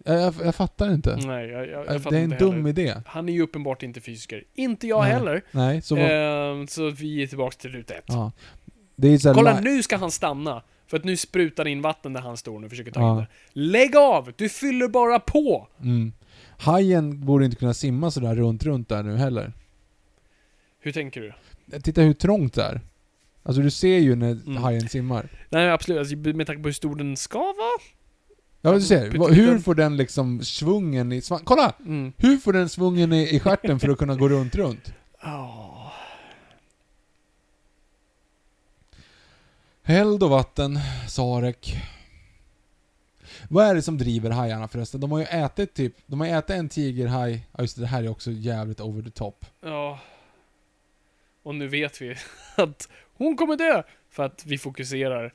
S1: Jag, jag, jag fattar inte. Äh,
S2: Nej, jag, Mm, jag, jag fattar
S1: det är en
S2: inte
S1: dum
S2: heller.
S1: idé.
S2: Han är ju uppenbart inte fysiker. Inte jag
S1: Nej.
S2: heller.
S1: Nej, så
S2: Så,
S1: vad,
S2: så vi är tillbaka till ruta ett.
S1: ja. Det är ju så här
S2: Kolla,
S1: li-
S2: nu ska han stanna. För att nu sprutar det in vatten där han står nu och försöker ta
S1: Ja.
S2: in det. Lägg av! Du fyller bara på!
S1: Mm. Hajen borde inte kunna simma sådär runt, runt där nu heller.
S2: Hur tänker du?
S1: Titta hur trångt det är. Alltså du ser ju när
S2: Mm.
S1: hajen simmar.
S2: Nej, absolut. Alltså, med tanke på hur stor den ska vara.
S1: Ja, men du ser.
S2: Pytteliten.
S1: vad- Hur får den liksom svungen i svan... Kolla!
S2: Mm.
S1: Hur får den svungen i, i stjärten för att kunna gå runt, runt?
S2: Ja.
S1: Eld och vatten, Sarek. Vad är det som driver hajarna förresten? De har ju ätit typ, de har ätit en tigerhaj. Ja just det, det här är också jävligt over the top.
S2: Ja. Och nu vet vi att hon kommer dö! För att vi fokuserar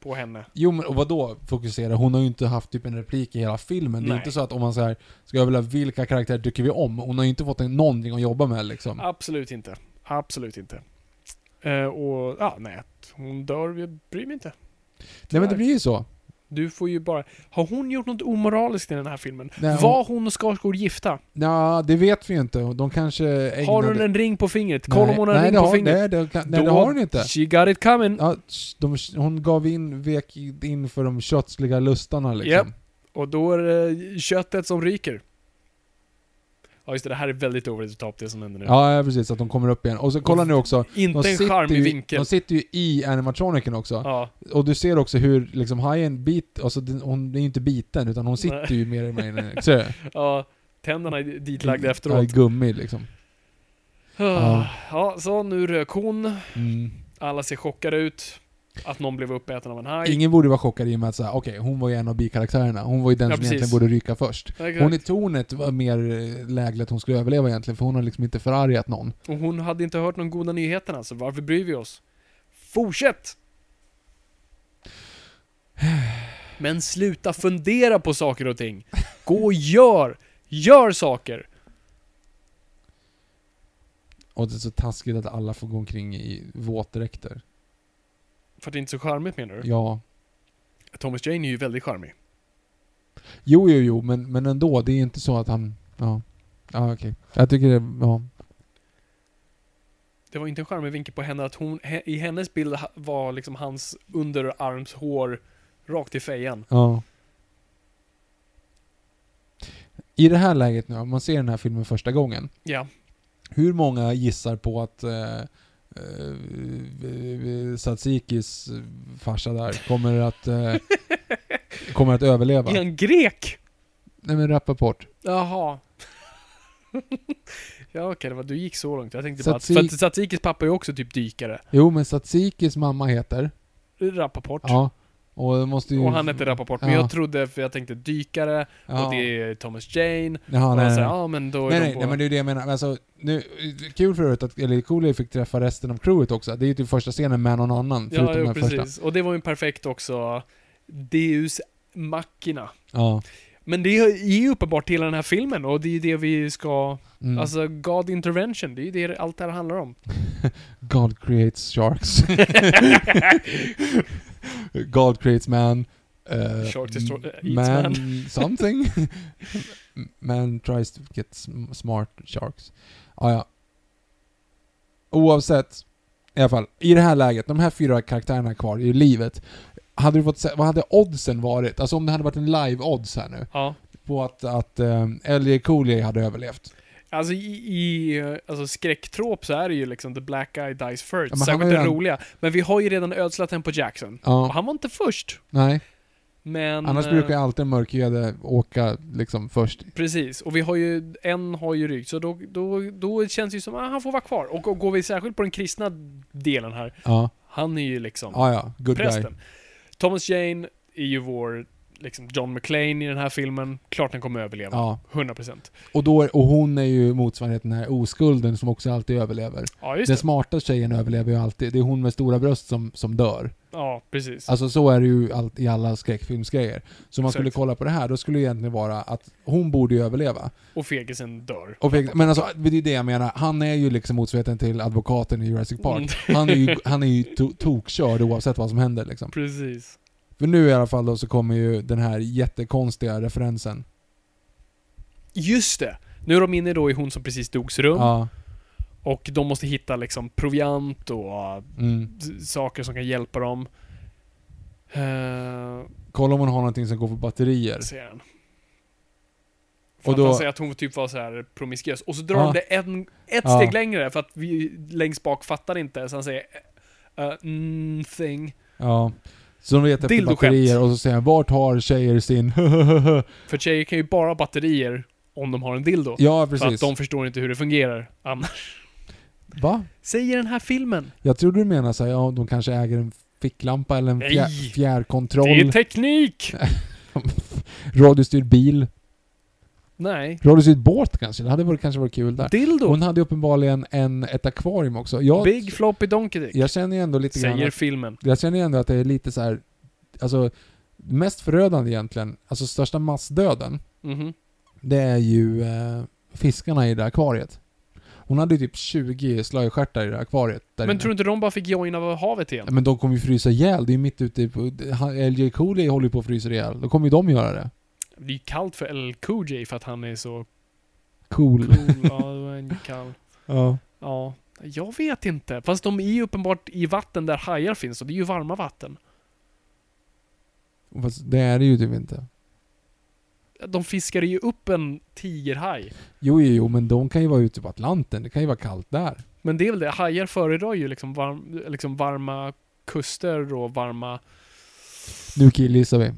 S2: på henne.
S1: Jo men och vadå fokusera? Hon har ju inte haft typ en replik i hela filmen. Det är
S2: Nej.
S1: ju inte så att om man så här ska överleva vilka karaktärer tycker vi om? Hon har ju inte fått en- någonting att jobba med liksom.
S2: Absolut inte. Absolut inte. Eh, och, ja, nej. att Hon dör, jag bryr mig inte.
S1: Nej men
S2: tyvärr.
S1: det blir ju så.
S2: Du får ju bara... Har hon gjort något omoraliskt i den här filmen?
S1: Nej, hon-
S2: Var hon och Skarsgård gifta?
S1: Ja, det vet vi ju inte. De kanske ägnade...
S2: Har hon en ring på fingret? Kolla om hon har en
S1: nej,
S2: ring
S1: det
S2: på
S1: har,
S2: fingret.
S1: Nej, det, kan, nej, det
S2: Då-
S1: har hon inte.
S2: She got it coming.
S1: Ja, sh- de, hon gav in, vek in för de köttsliga lustarna liksom.
S2: Och då är det köttet som ryker. Ja just det, det här är väldigt over the top det som händer nu.
S1: Ja, ja, precis. Att de kommer upp igen. Och så kolla nu också. De
S2: Inte en
S1: sitter
S2: charmig
S1: ju,
S2: vinkel.
S1: De sitter ju i animatroniken också.
S2: Ja,
S1: Och du ser också hur liksom hajen bit, alltså den, hon är ju inte biten utan hon sitter ju mer eller mindre så,
S2: ja, tänderna är ditlagda
S1: ja, i
S2: efteråt.
S1: gummi liksom.
S2: Ah, Ja, så nu rök hon.
S1: Mm.
S2: Alla ser chockade ut. Att någon blev uppäten av en haj.
S1: Ingen borde vara chockad i och med att säga, okej, hon var ju en av bikaraktärerna. Hon var ju den
S2: Ja,
S1: som
S2: precis.
S1: egentligen borde ryka först.
S2: Exakt.
S1: Hon i tornet var mer eh, lägligt att hon skulle överleva egentligen, för hon har liksom inte förargat någon.
S2: Och hon hade inte hört någon goda nyheterna, så varför bryr vi oss? Fortsätt! Men sluta fundera på saker och ting. Gå och gör! Gör saker!
S1: Och det är så taskigt att alla får gå omkring i våtdräkter.
S2: För att det är inte är så charmigt menar du?
S1: Ja.
S2: Thomas Jane är ju väldigt charmig.
S1: Jo, jo, jo, men, men ändå. Det är inte så att han... Ja. Ja, okej. Jag tycker det... Ja.
S2: Det var inte en charmig vinkel på henne att hon, he, i hennes bild ha- var liksom hans underarmshår rakt i fejan.
S1: ja. I det här läget nu, om man ser den här filmen första gången.
S2: Ja.
S1: Hur många gissar på att eh, eh, Satsikis farsa där kommer att, eh, kommer att överleva?
S2: Är han grek?
S1: Nej men Rappaport.
S2: Jaha. ja okej, det var du gick så långt. Jag tänkte bara att,
S1: Tsatsik-
S2: för att Satsikis pappa är ju också typ dykare.
S1: Jo men Satsikis mamma heter.
S2: Rappaport.
S1: Ja. Och, det måste ju,
S2: Och han hette Rappaport, men
S1: Ja.
S2: jag trodde, för jag tänkte dykare,
S1: ja.
S2: och det är Thomas Jane,
S1: Ja,
S2: och han
S1: nej,
S2: säger
S1: nej.
S2: ja men då är
S1: Nej,
S2: de
S1: nej,
S2: på...
S1: nej, men det är det jag menar. Men Alltså, nu, kul för övrigt att Eli Cooley fick träffa resten av crewet också. Det är ju typ första scenen med någon annan, förutom
S2: ja, jo,
S1: den
S2: precis.
S1: första.
S2: Och det var ju en perfekt också, Deus Machina.
S1: Ja.
S2: Men det är ju uppenbart hela den här filmen, och det är ju det vi ska...
S1: Mm.
S2: Alltså, God Intervention, det är ju det allt det här handlar om.
S1: God creates sharks. God creates man. eh,
S2: Shark destroy- uh,
S1: m-
S2: eats man.
S1: something. man tries to get sm- smart sharks. Ah, ja. Oavsett. I alla fall, i det här läget, de här fyra karaktärerna är kvar i livet. Hade du fått se, vad hade oddsen varit? Alltså om det hade varit en live-odds här nu.
S2: Ja.
S1: På att, att um, Ellie Cooley hade överlevt.
S2: Alltså i, i eh, alltså, skräcktrop så är det ju liksom the black guy dies first,
S1: Ja, men han
S2: särskilt
S1: var ju
S2: den
S1: en-
S2: roliga. Men vi har ju redan ödslat den på Jackson.
S1: Ja,
S2: Och han var inte först,
S1: nej.
S2: men...
S1: Annars
S2: eh,
S1: brukar ju alltid en mörkhyade åka liksom först
S2: Precis, och vi har ju, en har ju rykt, så då, då, då känns det ju som att ah, han får vara kvar. Och, och går vi särskilt på den kristna delen här,
S1: Ja,
S2: han är ju liksom
S1: ja, ja. Good guy.
S2: prästen. Thomas Jane är ju vår, liksom John McClane i den här filmen. Klart han kommer överleva.
S1: Ja.
S2: 100%.
S1: Och, då är, och hon är ju motsvarigheten den här oskulden som också alltid överlever.
S2: Ja, just
S1: Den
S2: det.
S1: smarta tjejen överlever ju alltid. Det är hon med stora bröst som, som dör.
S2: Ja, precis.
S1: Alltså så är det ju allt, i alla skräckfilmsgrejer. Så om man
S2: Exakt.
S1: skulle kolla på det här, då skulle det egentligen vara att hon borde ju överleva.
S2: Och fegisen dör.
S1: Och, fick- men alltså, det är ju det jag menar. Han är ju liksom motsvarigheten till advokaten i Jurassic Park.
S2: Mm.
S1: Han är ju, han är ju to, tokkörd oavsett vad som händer liksom.
S2: Precis.
S1: För nu i alla fall då så kommer ju den här jättekonstiga referensen.
S2: Just det! Nu är de inne då i hon som precis dogs rum.
S1: Ja.
S2: Och de måste hitta liksom proviant och ah,
S1: Mm.
S2: s- saker som kan hjälpa dem. Eh,
S1: Kolla om hon har någonting som går på batterier.
S2: ser han.
S1: Och
S2: För och
S1: då-
S2: att han säger att hon typ var så här promiskuös. Och så drar
S1: Ja.
S2: de det en, ett
S1: Ja.
S2: steg längre för att vi längst bak fattar inte. Så han säger uh, mm, thing.
S1: Ja. Så de letar efter
S2: Dildoskämt.
S1: batterier och så säger han vart har tjejer sin
S2: För tjejer kan ju bara ha batterier om de har en dildo.
S1: Ja,
S2: för att
S1: precis.
S2: de förstår inte hur det fungerar annars.
S1: Va?
S2: Säger den här filmen.
S1: Jag trodde du menade såhär, ja de kanske äger en ficklampa eller en fjär,
S2: Nej.
S1: fjärrkontroll.
S2: Det är teknik!
S1: Radiostyrd bil.
S2: Nej.
S1: Radiostyrd båt kanske? Det hade varit, kanske varit kul där.
S2: Dildo.
S1: Hon hade uppenbarligen en, ett akvarium också. Jag,
S2: Big floppy donkey dick.
S1: jag känner ju ändå lite grann
S2: Säger
S1: att,
S2: filmen.
S1: Jag känner ju ändå att det är lite så här. Alltså, mest förödande egentligen, alltså största massdöden,
S2: Mhm.
S1: det är ju eh, fiskarna i det där akvariet. Hon hade ju typ 20 slöjstjärtar i det där akvariet. Där
S2: Men
S1: inne.
S2: tror du inte de bara fick joina av havet igen?
S1: Ja, Men de kommer ju frysa ihjäl. Det är ju mitt ute på... han- LJ Cooley håller ju på att frysa ihjäl. Då kommer ju de göra det.
S2: Det är ju kallt för LL Cool J för att han är så
S1: Cool.
S2: cool. ja, då är han kall.
S1: Ja.
S2: Ja. Jag vet inte. Fast de är ju uppenbart i vatten där hajar finns och det är ju varma vatten.
S1: Fast det är det ju typ inte.
S2: De fiskade ju upp en tigerhaj.
S1: Jo, jo, jo, men de kan ju vara ute på Atlanten. Det kan ju vara kallt där.
S2: Men det är väl det, hajar föredrar ju liksom, varm, liksom varma kuster och varma...
S1: Nu killgissar vi.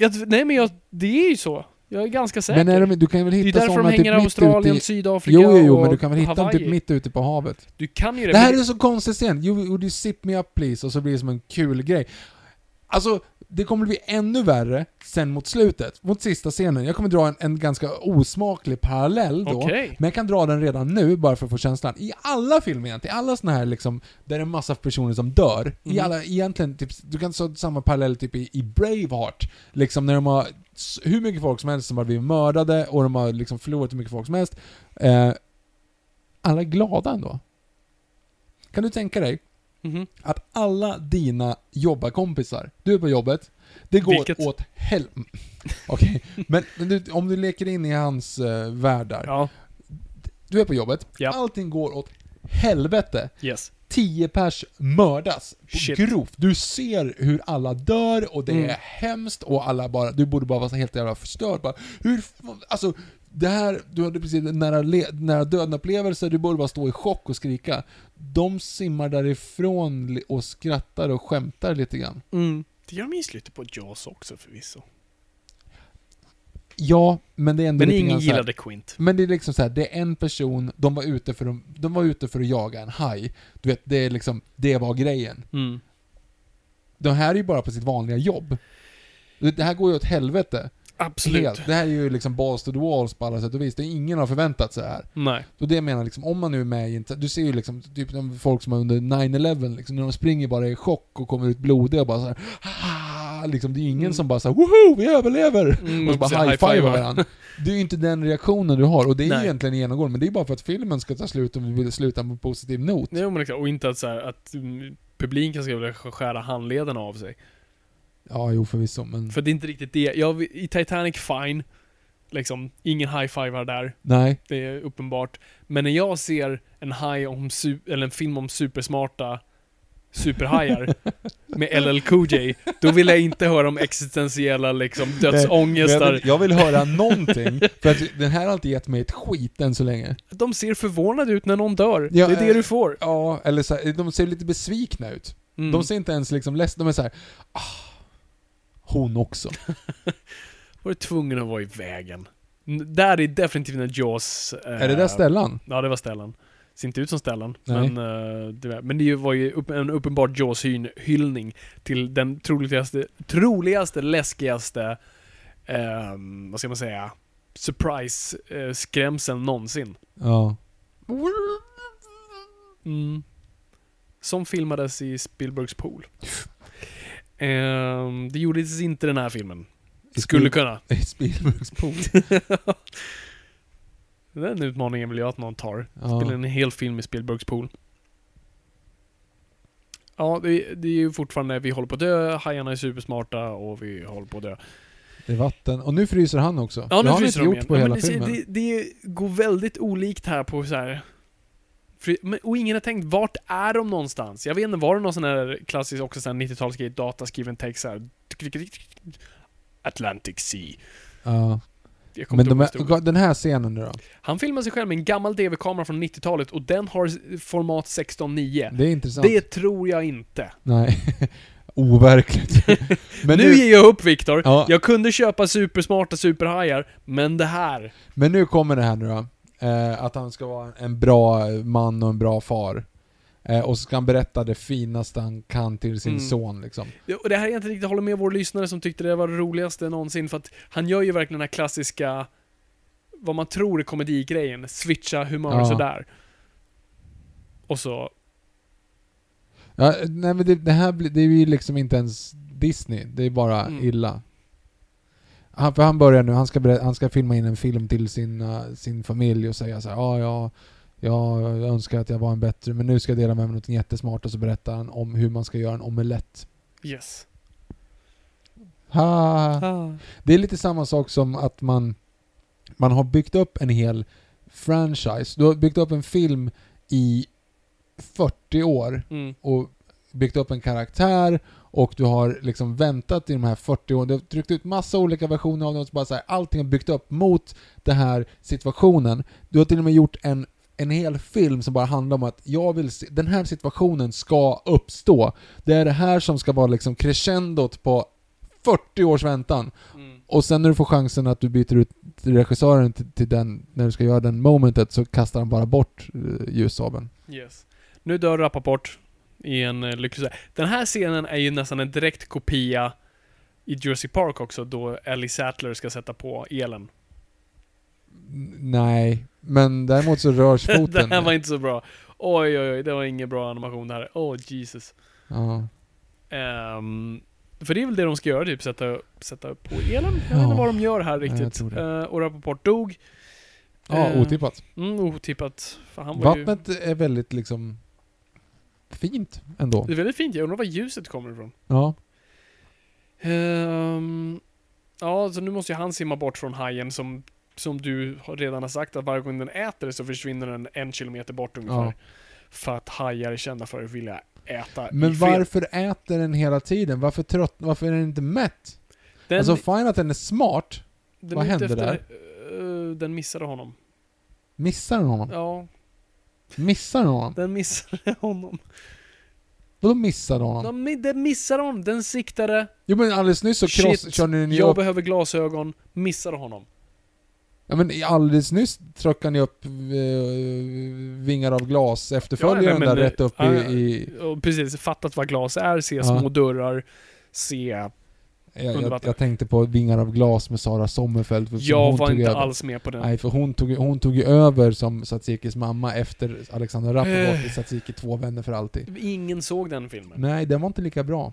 S2: Jag, nej men jag, det är ju så. Jag är ganska säker.
S1: Men är de, du kan väl
S2: det är
S1: hitta
S2: därför de
S1: sådana typ
S2: hänger i
S1: mitt ute
S2: Australien,
S1: i...
S2: Sydafrika
S1: Jo, jo, jo,
S2: och
S1: men du kan väl hitta dem
S2: Hawaii.
S1: typ mitt ute på havet.
S2: Du kan ju det.
S1: Det här
S2: men
S1: är så konstig scen. You, would you sip me up please? Och så blir det som en kul grej. Alltså, det kommer bli ännu värre sen mot slutet. Mot sista scenen. Jag kommer dra en, en ganska osmaklig parallell då.
S2: Okej.
S1: Men jag kan dra den redan nu, bara för att få känslan. I alla filmer egentligen, i alla såna här liksom, där det är en massa personer som dör. I
S2: Mm.
S1: alla, egentligen, typ, du kan ta samma parallell typ i, i Braveheart. Liksom när de har s- hur mycket folk som helst som har blivit mördade och de har liksom förlorat hur mycket folk som helst. Eh, alla är glada ändå. Kan du tänka dig
S2: Mhm.
S1: att alla dina jobbarkompisar, du är på jobbet, det går
S2: Vilket?
S1: åt hel... Okej, men, men du, om du leker in i hans uh, värld där.
S2: Ja,
S1: Du är på jobbet,
S2: Ja.
S1: allting går åt helvete.
S2: yes.
S1: 10 pers mördas. på
S2: Shit.
S1: Grovt. Du ser hur alla dör och det
S2: Mm.
S1: är hemskt och alla bara, du borde bara vara så helt jävla förstörd. Bara, hur, f- alltså, det här, du hade precis en nära, le- nära döden upplevelse, du borde bara stå i chock och skrika. De simmar därifrån li- och skrattar och skämtar lite grann.
S2: Mm. Det gör mig i slutet på Jaws också förvisso.
S1: Ja, men det är ändå
S2: Men
S1: lite
S2: ingen
S1: grann så här-
S2: gillade Quint.
S1: Men det är liksom så här, det är en person, de var ute för, de, de var ute för att jaga en haj. Du vet, det är liksom, det var grejen.
S2: Mm.
S1: De här är ju bara på sitt vanliga jobb. Du vet, Det här går ju åt helvete.
S2: Absolut.
S1: Helt. Det här är ju liksom balls to the walls på alla sätt och vis. Det är ingen har förväntat sig det här.
S2: Nej.
S1: Och det jag menar liksom, om man nu är med i en... Du ser ju liksom typ de folk som är under 9-11 liksom, när de springer bara i chock och kommer ut blodiga och bara så här, ah, liksom Det är ju ingen
S2: Mm.
S1: som bara såhär woho, vi överlever!
S2: Mm,
S1: och så bara
S2: high-fivar.
S1: high-fivar varandra. Det är ju inte den reaktionen du har, och det är
S2: Nej.
S1: ju egentligen genomgående, men det är bara för att filmen ska ta slut och vi vill sluta på en positiv not.
S2: Nej, men liksom, och inte att så här, att mm, publiken ska vilja skära handlederna av sig.
S1: Ja, jo förvisso, men...
S2: För det är inte riktigt det. Jag, I Titanic, fine. Liksom, ingen high-fivar där.
S1: Nej.
S2: Det är uppenbart. Men när jag ser en haj om su- eller en film om supersmarta superhajar med LL Cool J, då vill jag inte höra om existentiella liksom
S1: Jag
S2: dödsångestar.
S1: vill, jag vill höra någonting, för att den här har inte gett mig ett skit än så länge.
S2: De ser förvånade ut när någon dör.
S1: Ja,
S2: det är det
S1: eh,
S2: du får.
S1: Ja, eller så här, de ser lite besvikna ut.
S2: Mm.
S1: De ser inte ens liksom ledsna, de är såhär ah, Hon också.
S2: Var du tvungen att vara i vägen? N- Där är definitivt när Jaws... eh,
S1: Är det där Stellan?
S2: Ja, det var Stellan. Ser inte ut som Stellan,
S1: Nej.
S2: men, eh, det, var- men det ju- var ju upp, en uppenbar Jaws-hyllning till den troligaste, troligaste läskigaste, ehm, vad ska man säga, surprise-skrämseln någonsin.
S1: Ja. Mm.
S2: Som filmades i Spielbergs pool. Ehm, det gjordes inte den här filmen.
S1: I
S2: Skulle
S1: Spiel-
S2: kunna.
S1: I Spielbergs pool.
S2: Den utmaningen vill jag att någon tar. Spela
S1: Ja.
S2: en hel film i Spielbergs pool. Ja, det, det är ju fortfarande, vi håller på att dö, hajarna är supersmarta och vi håller på att dö.
S1: Det är vatten. Och nu fryser han också.
S2: Ja,
S1: det
S2: nu
S1: har han
S2: fryser
S1: inte
S2: de
S1: gjort
S2: igen.
S1: på
S2: ja,
S1: hela
S2: men det,
S1: filmen.
S2: det, det går väldigt olikt här på så här. Fry- Men, och ingen har tänkt, vart är de någonstans? Jag vet inte, var det någon sån här klassisk, också sån här 90-talsgrej, dataskriven text så här. Atlantic Sea.
S1: Ja.
S2: Jag kommer
S1: Men
S2: inte
S1: de
S2: ihåg vad det stod.
S1: är, den här scenen nu då?
S2: Han filmar sig själv med en gammal DV-kamera från 90-talet och den har format 16.9.
S1: Det är intressant.
S2: Det tror jag inte.
S1: Nej. Overkligt. Men
S2: nu,
S1: nu,
S2: ger jag upp Viktor.
S1: Ja.
S2: Jag kunde köpa supersmarta superhajar, men det här.
S1: men nu kommer det här nu då. Eh, att han ska vara en bra man och en bra far. Eh, och så ska han berätta det finaste han kan till sin
S2: Mm.
S1: son liksom.
S2: Ja, Och det här är jag inte riktigt håller med vår lyssnare som tyckte det var det roligaste någonsin för att han gör ju verkligen den här klassiska vad man tror är komedigrejen, switcha humör
S1: Ja.
S2: sådär. Och så,
S1: Ja, nej men det, det här blir- det är ju liksom inte ens Disney, det är bara
S2: Mm.
S1: illa. Han, för han börjar nu, han ska, berä- han ska filma in en film till sin, eh, sin familj och säga så här, ja, ja, ja, jag önskar att jag var en bättre, men nu ska jag dela med mig något jättesmart och så berättar han om hur man ska göra en omelett.
S2: yes.
S1: Ha.
S2: Ah.
S1: Det är lite samma sak som att man, man har byggt upp en hel franchise. Du har byggt upp en film i 40 år
S2: Mm.
S1: och byggt upp en karaktär och du har liksom väntat i de här 40 åren. Du har tryckt ut massa olika versioner av den och så bara så här, allting har byggt upp mot den här situationen. Du har till och med gjort en, en hel film som bara handlar om att jag vill se, den här situationen ska uppstå. Det är det här som ska vara liksom crescendot på 40 års väntan.
S2: Mm.
S1: Och sen när du får chansen att du byter ut regissören till, till den, när du ska göra den momentet så kastar han bara bort eh, ljussabeln.
S2: Yes. Nu dör Rappaport i en eh, lycklig... Den här scenen är ju nästan en direkt kopia i Jersey Park också, då Ellie Sattler ska sätta på elen.
S1: N- Nej, men däremot så rörs
S2: det
S1: foten.
S2: här var inte så bra. Oj, oj, oj, det var ingen bra animation det här. Oh, Jesus.
S1: ja.
S2: Ehm, för det är väl det de ska göra, typ sätta, sätta på elen? Jag
S1: Ja.
S2: vet inte vad de gör här
S1: jag
S2: riktigt.
S1: tror det.
S2: Eh, och Rappaport dog.
S1: ja,
S2: Eh,
S1: otippat.
S2: Mm, otippat. För han var ju...
S1: Vattnet är väldigt liksom fint ändå.
S2: Det är väldigt fint, jag undrar var ljuset kommer ifrån.
S1: Ja.
S2: Ehm, ja, så nu måste ju han simma bort från hajen som, som du har- redan har sagt att varje gång den äter så försvinner den en kilometer bort ungefär.
S1: Ja.
S2: För att hajar är kända för att vilja äta i
S1: Men
S2: fred.
S1: varför äter den hela tiden? Varför, trött, varför är den inte mätt?
S2: Den,
S1: Alltså fine att den är smart,
S2: den
S1: vad
S2: är ute
S1: hände
S2: eh, den missade honom.
S1: missar den honom?
S2: Ja,
S1: Missar den honom?
S2: den missade honom.
S1: Vadå missar den honom?
S2: De, den missade honom. Den siktade.
S1: Jo men alldeles nyss så kross,
S2: Shit,
S1: körde ni
S2: Jag
S1: upp...
S2: behöver glasögon. Missade honom.
S1: Ja men alldeles nyss tröckade ni upp eh, vingar av glas efterföljaren
S2: men-
S1: där rätt upp i,
S2: ja, ja.
S1: i...
S2: Och precis, fattat vad glas är. Se
S1: Ja.
S2: små dörrar. Se
S1: Jag,
S2: Under
S1: jag,
S2: vatten.
S1: jag tänkte på vingar av glas med Sara Sommerfeld. För
S2: Jag
S1: hon
S2: var
S1: tog
S2: inte
S1: över.
S2: alls med på den.
S1: Nej, för hon tog, hon tog ju över som Satsikis mamma efter Alexander
S2: Eh.
S1: Rappaport i Satsiki två vänner för alltid.
S2: Ingen såg den filmen.
S1: Nej, den var inte lika bra.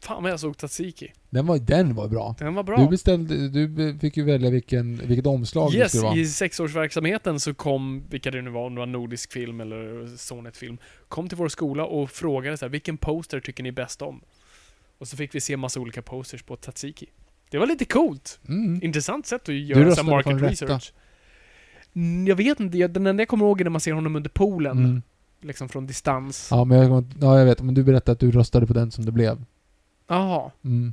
S2: Fan vad jag såg Tsatsiki.
S1: Den var, den var bra.
S2: Den var
S1: Du
S2: bra.
S1: beställde, du be- fick ju välja vilken, vilket omslag det
S2: Yes,
S1: skulle vara.
S2: i sexårsverksamheten så kom, vilka det nu var, om det var nordisk film eller Sonet-film, kom till vår skola och frågade så här, vilken poster tycker ni bäst om? Och så fick vi se massa olika posters på Tsatsiki. Det var lite coolt.
S1: Mm.
S2: Intressant sätt att
S1: Du
S2: göra så
S1: röstade
S2: här
S1: på
S2: market
S1: den
S2: research. Mm, Jag vet inte, jag- den enda jag kommer ihåg är när man ser honom under poolen,
S1: Mm.
S2: liksom från distans.
S1: Ja, men jag, ja, jag vet. Men du berättade att du röstade på den som det blev.
S2: Jaha.
S1: Mm.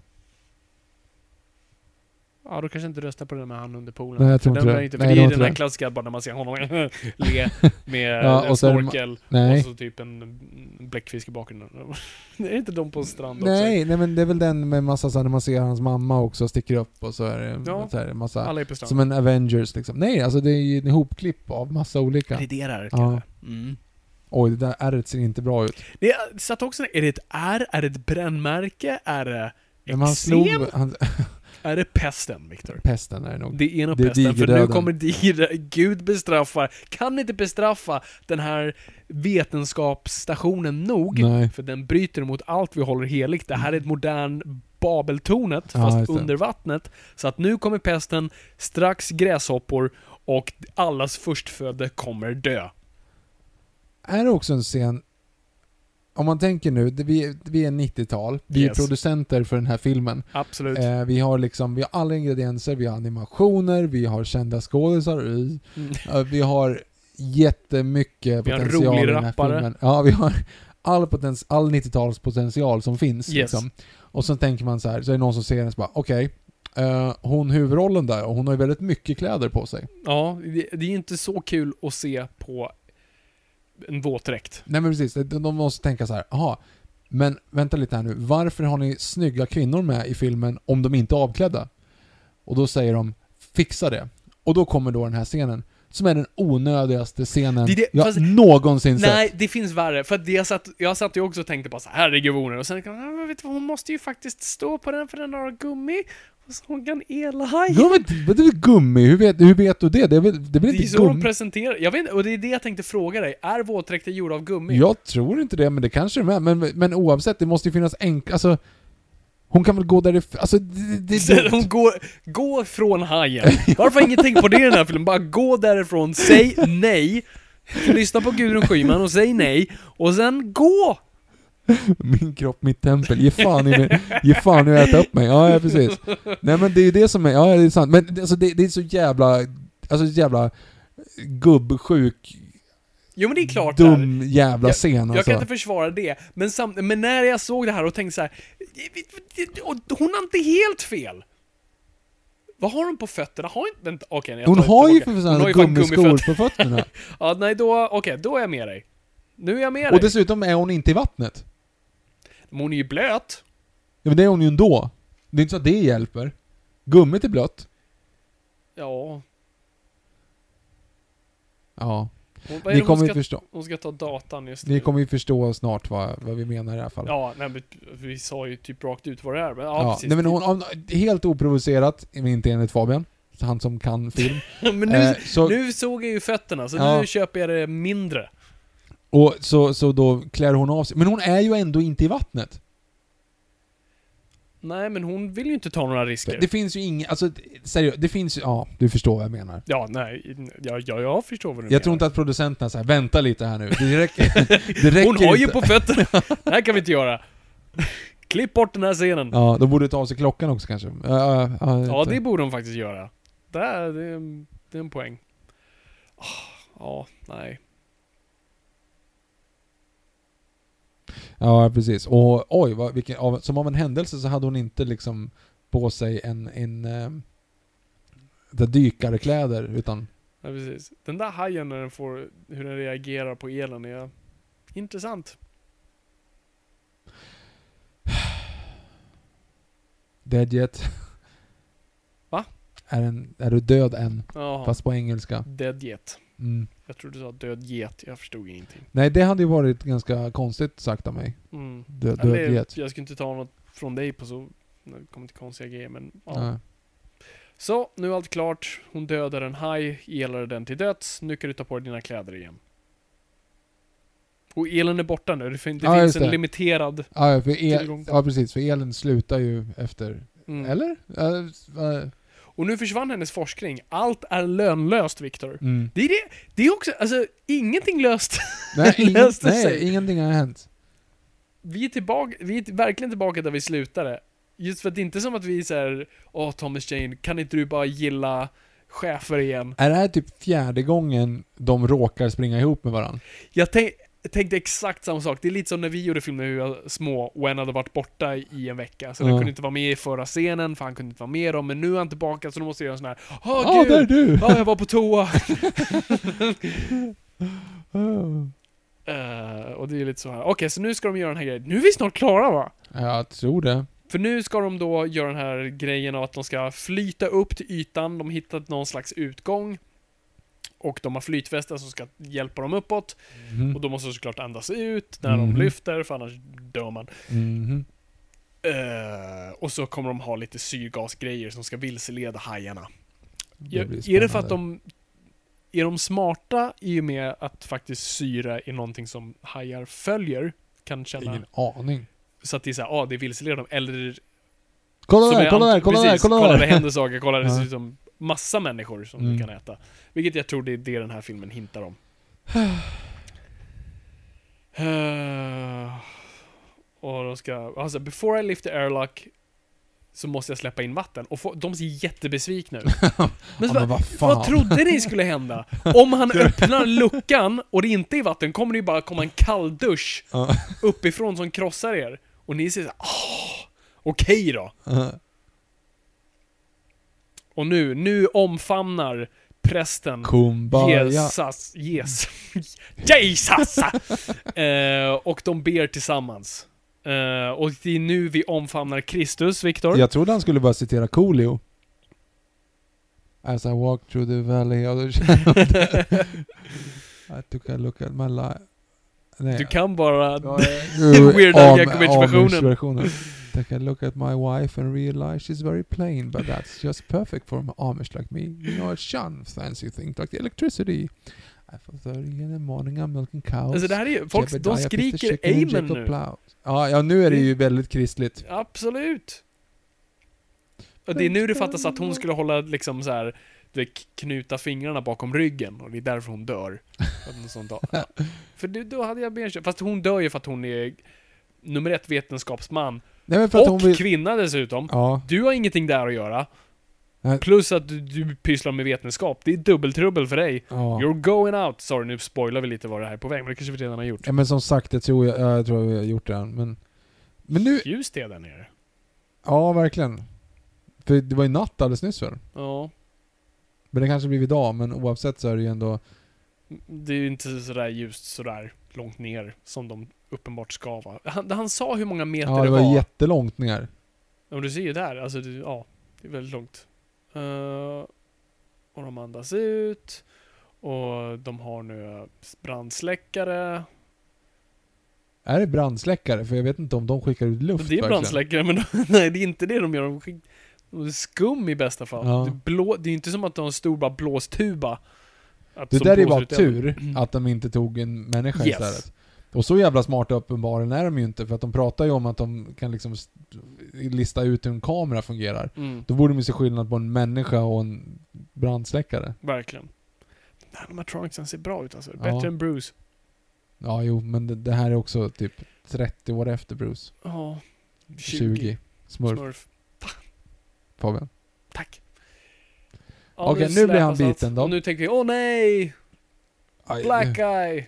S2: Ja, då kanske jag inte röstar på den med han under poolen.
S1: Nej, jag tror
S2: För
S1: inte
S2: den
S1: det.
S2: var Inte, för
S1: Nej,
S2: det
S1: jag
S2: är ju
S1: tror
S2: den här
S1: inte det.
S2: klassiska, bara när man ser honom le med
S1: Ja,
S2: en
S1: och så är det ma-
S2: snorkel och
S1: Nej.
S2: så typ en bläckfisk i bakgrunden. det är inte de på en strand
S1: Nej, nej, men det är väl den med massa så här, när man ser hans mamma också sticker upp och så är det
S2: Ja.
S1: så här, massa...
S2: också? Alla är på stranden.
S1: Som en Avengers liksom. Nej, alltså det är ju en ihopklipp av massa olika.
S2: Är det det där?
S1: Ja.
S2: kanske? Mm.
S1: Oj, det där ärret ser inte bra ut.
S2: Det satt också är det ett ärr? Är det ett brännmärke? Är det
S1: Men han
S2: eksem?
S1: slog... Han,
S2: Är det pesten, Viktor?
S1: pesten är det nog.
S2: Det är nog
S1: Det är
S2: pesten, för nu
S1: digerdöden.
S2: kommer digerdöden. Gud bestraffar, kan inte bestraffa den här vetenskapsstationen nog.
S1: Nej.
S2: För den bryter mot allt vi håller heligt. Det här är ett modern Babeltornet,
S1: Ja,
S2: fast
S1: just det.
S2: under vattnet. Så att nu kommer pesten, strax gräshoppor och allas förstfödde kommer dö.
S1: Är det också en scen... Om man tänker nu, det, vi, vi är 90-tal. Vi
S2: Yes.
S1: är producenter för den här filmen.
S2: Absolut.
S1: Eh, vi har liksom, vi har alla ingredienser, vi har animationer, vi har kända skådisar, i.
S2: Mm.
S1: Eh, vi har jättemycket
S2: Vi har en
S1: potential i
S2: rolig
S1: den här
S2: rappare.
S1: filmen. Ja, vi har all, potens, all 90-talspotential som finns.
S2: Yes.
S1: Liksom. Och sen tänker man så här, så är det någon som ser den och så bara okej, eh, hon huvudrollen där, och hon har ju väldigt mycket kläder på sig.
S2: Ja, det, det är ju inte så kul att se på en våtdräkt.
S1: Nej men precis, de- de måste tänka så här, aha, men vänta lite här nu, varför har ni snygga kvinnor med i filmen om de inte är avklädda? Och då säger de, fixa det. Och då kommer då den här scenen. som är den onödigaste scenen
S2: Det är det-
S1: jag
S2: fast-
S1: någonsin
S2: Nej,
S1: sett.
S2: det finns värre. För att jag, satt, jag satt ju också och tänkte bara så här herregud vad onödigt." Och sen, "Ja, men vet du, vad, hon måste ju faktiskt stå på den för den har gummi. Och så hon kan elhaj.
S1: Gummi, vad är det gummi? Hur vet, hur vet du det? Det är väl, det blir
S2: Det är
S1: inte
S2: så de
S1: gummi?
S2: presenterar. Jag vet inte, och det är det jag tänkte fråga dig. Är våtdräkter gjorda av gummi?
S1: Jag tror inte det, men det kanske de är. Men, men oavsett, det måste ju finnas enkla... Alltså, hon kan väl gå därifrån... Alltså, det, det,
S2: Så
S1: det,
S2: De går, gå från hajen. Varför har ingen tänkt på det i den här filmen? Bara gå därifrån, säg nej, lyssna på Gudrun Schyman och säg nej, och sen gå!
S1: Min kropp, mitt tempel. Ge fan i, mig, ge fan i att äta upp mig. Ja, ja, precis. Nej men det är ju det som är, ja det är sant. Men det- alltså, det, det är så jävla, alltså så jävla gubbsjuk,
S2: Jo men det är klart det är.
S1: dum jävla
S2: Jag-
S1: scen
S2: Jag
S1: alltså.
S2: kan inte försvara det, men, samt, men när jag såg det här och tänkte så här, och hon har inte helt fel! Vad har hon på fötterna? Har inte... vänta, Okej, nej, jag
S1: Hon
S2: tar
S1: har ju
S2: tillbaka.
S1: för
S2: Hon har
S1: fan
S2: fan
S1: gummiskor på fötterna.
S2: Ja, nej då, okej, då är jag med dig. Nu är jag med
S1: Och
S2: dig.
S1: dessutom är hon inte i vattnet.
S2: Men hon är ju blöt.
S1: Ja, men det är hon ju ändå. Det är inte så att det hjälper. Gummit är blött.
S2: Ja.
S1: Ja.
S2: Hon, vad är
S1: Ni
S2: det hon,
S1: kommer ju
S2: ska,
S1: förstå,
S2: hon ska ta datan just nu.
S1: ni kommer ju förstå snart vad, vad vi menar i det här fallet.
S2: Ja, nej, men vi sa ju typ rakt ut vad det är. Men, ja,
S1: Ja,
S2: precis.
S1: nej, men hon, hon, helt oprovocerat, men inte enligt Fabian, han som kan film.
S2: Men nu,
S1: Eh, så,
S2: nu såg jag ju fötterna, så
S1: Ja.
S2: nu köper jag det mindre.
S1: Och så, så då klär hon av sig. Men hon är ju ändå inte i vattnet.
S2: Nej, men hon vill ju inte ta några risker.
S1: Det finns ju inget, alltså seriöst, det finns ju, ja, du förstår vad jag menar.
S2: Ja, nej, ja, ja, jag förstår vad du menar.
S1: Jag tror inte att producenterna säger vänta lite här nu, det räcker, det räcker
S2: Hon har ju
S1: inte.
S2: på fötterna. det här kan vi inte göra. Klipp bort den här scenen. Ja,
S1: Ja, de borde ta av sig klockan också kanske. Ja, ja, ja, inte.
S2: det borde hon faktiskt göra. Det, här, det, är, en- det är en poäng. Ah, Ja, nej.
S1: Ja, precis. Och oj, vad, vilken, av, som av en händelse så hade hon inte liksom på sig en, en, en dykarkläder, utan
S2: nej precis. Den där hajen när den får, hur den reagerar på elen är intressant.
S1: Deadjet.
S2: Va?
S1: Är, en, är du död än?
S2: Jaha.
S1: Fast på engelska.
S2: Dead get.
S1: Mm.
S2: Jag trodde du sa död get, jag förstod ingenting.
S1: Nej, det hade ju varit ganska konstigt sagt av mig.
S2: Mm.
S1: Dö-
S2: Eller,
S1: Död get.
S2: jag skulle inte ta något från dig på så, när det kommer till konstiga grejer men ja.
S1: Ja.
S2: Så, nu är allt klart. Hon dödar en haj, elar den till döds. Nu kan du ta på dig dina kläder igen. Och elen är borta nu, det, fin- det
S1: Ja,
S2: finns
S1: just
S2: en
S1: det.
S2: limiterad...
S1: Ja, ja, för el,
S2: Tillgång.
S1: ja, precis. För elen slutar ju efter...
S2: Mm.
S1: Eller? Äh, äh,
S2: Och nu försvann hennes forskning. Allt är lönlöst, Viktor.
S1: mm.
S2: Det är det, det är också, alltså ingenting löst.
S1: Nej, ingen,
S2: Löste sig.
S1: nej, ingenting har hänt.
S2: vi är tillbaka, vi är verkligen tillbaka där vi slutade. Just för att det är inte som att vi är såhär, åh Thomas Jane, kan inte du bara gilla chefer igen?
S1: Är det här typ fjärde gången de råkar springa ihop med varandra?
S2: Jag tänk, tänkte exakt samma sak, det är lite som när vi gjorde film när vi var små och en hade varit borta i en vecka, så den
S1: Ja.
S2: kunde inte vara med i förra scenen, för han kunde inte vara med dem, men nu är han tillbaka så då måste jag göra en sån här, åh
S1: Ja, där är
S2: gud,
S1: du!
S2: ja jag var på toa. Eh, och det är lite så här. okej så nu ska de göra den här grejen, nu är vi snart klara va?
S1: Ja, Jag tror det.
S2: För nu ska de då göra den här grejen av att de ska flyta upp till ytan, de har hittat någon slags utgång. Och de har flytvästar som ska hjälpa dem uppåt. Och
S1: Mhm.
S2: då måste de såklart andas ut när
S1: Mhm.
S2: de lyfter, för annars dör man.
S1: Mhm.
S2: Eh, och så kommer de ha lite syrgasgrejer som ska vilseleda hajarna.
S1: Det blir
S2: är det för att
S1: spännande.
S2: de... Är de smarta i och med att faktiskt syre är någonting som hajar följer? Kan känna.
S1: Ingen aning.
S2: Så att det är såhär, ja ah, det vilseleder dem. Eller
S1: Kolla
S2: Som
S1: där,
S2: är
S1: kolla
S2: ant-
S1: där, kolla där,
S2: precis,
S1: kolla
S2: det
S1: där!
S2: händer saker, kolla det
S1: Ja.
S2: ser ut som massa människor som
S1: Mm.
S2: du kan äta. Vilket jag tror det är det den här filmen hintar om. Eh, och de ska, alltså before I lift the airlock så måste jag släppa in vatten. Och få, de ser jättebesvikna ut. Men,
S1: Ja,
S2: va-
S1: men vad
S2: vad
S1: fan?
S2: trodde ni skulle hända? Om han öppnar luckan och det inte är vatten kommer det ju bara komma en kall dusch
S1: Ja.
S2: uppifrån som krossar er. Och ni säger såhär, ah, okej då. Och nu, nu omfamnar prästen
S1: Kumbaya.
S2: Jesus, yes, Jesus! eh, och de ber tillsammans. Eh, och det är nu vi omfamnar Kristus, Viktor.
S1: Jag trodde han skulle bara citera Coolio. As I walk through the valley of the shadow of death, I took a look at my life. Nej,
S2: Du kan bara...
S1: Ja, jag-
S2: Weird
S1: Am-
S2: Al Yankovic-versionen.
S1: Amish-versionen. Take a look at my wife and realize she's very plain, but that's just perfect for an Amish like me. You know, I shun fancy things like electricity. At 4.30 in the morning I'm milking cows.
S2: Alltså det här är ju... Folk, de
S1: Jebediah picked
S2: skriker
S1: the chicken and
S2: amen
S1: Jacob
S2: nu.
S1: plowed. Ja, ja, nu är det ju väldigt kristligt.
S2: Absolut. Och det är nu det fattas att hon skulle hålla liksom så här, du vet, knuta fingrarna bakom ryggen och det är därför hon dör. Att något sånt, ja. För det, då hade jag mer Fast hon dör ju för att hon är nummer ett vetenskapsman.
S1: Nej, men för att hon
S2: Och
S1: vill...
S2: kvinna dessutom.
S1: Ja,
S2: Du har ingenting där att göra.
S1: Nej.
S2: Plus att du, du pysslar med vetenskap. Det är dubbeltrubbel för dig.
S1: ja.
S2: You're going out. Sorry, nu spoilar vi lite vad det här är på väg, men det kanske vi redan har gjort.
S1: ja. men som sagt, jag tror, jag, jag tror vi har gjort det än, men... Men nu...
S2: Ljus det där nere.
S1: Ja, verkligen. För det var ju natt alldeles nyss väl?
S2: Ja.
S1: Men det kanske blivit dag, men oavsett så är det ju ändå...
S2: Det är ju inte sådär ljust sådär långt ner som de uppenbart ska vara. Han, han sa hur många meter
S1: Ja, det var jättelångt ner.
S2: Ja, men du ser ju där, alltså det, ja, det är väldigt långt. Eh, och de andas ut. Och de har nu brandsläckare.
S1: Är det brandsläckare? För jag vet inte om de skickar ut luft
S2: det är
S1: verkligen.
S2: brandsläckare, men nej, det är inte det de gör. De skick- de är skum i bästa fall.
S1: Ja.
S2: Det, är blå, det är ju inte som att de har en stor bara blåstuba. Att,
S1: Det
S2: som
S1: där är
S2: blåser
S1: bara
S2: ut elden. Mm.
S1: tur att de inte tog en människa
S2: Yes.
S1: istället. Och så jävla smarta uppenbarligen är de ju inte, för att de pratar ju om att de kan liksom st- lista ut hur en kamera fungerar.
S2: Mm,
S1: Då borde de ju se skillnad på en människa och en brandsläckare.
S2: verkligen. Nanomatronicsen ser bra ut alltså.
S1: Ja.
S2: Bättre än Bruce.
S1: Ja, jo, men det, det här är också typ 30 år efter Bruce.
S2: Ja.
S1: 20.
S2: 20.
S1: Smurf, Fabian.
S2: Tack.
S1: Okej, nu blir han
S2: släpas allt.
S1: biten då.
S2: Och nu tänker vi, åh nej!
S1: Aj, eh.
S2: Black Eye!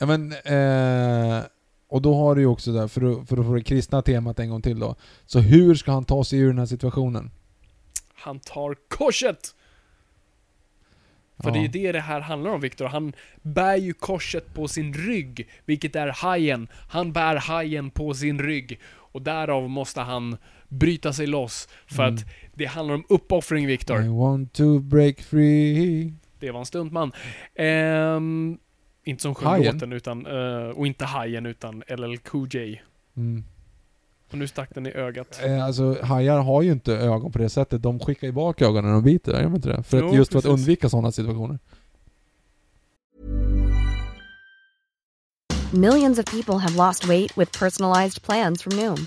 S1: Ja men, eh, och då har du ju också där, för att, för att få det kristna temat en gång till då. Så hur ska han ta sig ur den här situationen?
S2: Han tar korset! För
S1: Ja.
S2: det är ju det det här handlar om, Viktor. Han bär ju korset på sin rygg, vilket är hajen. Han bär hajen på sin rygg. Och därav måste han bryta sig loss. För
S1: Mm.
S2: att det handlar om uppoffring, Viktor.
S1: I want to break free.
S2: Det var en stuntman. Ehm, inte som sjöng
S1: Hajen?
S2: låten, utan, eh, och inte Hajen, utan LL Cool J.
S1: Mm.
S2: Och nu stack den i ögat.
S1: Eh, alltså hajar har ju inte ögon på det sättet. De skickar ju bak ögonen när de biter, gör de inte det? För att,
S2: Jo,
S1: just för att
S2: precis.
S1: undvika sådana situationer.
S3: Millions of people have lost weight with personalized plans from Noom,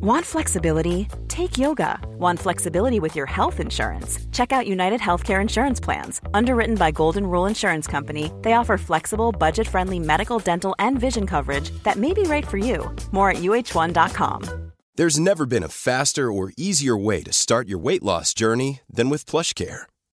S4: Want flexibility? Take yoga. Want flexibility with your health insurance? Check out United Healthcare Insurance Plans. Underwritten by Golden Rule Insurance Company, they offer flexible, budget friendly medical, dental, and vision coverage that may be right for you. More at uh1.com.
S5: There's never been a faster or easier way to start your weight loss journey than with PlushCare.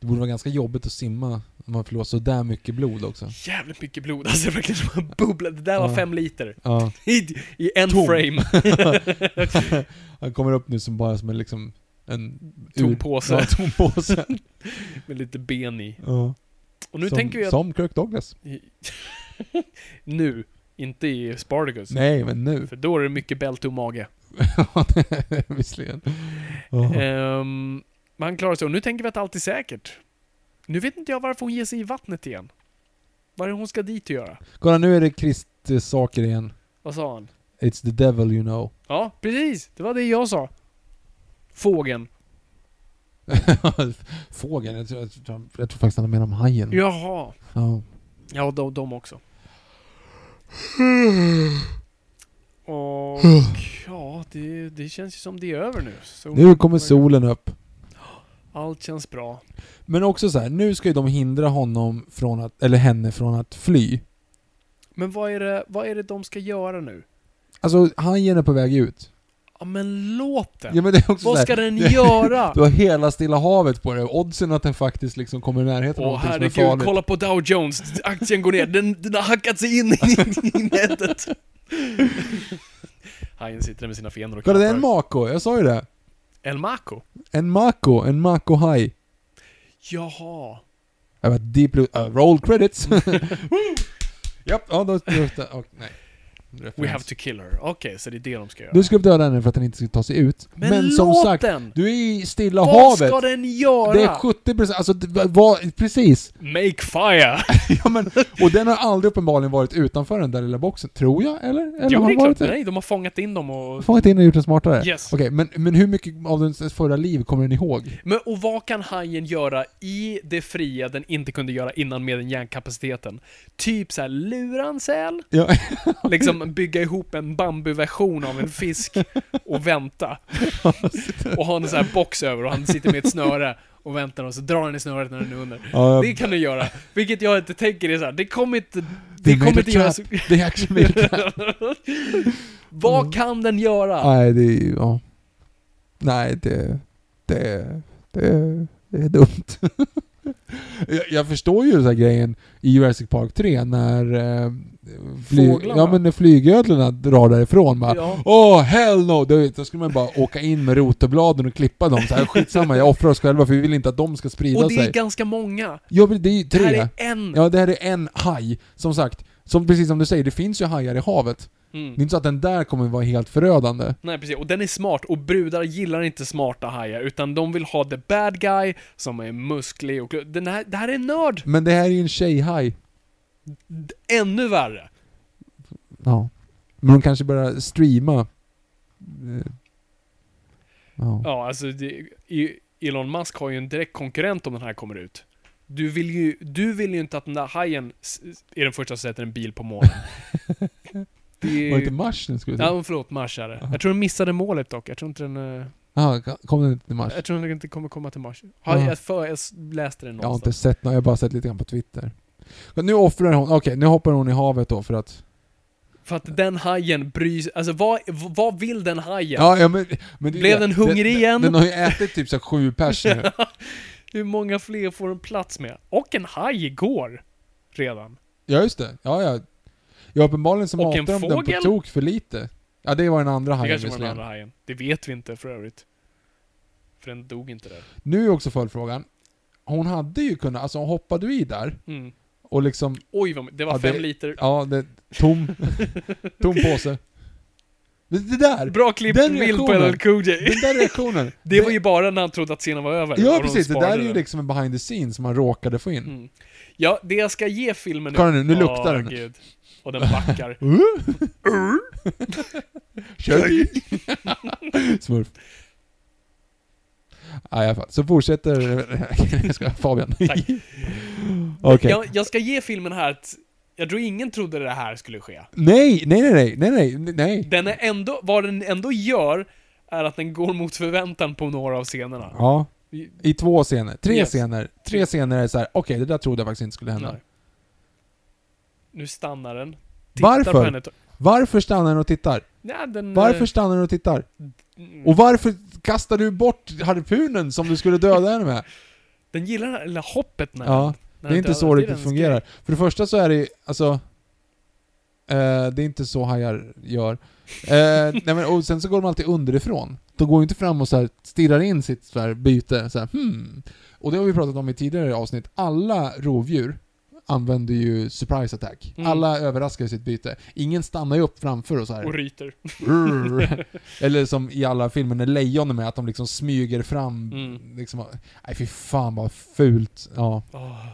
S1: Det borde vara ganska jobbigt att simma om man förlorar sådär mycket blod också.
S2: jävligt mycket blod, alltså verkligen som en bubbla. Det där var
S1: Ja.
S2: fem liter.
S1: Ja.
S2: I, i en
S1: Tom.
S2: frame.
S1: Han kommer upp nu som bara som en liksom en...
S2: Tom
S1: ur-
S2: påse.
S1: Ja, tom påse.
S2: Med lite ben i.
S1: ja.
S2: Och nu
S1: som,
S2: tänker vi att...
S1: Som Kirk Douglas.
S2: nu. Inte i Spartacus.
S1: Nej, men nu.
S2: För då är det mycket bälte och mage.
S1: Ja, det- Visserligen. Eh. Ja.
S2: Ehm, men han klarar sig. Och nu tänker vi att allt är säkert. Nu vet inte jag varför hon ger sig i vattnet igen. Vad är det hon ska dit och göra?
S1: Kolla, nu är det kristsaker igen.
S2: Vad sa han?
S1: It's the devil you know.
S2: Ja, precis. Det var det jag sa. Fågeln.
S1: Mm. Fågeln, jag tror, jag, tror, jag tror faktiskt han menar om hajen.
S2: Jaha.
S1: Ja.
S2: Ja, de, de också. Och ja, det, det känns ju som det är över nu. Så
S1: Nu kommer solen upp.
S2: Allt känns bra.
S1: Men också så här, nu ska ju de hindra honom från att, eller henne från att fly.
S2: Men vad är det, vad är det de ska göra nu?
S1: Alltså, hajen är på väg ut.
S2: Ja, men låt den!
S1: Ja, men det är också
S2: vad
S1: så här,
S2: ska den
S1: du-
S2: göra?
S1: Du har hela Stilla havet på dig, och oddsen att den faktiskt liksom kommer i närheten av
S2: Åh
S1: någonting som är farligt.
S2: herregud, kolla på Dow Jones. Aktien går ner. Den, den har hackat sig in i, i nätet. Hajen sitter där med sina fenor och
S1: Kolla, det är
S2: klappar.
S1: en mako, jag sa ju det.
S2: El Maco?
S1: En mako, en mako-haj.
S2: Jaha.
S1: Jag bara, deep blue, uh, roll credits. Japp, ja då... då, då och, nej.
S2: We
S1: Referens.
S2: have to kill her. Okej, så det är det de ska göra.
S1: Du skulle döda henne för att den inte skulle ta sig ut.
S2: Men
S1: Men, som
S2: låt
S1: sagt,
S2: den!
S1: du är i Stilla
S2: Vad
S1: havet.
S2: ska den göra?
S1: Det är 70%, alltså det var- var, precis.
S2: Make fire!
S1: Ja, men, och den har aldrig uppenbarligen varit utanför den där lilla boxen, tror jag, eller? eller
S2: jo,
S1: har
S2: det är
S1: den varit
S2: klart.
S1: det?
S2: Nej, de har fångat in dem och...
S1: Fångat in och gjort den smartare?
S2: Yes.
S1: Okej, men, men hur mycket av dens förra liv kommer den ihåg?
S2: Men, och vad kan hajen göra i det fria den inte kunde göra innan med den hjärnkapaciteten? Typ såhär, lura en säl,
S1: Ja,
S2: liksom bygga ihop en bambuversion av en fisk och vänta. och ha en sån här box över och han sitter med ett snöre och väntar och så drar han i snöret när den är under.
S1: Ja,
S2: Det kan du göra. Vilket jag inte tänker är såhär, det kommer inte...
S1: They
S2: Det kommer
S1: made a
S2: inte göra så...
S1: trap. They actually made a trap.
S2: Vad kan den göra?
S1: Nej, det är ju... Mm. Ja. Nej, det... Det... Det, det är dumt. jag, jag förstår ju den här grejen i Jurassic Park 3 när... Eh, fly,
S2: Fåglarna.
S1: ja, men när flygödlorna drar därifrån bara
S2: Ja.
S1: Åh, hell no! Då, då skulle man bara åka in med rotorbladen och klippa dem så här, skitsamma, jag offrar oss själva för vi vill inte att de ska sprida
S2: Och det är
S1: sig.
S2: ganska många.
S1: Ja, men det är ju
S2: Det
S1: tre.
S2: här är en.
S1: Ja, det här är en haj. Som sagt, som, precis som du säger, det finns ju hajar i havet. Det är
S2: Mm.
S1: inte så att den där kommer vara helt förödande.
S2: Nej precis, och den är smart och brudar gillar inte smarta hajar utan de vill ha the bad guy som är musklig och den här, det här är en nörd!
S1: Men det här är ju en tjejhaj.
S2: Ännu värre!
S1: Ja. Men de kanske börjar streama. Eh, Ja.
S2: Ja, alltså det, i- Elon Musk har ju en direkt konkurrent om den här kommer ut. Du vill ju, du vill ju inte att den där hajen s- är den första som sätter en bil på månen. Det är
S1: Var det inte
S2: ju...
S1: mars den skulle
S2: Ja,
S1: säga?
S2: men förlåt, Mars är det. Jag tror den missade målet dock. Jag tror inte den... eh,
S1: Jaha, kom den inte till mars?
S2: Jag tror den inte kommer komma till Mars. Har
S1: Ja.
S2: jag, för, jag s- läste det
S1: Jag har
S2: någonstans.
S1: inte sett något, jag har bara sett lite grann på Twitter. Men Nu offrar hon, okej nu hoppar hon i havet då för att...
S2: För att den hajen bryr sig, alltså vad, vad vill den hajen?
S1: Ja, ja men... men det är
S2: Blev
S1: det.
S2: den hungrig igen?
S1: Den, den har ju ätit typ så här sju pers nu.
S2: Hur många fler får den plats med? Och en haj går! Redan.
S1: Ja just det, ja ja. Ja uppenbarligen så
S2: Och en
S1: matar de den på
S2: fågel?
S1: tok för lite. Ja det var den andra
S2: Det
S1: hajen
S2: kanske var den andra
S1: visserligen.
S2: hajen. Det vet vi inte för övrigt. För den dog inte där.
S1: Nu är också följdfrågan. Hon hade ju kunnat, alltså hon hoppade ju i där
S2: Mm.
S1: och liksom
S2: Oj, vad, det var
S1: Ja,
S2: fem
S1: det-
S2: liter.
S1: Ja, det, tom. tom påse. Men Det där!
S2: Bra klippt
S1: den
S2: bild på
S1: reaktionen.
S2: LL Cool J.
S1: Den där reaktionen.
S2: Det var ju bara när han trodde att scenen var över. och
S1: Ja
S2: de
S1: precis, det
S2: sparade
S1: där är ju
S2: den.
S1: liksom en behind the scenes som man råkade få in.
S2: Mm. Ja, det jag ska ge filmen
S1: Kolla nu, nu luktar
S2: Åh,
S1: den.
S2: Gud. Och den backar.
S1: Kör! Smurf. Ja, i alla fall. Så fortsätter... Jag ska, Fabian.
S2: Tack.
S1: Okej.
S2: jag, jag ska ge filmen här att jag tror ingen trodde det här skulle ske.
S1: Nej, nej, nej, nej, nej, nej, nej, nej.
S2: Den är ändå, vad den ändå gör är att den går mot förväntan på några av scenerna.
S1: Ja. I två scener. Tre
S2: Yes.
S1: scener. Tre scener är så här. okej, det där trodde jag faktiskt inte skulle hända.
S2: Nej. Nu stannar den.
S1: Varför?
S2: På henne.
S1: Varför stannar den och tittar?
S2: Nej, den,
S1: Varför stannar den och tittar?
S2: eh,
S1: Och varför kastar du bort harpunen som du skulle döda henne med?
S2: Den gillar det här lilla hoppet när
S1: Ja,
S2: den- när
S1: Det är
S2: den
S1: inte
S2: dödar.
S1: så
S2: Det är
S1: riktigt
S2: dens
S1: fungerar.
S2: grej.
S1: För det första så är det ju, alltså... eh, det är inte så hajar gör. Eh, nej men, och sen så går de alltid underifrån. De går ju inte fram och så här stirrar in sitt så här byte. Så här, hmm. Och det har vi pratat om i tidigare avsnitt. Alla rovdjur använder ju surprise attack.
S2: Mm.
S1: Alla överraskar sitt byte. Ingen stannar ju upp framför och så här.
S2: Och ryter.
S1: Urr. Eller som i alla filmer när lejon är med, att de liksom smyger fram.
S2: Mm.
S1: Liksom, nej fy fan vad fult. Ja.
S2: Åh.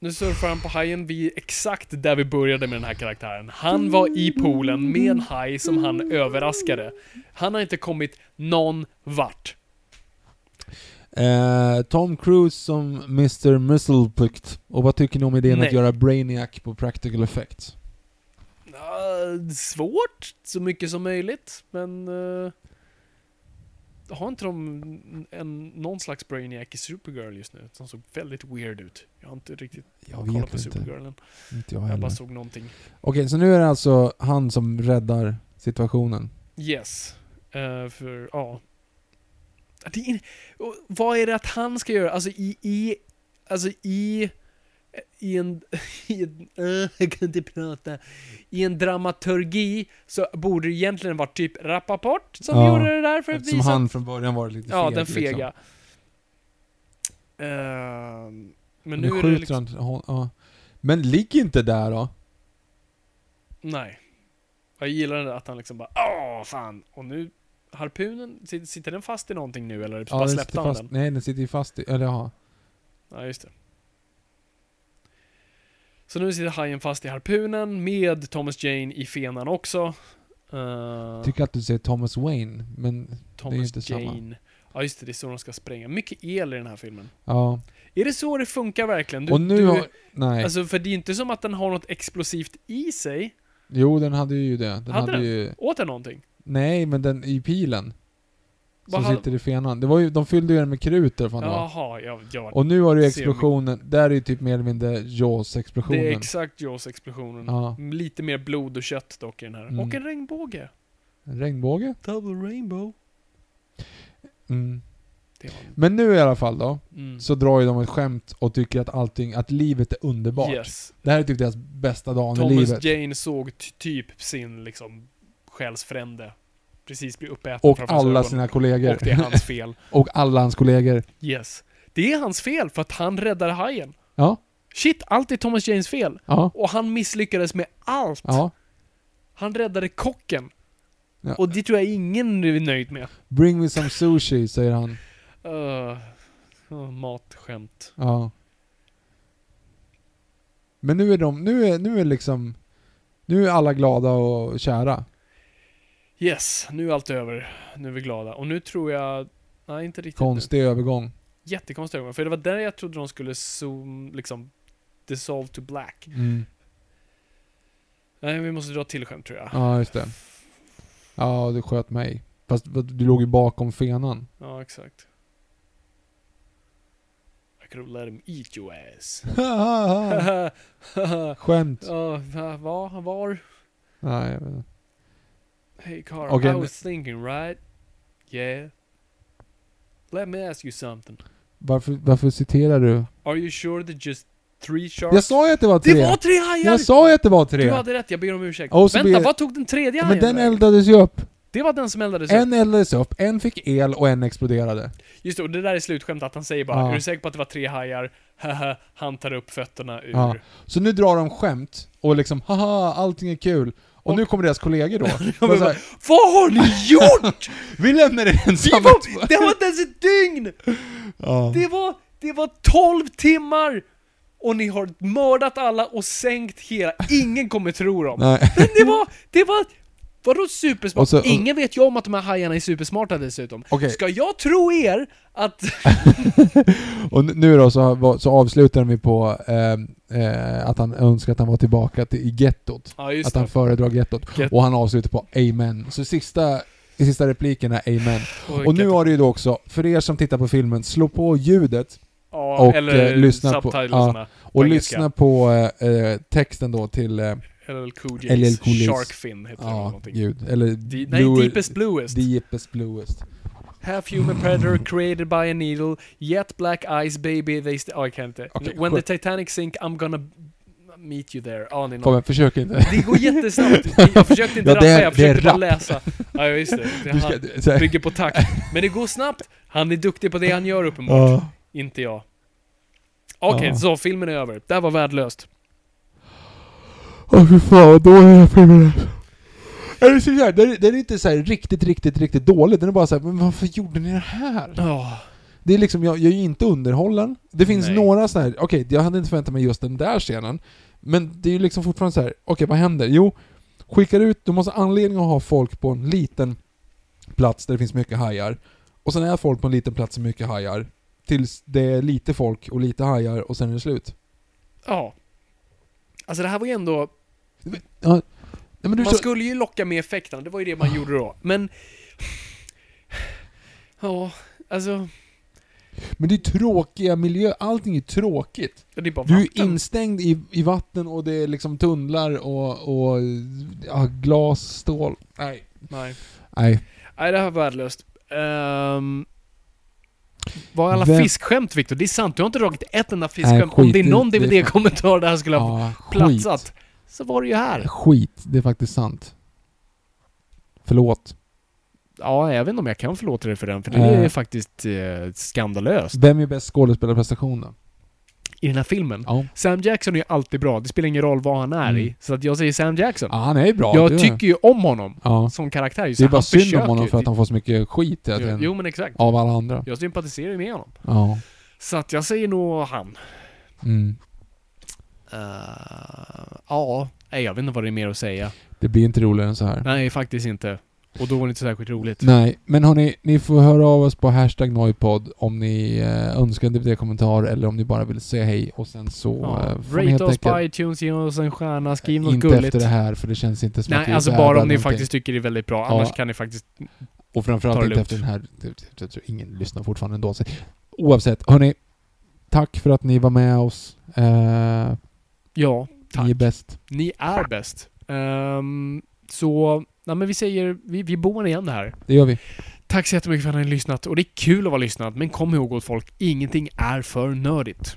S2: Nu surfar han på hajen, vi är exakt där vi började med den här karaktären. Han var i poolen med en haj som han överraskade. Han har inte kommit någon vart.
S1: Eh, Tom Cruise som Mr. Musselplikt. Och vad tycker ni om idén
S2: Nej.
S1: att göra Brainiac på practical effects?
S2: Eh, svårt, så mycket som möjligt, men... eh, har inte de en, någon slags Brainiac i Supergirl just nu? Som såg väldigt weird ut. Jag har inte riktigt
S1: Jag
S2: kollat
S1: vet
S2: på
S1: inte.
S2: Supergirlen.
S1: Inte jag
S2: Jag
S1: heller.
S2: bara
S1: Okej,
S2: såg någonting.
S1: så nu är det alltså han som räddar situationen.
S2: Yes. Eh, för, ja. Det är, och vad är det att han ska göra? Alltså i, i, alltså i, i en, i en eh, jag kan inte prata. I en dramaturgi så borde det egentligen vara typ Rappaport som
S1: Ja,
S2: gjorde det där för att
S1: Eftersom
S2: visa.
S1: han från början var lite
S2: ja,
S1: feg,
S2: den fega.
S1: Liksom.
S2: Ehm, men
S1: Men
S2: nu,
S1: nu
S2: är det
S1: skjuter
S2: liksom,
S1: han... hon- Ja. Men ligg inte där då.
S2: nej. Jag gillar det att han liksom bara, åh fan. Och nu, harpunen, sitter, sitter den fast i någonting nu eller bara
S1: den
S2: släppte
S1: sitter
S2: han
S1: fast.
S2: den?
S1: Nej, den sitter ju fast i... Eller ja.
S2: Ja, just det. Så nu sitter hajen fast i harpunen med Thomas Jane i fenan också. Eh,
S1: Tycker att du säger Thomas Wayne, men...
S2: Thomas
S1: inte samma.
S2: Jane. Ja, just det. Det är så de ska spränga. Mycket el i den här filmen.
S1: Ja.
S2: Är det så det funkar verkligen? Du,
S1: Och nu
S2: du,
S1: har... Nej.
S2: Alltså, för det är inte som att den har något explosivt i sig.
S1: Jo, den hade ju det. Den
S2: Hade
S1: hade,
S2: den?
S1: ju...
S2: Åt den någonting?
S1: Nej, men den i pilen.
S2: Vad
S1: Som
S2: hade-
S1: sitter i fenan. Det var ju, de fyllde ju den med krut där fan det var.
S2: Jaha, ja, ja.
S1: Och nu har du ju
S2: Ser mycket.
S1: explosionen. Där är ju typ mer eller mindre
S2: det är
S1: Jaws-explosionen.
S2: exakt Jaws-explosionen.
S1: Ja.
S2: Lite mer blod och kött dock i den här.
S1: Mm.
S2: Och en regnbåge.
S1: En regnbåge.
S2: Double rainbow.
S1: Mm.
S2: Det var en...
S1: Men nu i alla fall då,
S2: Mm.
S1: så drar ju de ett skämt och tycker att allting, att livet är underbart.
S2: Yes.
S1: Det här är typ deras bästa dag i
S2: Thomas
S1: livet.
S2: Jane såg ty- typ sin liksom själsfrände precis bli uppäten
S1: och
S2: framför
S1: alla
S2: ögon.
S1: sina kollegor.
S2: Och det är hans fel.
S1: och alla hans kollegor.
S2: Yes. Det är hans fel för att han räddar hajen.
S1: Ja,
S2: Shit, allt är Thomas Janes fel.
S1: ja,
S2: Och han misslyckades med allt.
S1: ja.
S2: Han räddade kocken.
S1: Ja.
S2: Och det tror jag ingen är nöjd med.
S1: Bring me some sushi, säger han.
S2: Uh, uh, matskämt.
S1: Ja. Men nu är de, nu är, nu är liksom, nu är alla glada och kära.
S2: Yes, nu är allt över. Nu är vi glada. Och nu tror jag... Nej, inte riktigt. nu.
S1: Konstig övergång.
S2: Jättekonstig övergång. För det var där jag trodde de skulle zoom, liksom... Dissolve to black.
S1: Mm.
S2: Nej, vi måste dra till skämt tror jag. Ja,
S1: Ja, just det. Ja, du sköt mig. Fast du låg ju bakom fenan.
S2: exakt. I could have let him eat your ass. Ja,
S1: Skämt.
S2: va- va- var?
S1: Nej, jag vet inte.
S2: Hey Carl,
S1: Okej,
S2: I
S1: men-
S2: was thinking right? Yeah. Let me ask you something.
S1: varför, varför citerar du?
S2: Are you sure that just three sharks?
S1: Jag sa ju att det var tre!
S2: det var tre hajar!
S1: jag sa ju att det var tre!
S2: Du hade rätt, jag ber om ursäkt.
S1: Och så
S2: Vänta,
S1: ber-
S2: vad tog den tredje
S1: Men
S2: hajen
S1: den
S2: vägen?
S1: eldades ju upp.
S2: Det var den som eldades upp.
S1: En eldades upp, en fick el och en exploderade.
S2: Just det, och det där är slutskämt att han säger bara
S1: Ja.
S2: Är du säker på att det var tre hajar? Haha, han tar upp fötterna ur...
S1: Ja. Så nu drar de skämt och liksom haha, allting är kul. Och, nu kommer deras kollegor då. Bara så här,
S2: Vad har ni gjort?
S1: vi lämnar er ensamma
S2: Det var, det var inte ens ett dygn!
S1: Ja.
S2: Det var, det var 12 timmar! Och ni har mördat alla och sänkt hela, ingen kommer tro dem.
S1: Nej.
S2: Men det var, det var... Vadå supersmart?
S1: Och så- och-
S2: Ingen vet ju om att de här hajarna är supersmarta dessutom.
S1: Okej.
S2: Ska jag tro er att...
S1: Och n- nu då så, var- så avslutar vi på ehm, eh, att han önskar att han var tillbaka till, i gettot.
S2: Ja, just
S1: Att han
S2: det.
S1: föredrar gettot.
S2: Get-
S1: Och han avslutar på Amen. Så sista, i sista repliken är Amen.
S2: Oj,
S1: Och nu
S2: get-
S1: har det ju då också, för er som tittar på filmen, slå på ljudet
S2: ja,
S1: och,
S2: eller
S1: eh, lyssna på-
S2: subtitlesarna på
S1: och
S2: engelska.
S1: lyssna på eh, eh, texten då till eh,
S2: LL Cool
S1: LL
S2: J's
S1: Cool J's.
S2: Shark Fin heter det eller
S1: ja,
S2: någonting.
S1: ljud. Eller
S2: De, nej, Deepest Bluest.
S1: Deepest Bluest.
S2: Half human predator created by a needle, yet black eyes baby they st- oh, I can't.
S1: Okej,
S2: When the
S1: skit.
S2: Titanic sink I'm gonna meet you there. Ja, det är något.
S1: Fabian, försök inte.
S2: Det går jättesnabbt. Jag försökte inte
S1: Ja, det
S2: rappa,
S1: är-
S2: jag
S1: det är
S2: försökte bara
S1: rap.
S2: läsa. Ja, just det. det
S1: Du ska,
S2: han
S1: så här,
S2: bygger på takt. Men det går snabbt. Han är duktig på det han gör uppenbart.
S1: ja.
S2: Inte jag. Okej,
S1: Ja.
S2: så filmen är över. Det här var värdelöst.
S1: Åh fy fan vad dålig den här filmen är. Är det så här, den, är- den är inte så här riktigt, riktigt, riktigt dålig. Den är bara så här, men varför gjorde ni det här?
S2: Ja.
S1: Det är liksom, jag, jag är ju inte underhållen. Det finns
S2: Nej.
S1: några så här, okej, jag hade inte förväntat mig just den där scenen. Men det är ju liksom fortfarande så här, okej vad händer? Jo, skickar ut, du måste ha anledning att ha folk på en liten plats där det finns mycket hajar. Och sen är folk på en liten plats med mycket hajar. tills det är lite folk och lite hajar och sen är det slut.
S2: Ja. Alltså det här var ju ändå...
S1: Ja. Nej, men du
S2: Man
S1: kör...
S2: skulle ju locka med effekterna, det var ju det man gjorde då. Men... Ja, alltså...
S1: Men det är tråkiga miljöer, allting är tråkigt.
S2: Det är bara
S1: Du är
S2: vatten.
S1: instängd i, i vatten och det är liksom tunnlar och, och ja, glas, stål. Nej.
S2: Nej.
S1: Nej.
S2: Nej, det här var värdelöst. Um, var alla
S1: Vem-
S2: fiskskämt, Viktor? Det är sant, du har inte dragit ett enda fiskskämt.
S1: skit
S2: Om det är
S1: i-
S2: någon
S1: det är-
S2: DVD-kommentar där skulle ha
S1: Ja,
S2: platsat, så var det ju här.
S1: skit. Skit, det är faktiskt sant. Förlåt.
S2: Ja, jag vet inte om jag kan förlåta dig för den, för det
S1: Eh.
S2: är faktiskt eh, skandalöst.
S1: Vem är bäst skådespelarprestation då?
S2: I den här filmen.
S1: Ja.
S2: Sam Jackson är ju alltid bra, det spelar ingen roll vad han är
S1: Mm.
S2: i. Så att jag säger Sam Jackson.
S1: Ja, han är ju bra. det
S2: jag
S1: är-
S2: tycker ju om honom
S1: Ja.
S2: som karaktär.
S1: Det är bara synd om honom för att han får så mycket skit hela
S2: Jo,
S1: tiden.
S2: typ jo, men exakt.
S1: Av alla andra.
S2: Jag sympatiserar ju med honom.
S1: Ja.
S2: Så att jag säger nog han.
S1: Mm.
S2: Eh, ja, nej, jag vet inte vad det är mer att säga.
S1: Det blir inte roligare än så här.
S2: Nej, faktiskt inte. Och då var det inte särskilt roligt.
S1: Nej, men hörni, ni får höra av oss på hashtag Noipod om ni eh, önskar en DVD-kommentar eller om ni bara vill säga hej och sen så...
S2: Ja,
S1: eh, får ni helt
S2: rate oss
S1: enkelt-
S2: på iTunes, ge oss en stjärna, skriv något
S1: Inte
S2: gulligt.
S1: efter det här för det känns inte som att vi
S2: Nej,
S1: är
S2: alltså
S1: värda
S2: bara om ni
S1: någonting.
S2: faktiskt tycker det är väldigt bra.
S1: Ja.
S2: Annars kan ni faktiskt...
S1: Och
S2: tar
S1: framförallt
S2: det
S1: inte
S2: lugnt.
S1: efter den här... Jag tror ingen lyssnar fortfarande ändå. Så, oavsett, hörni. Tack för att ni var med oss. Eh,
S2: Ja, tack.
S1: ni är bäst.
S2: Ni är bäst. Ehm, så, nej men vi säger, vi, vi bommar igen det här.
S1: Det gör vi.
S2: Tack så jättemycket för att ni har lyssnat. Och det är kul att vara lyssnat, men kom ihåg gott folk, ingenting är för nördigt.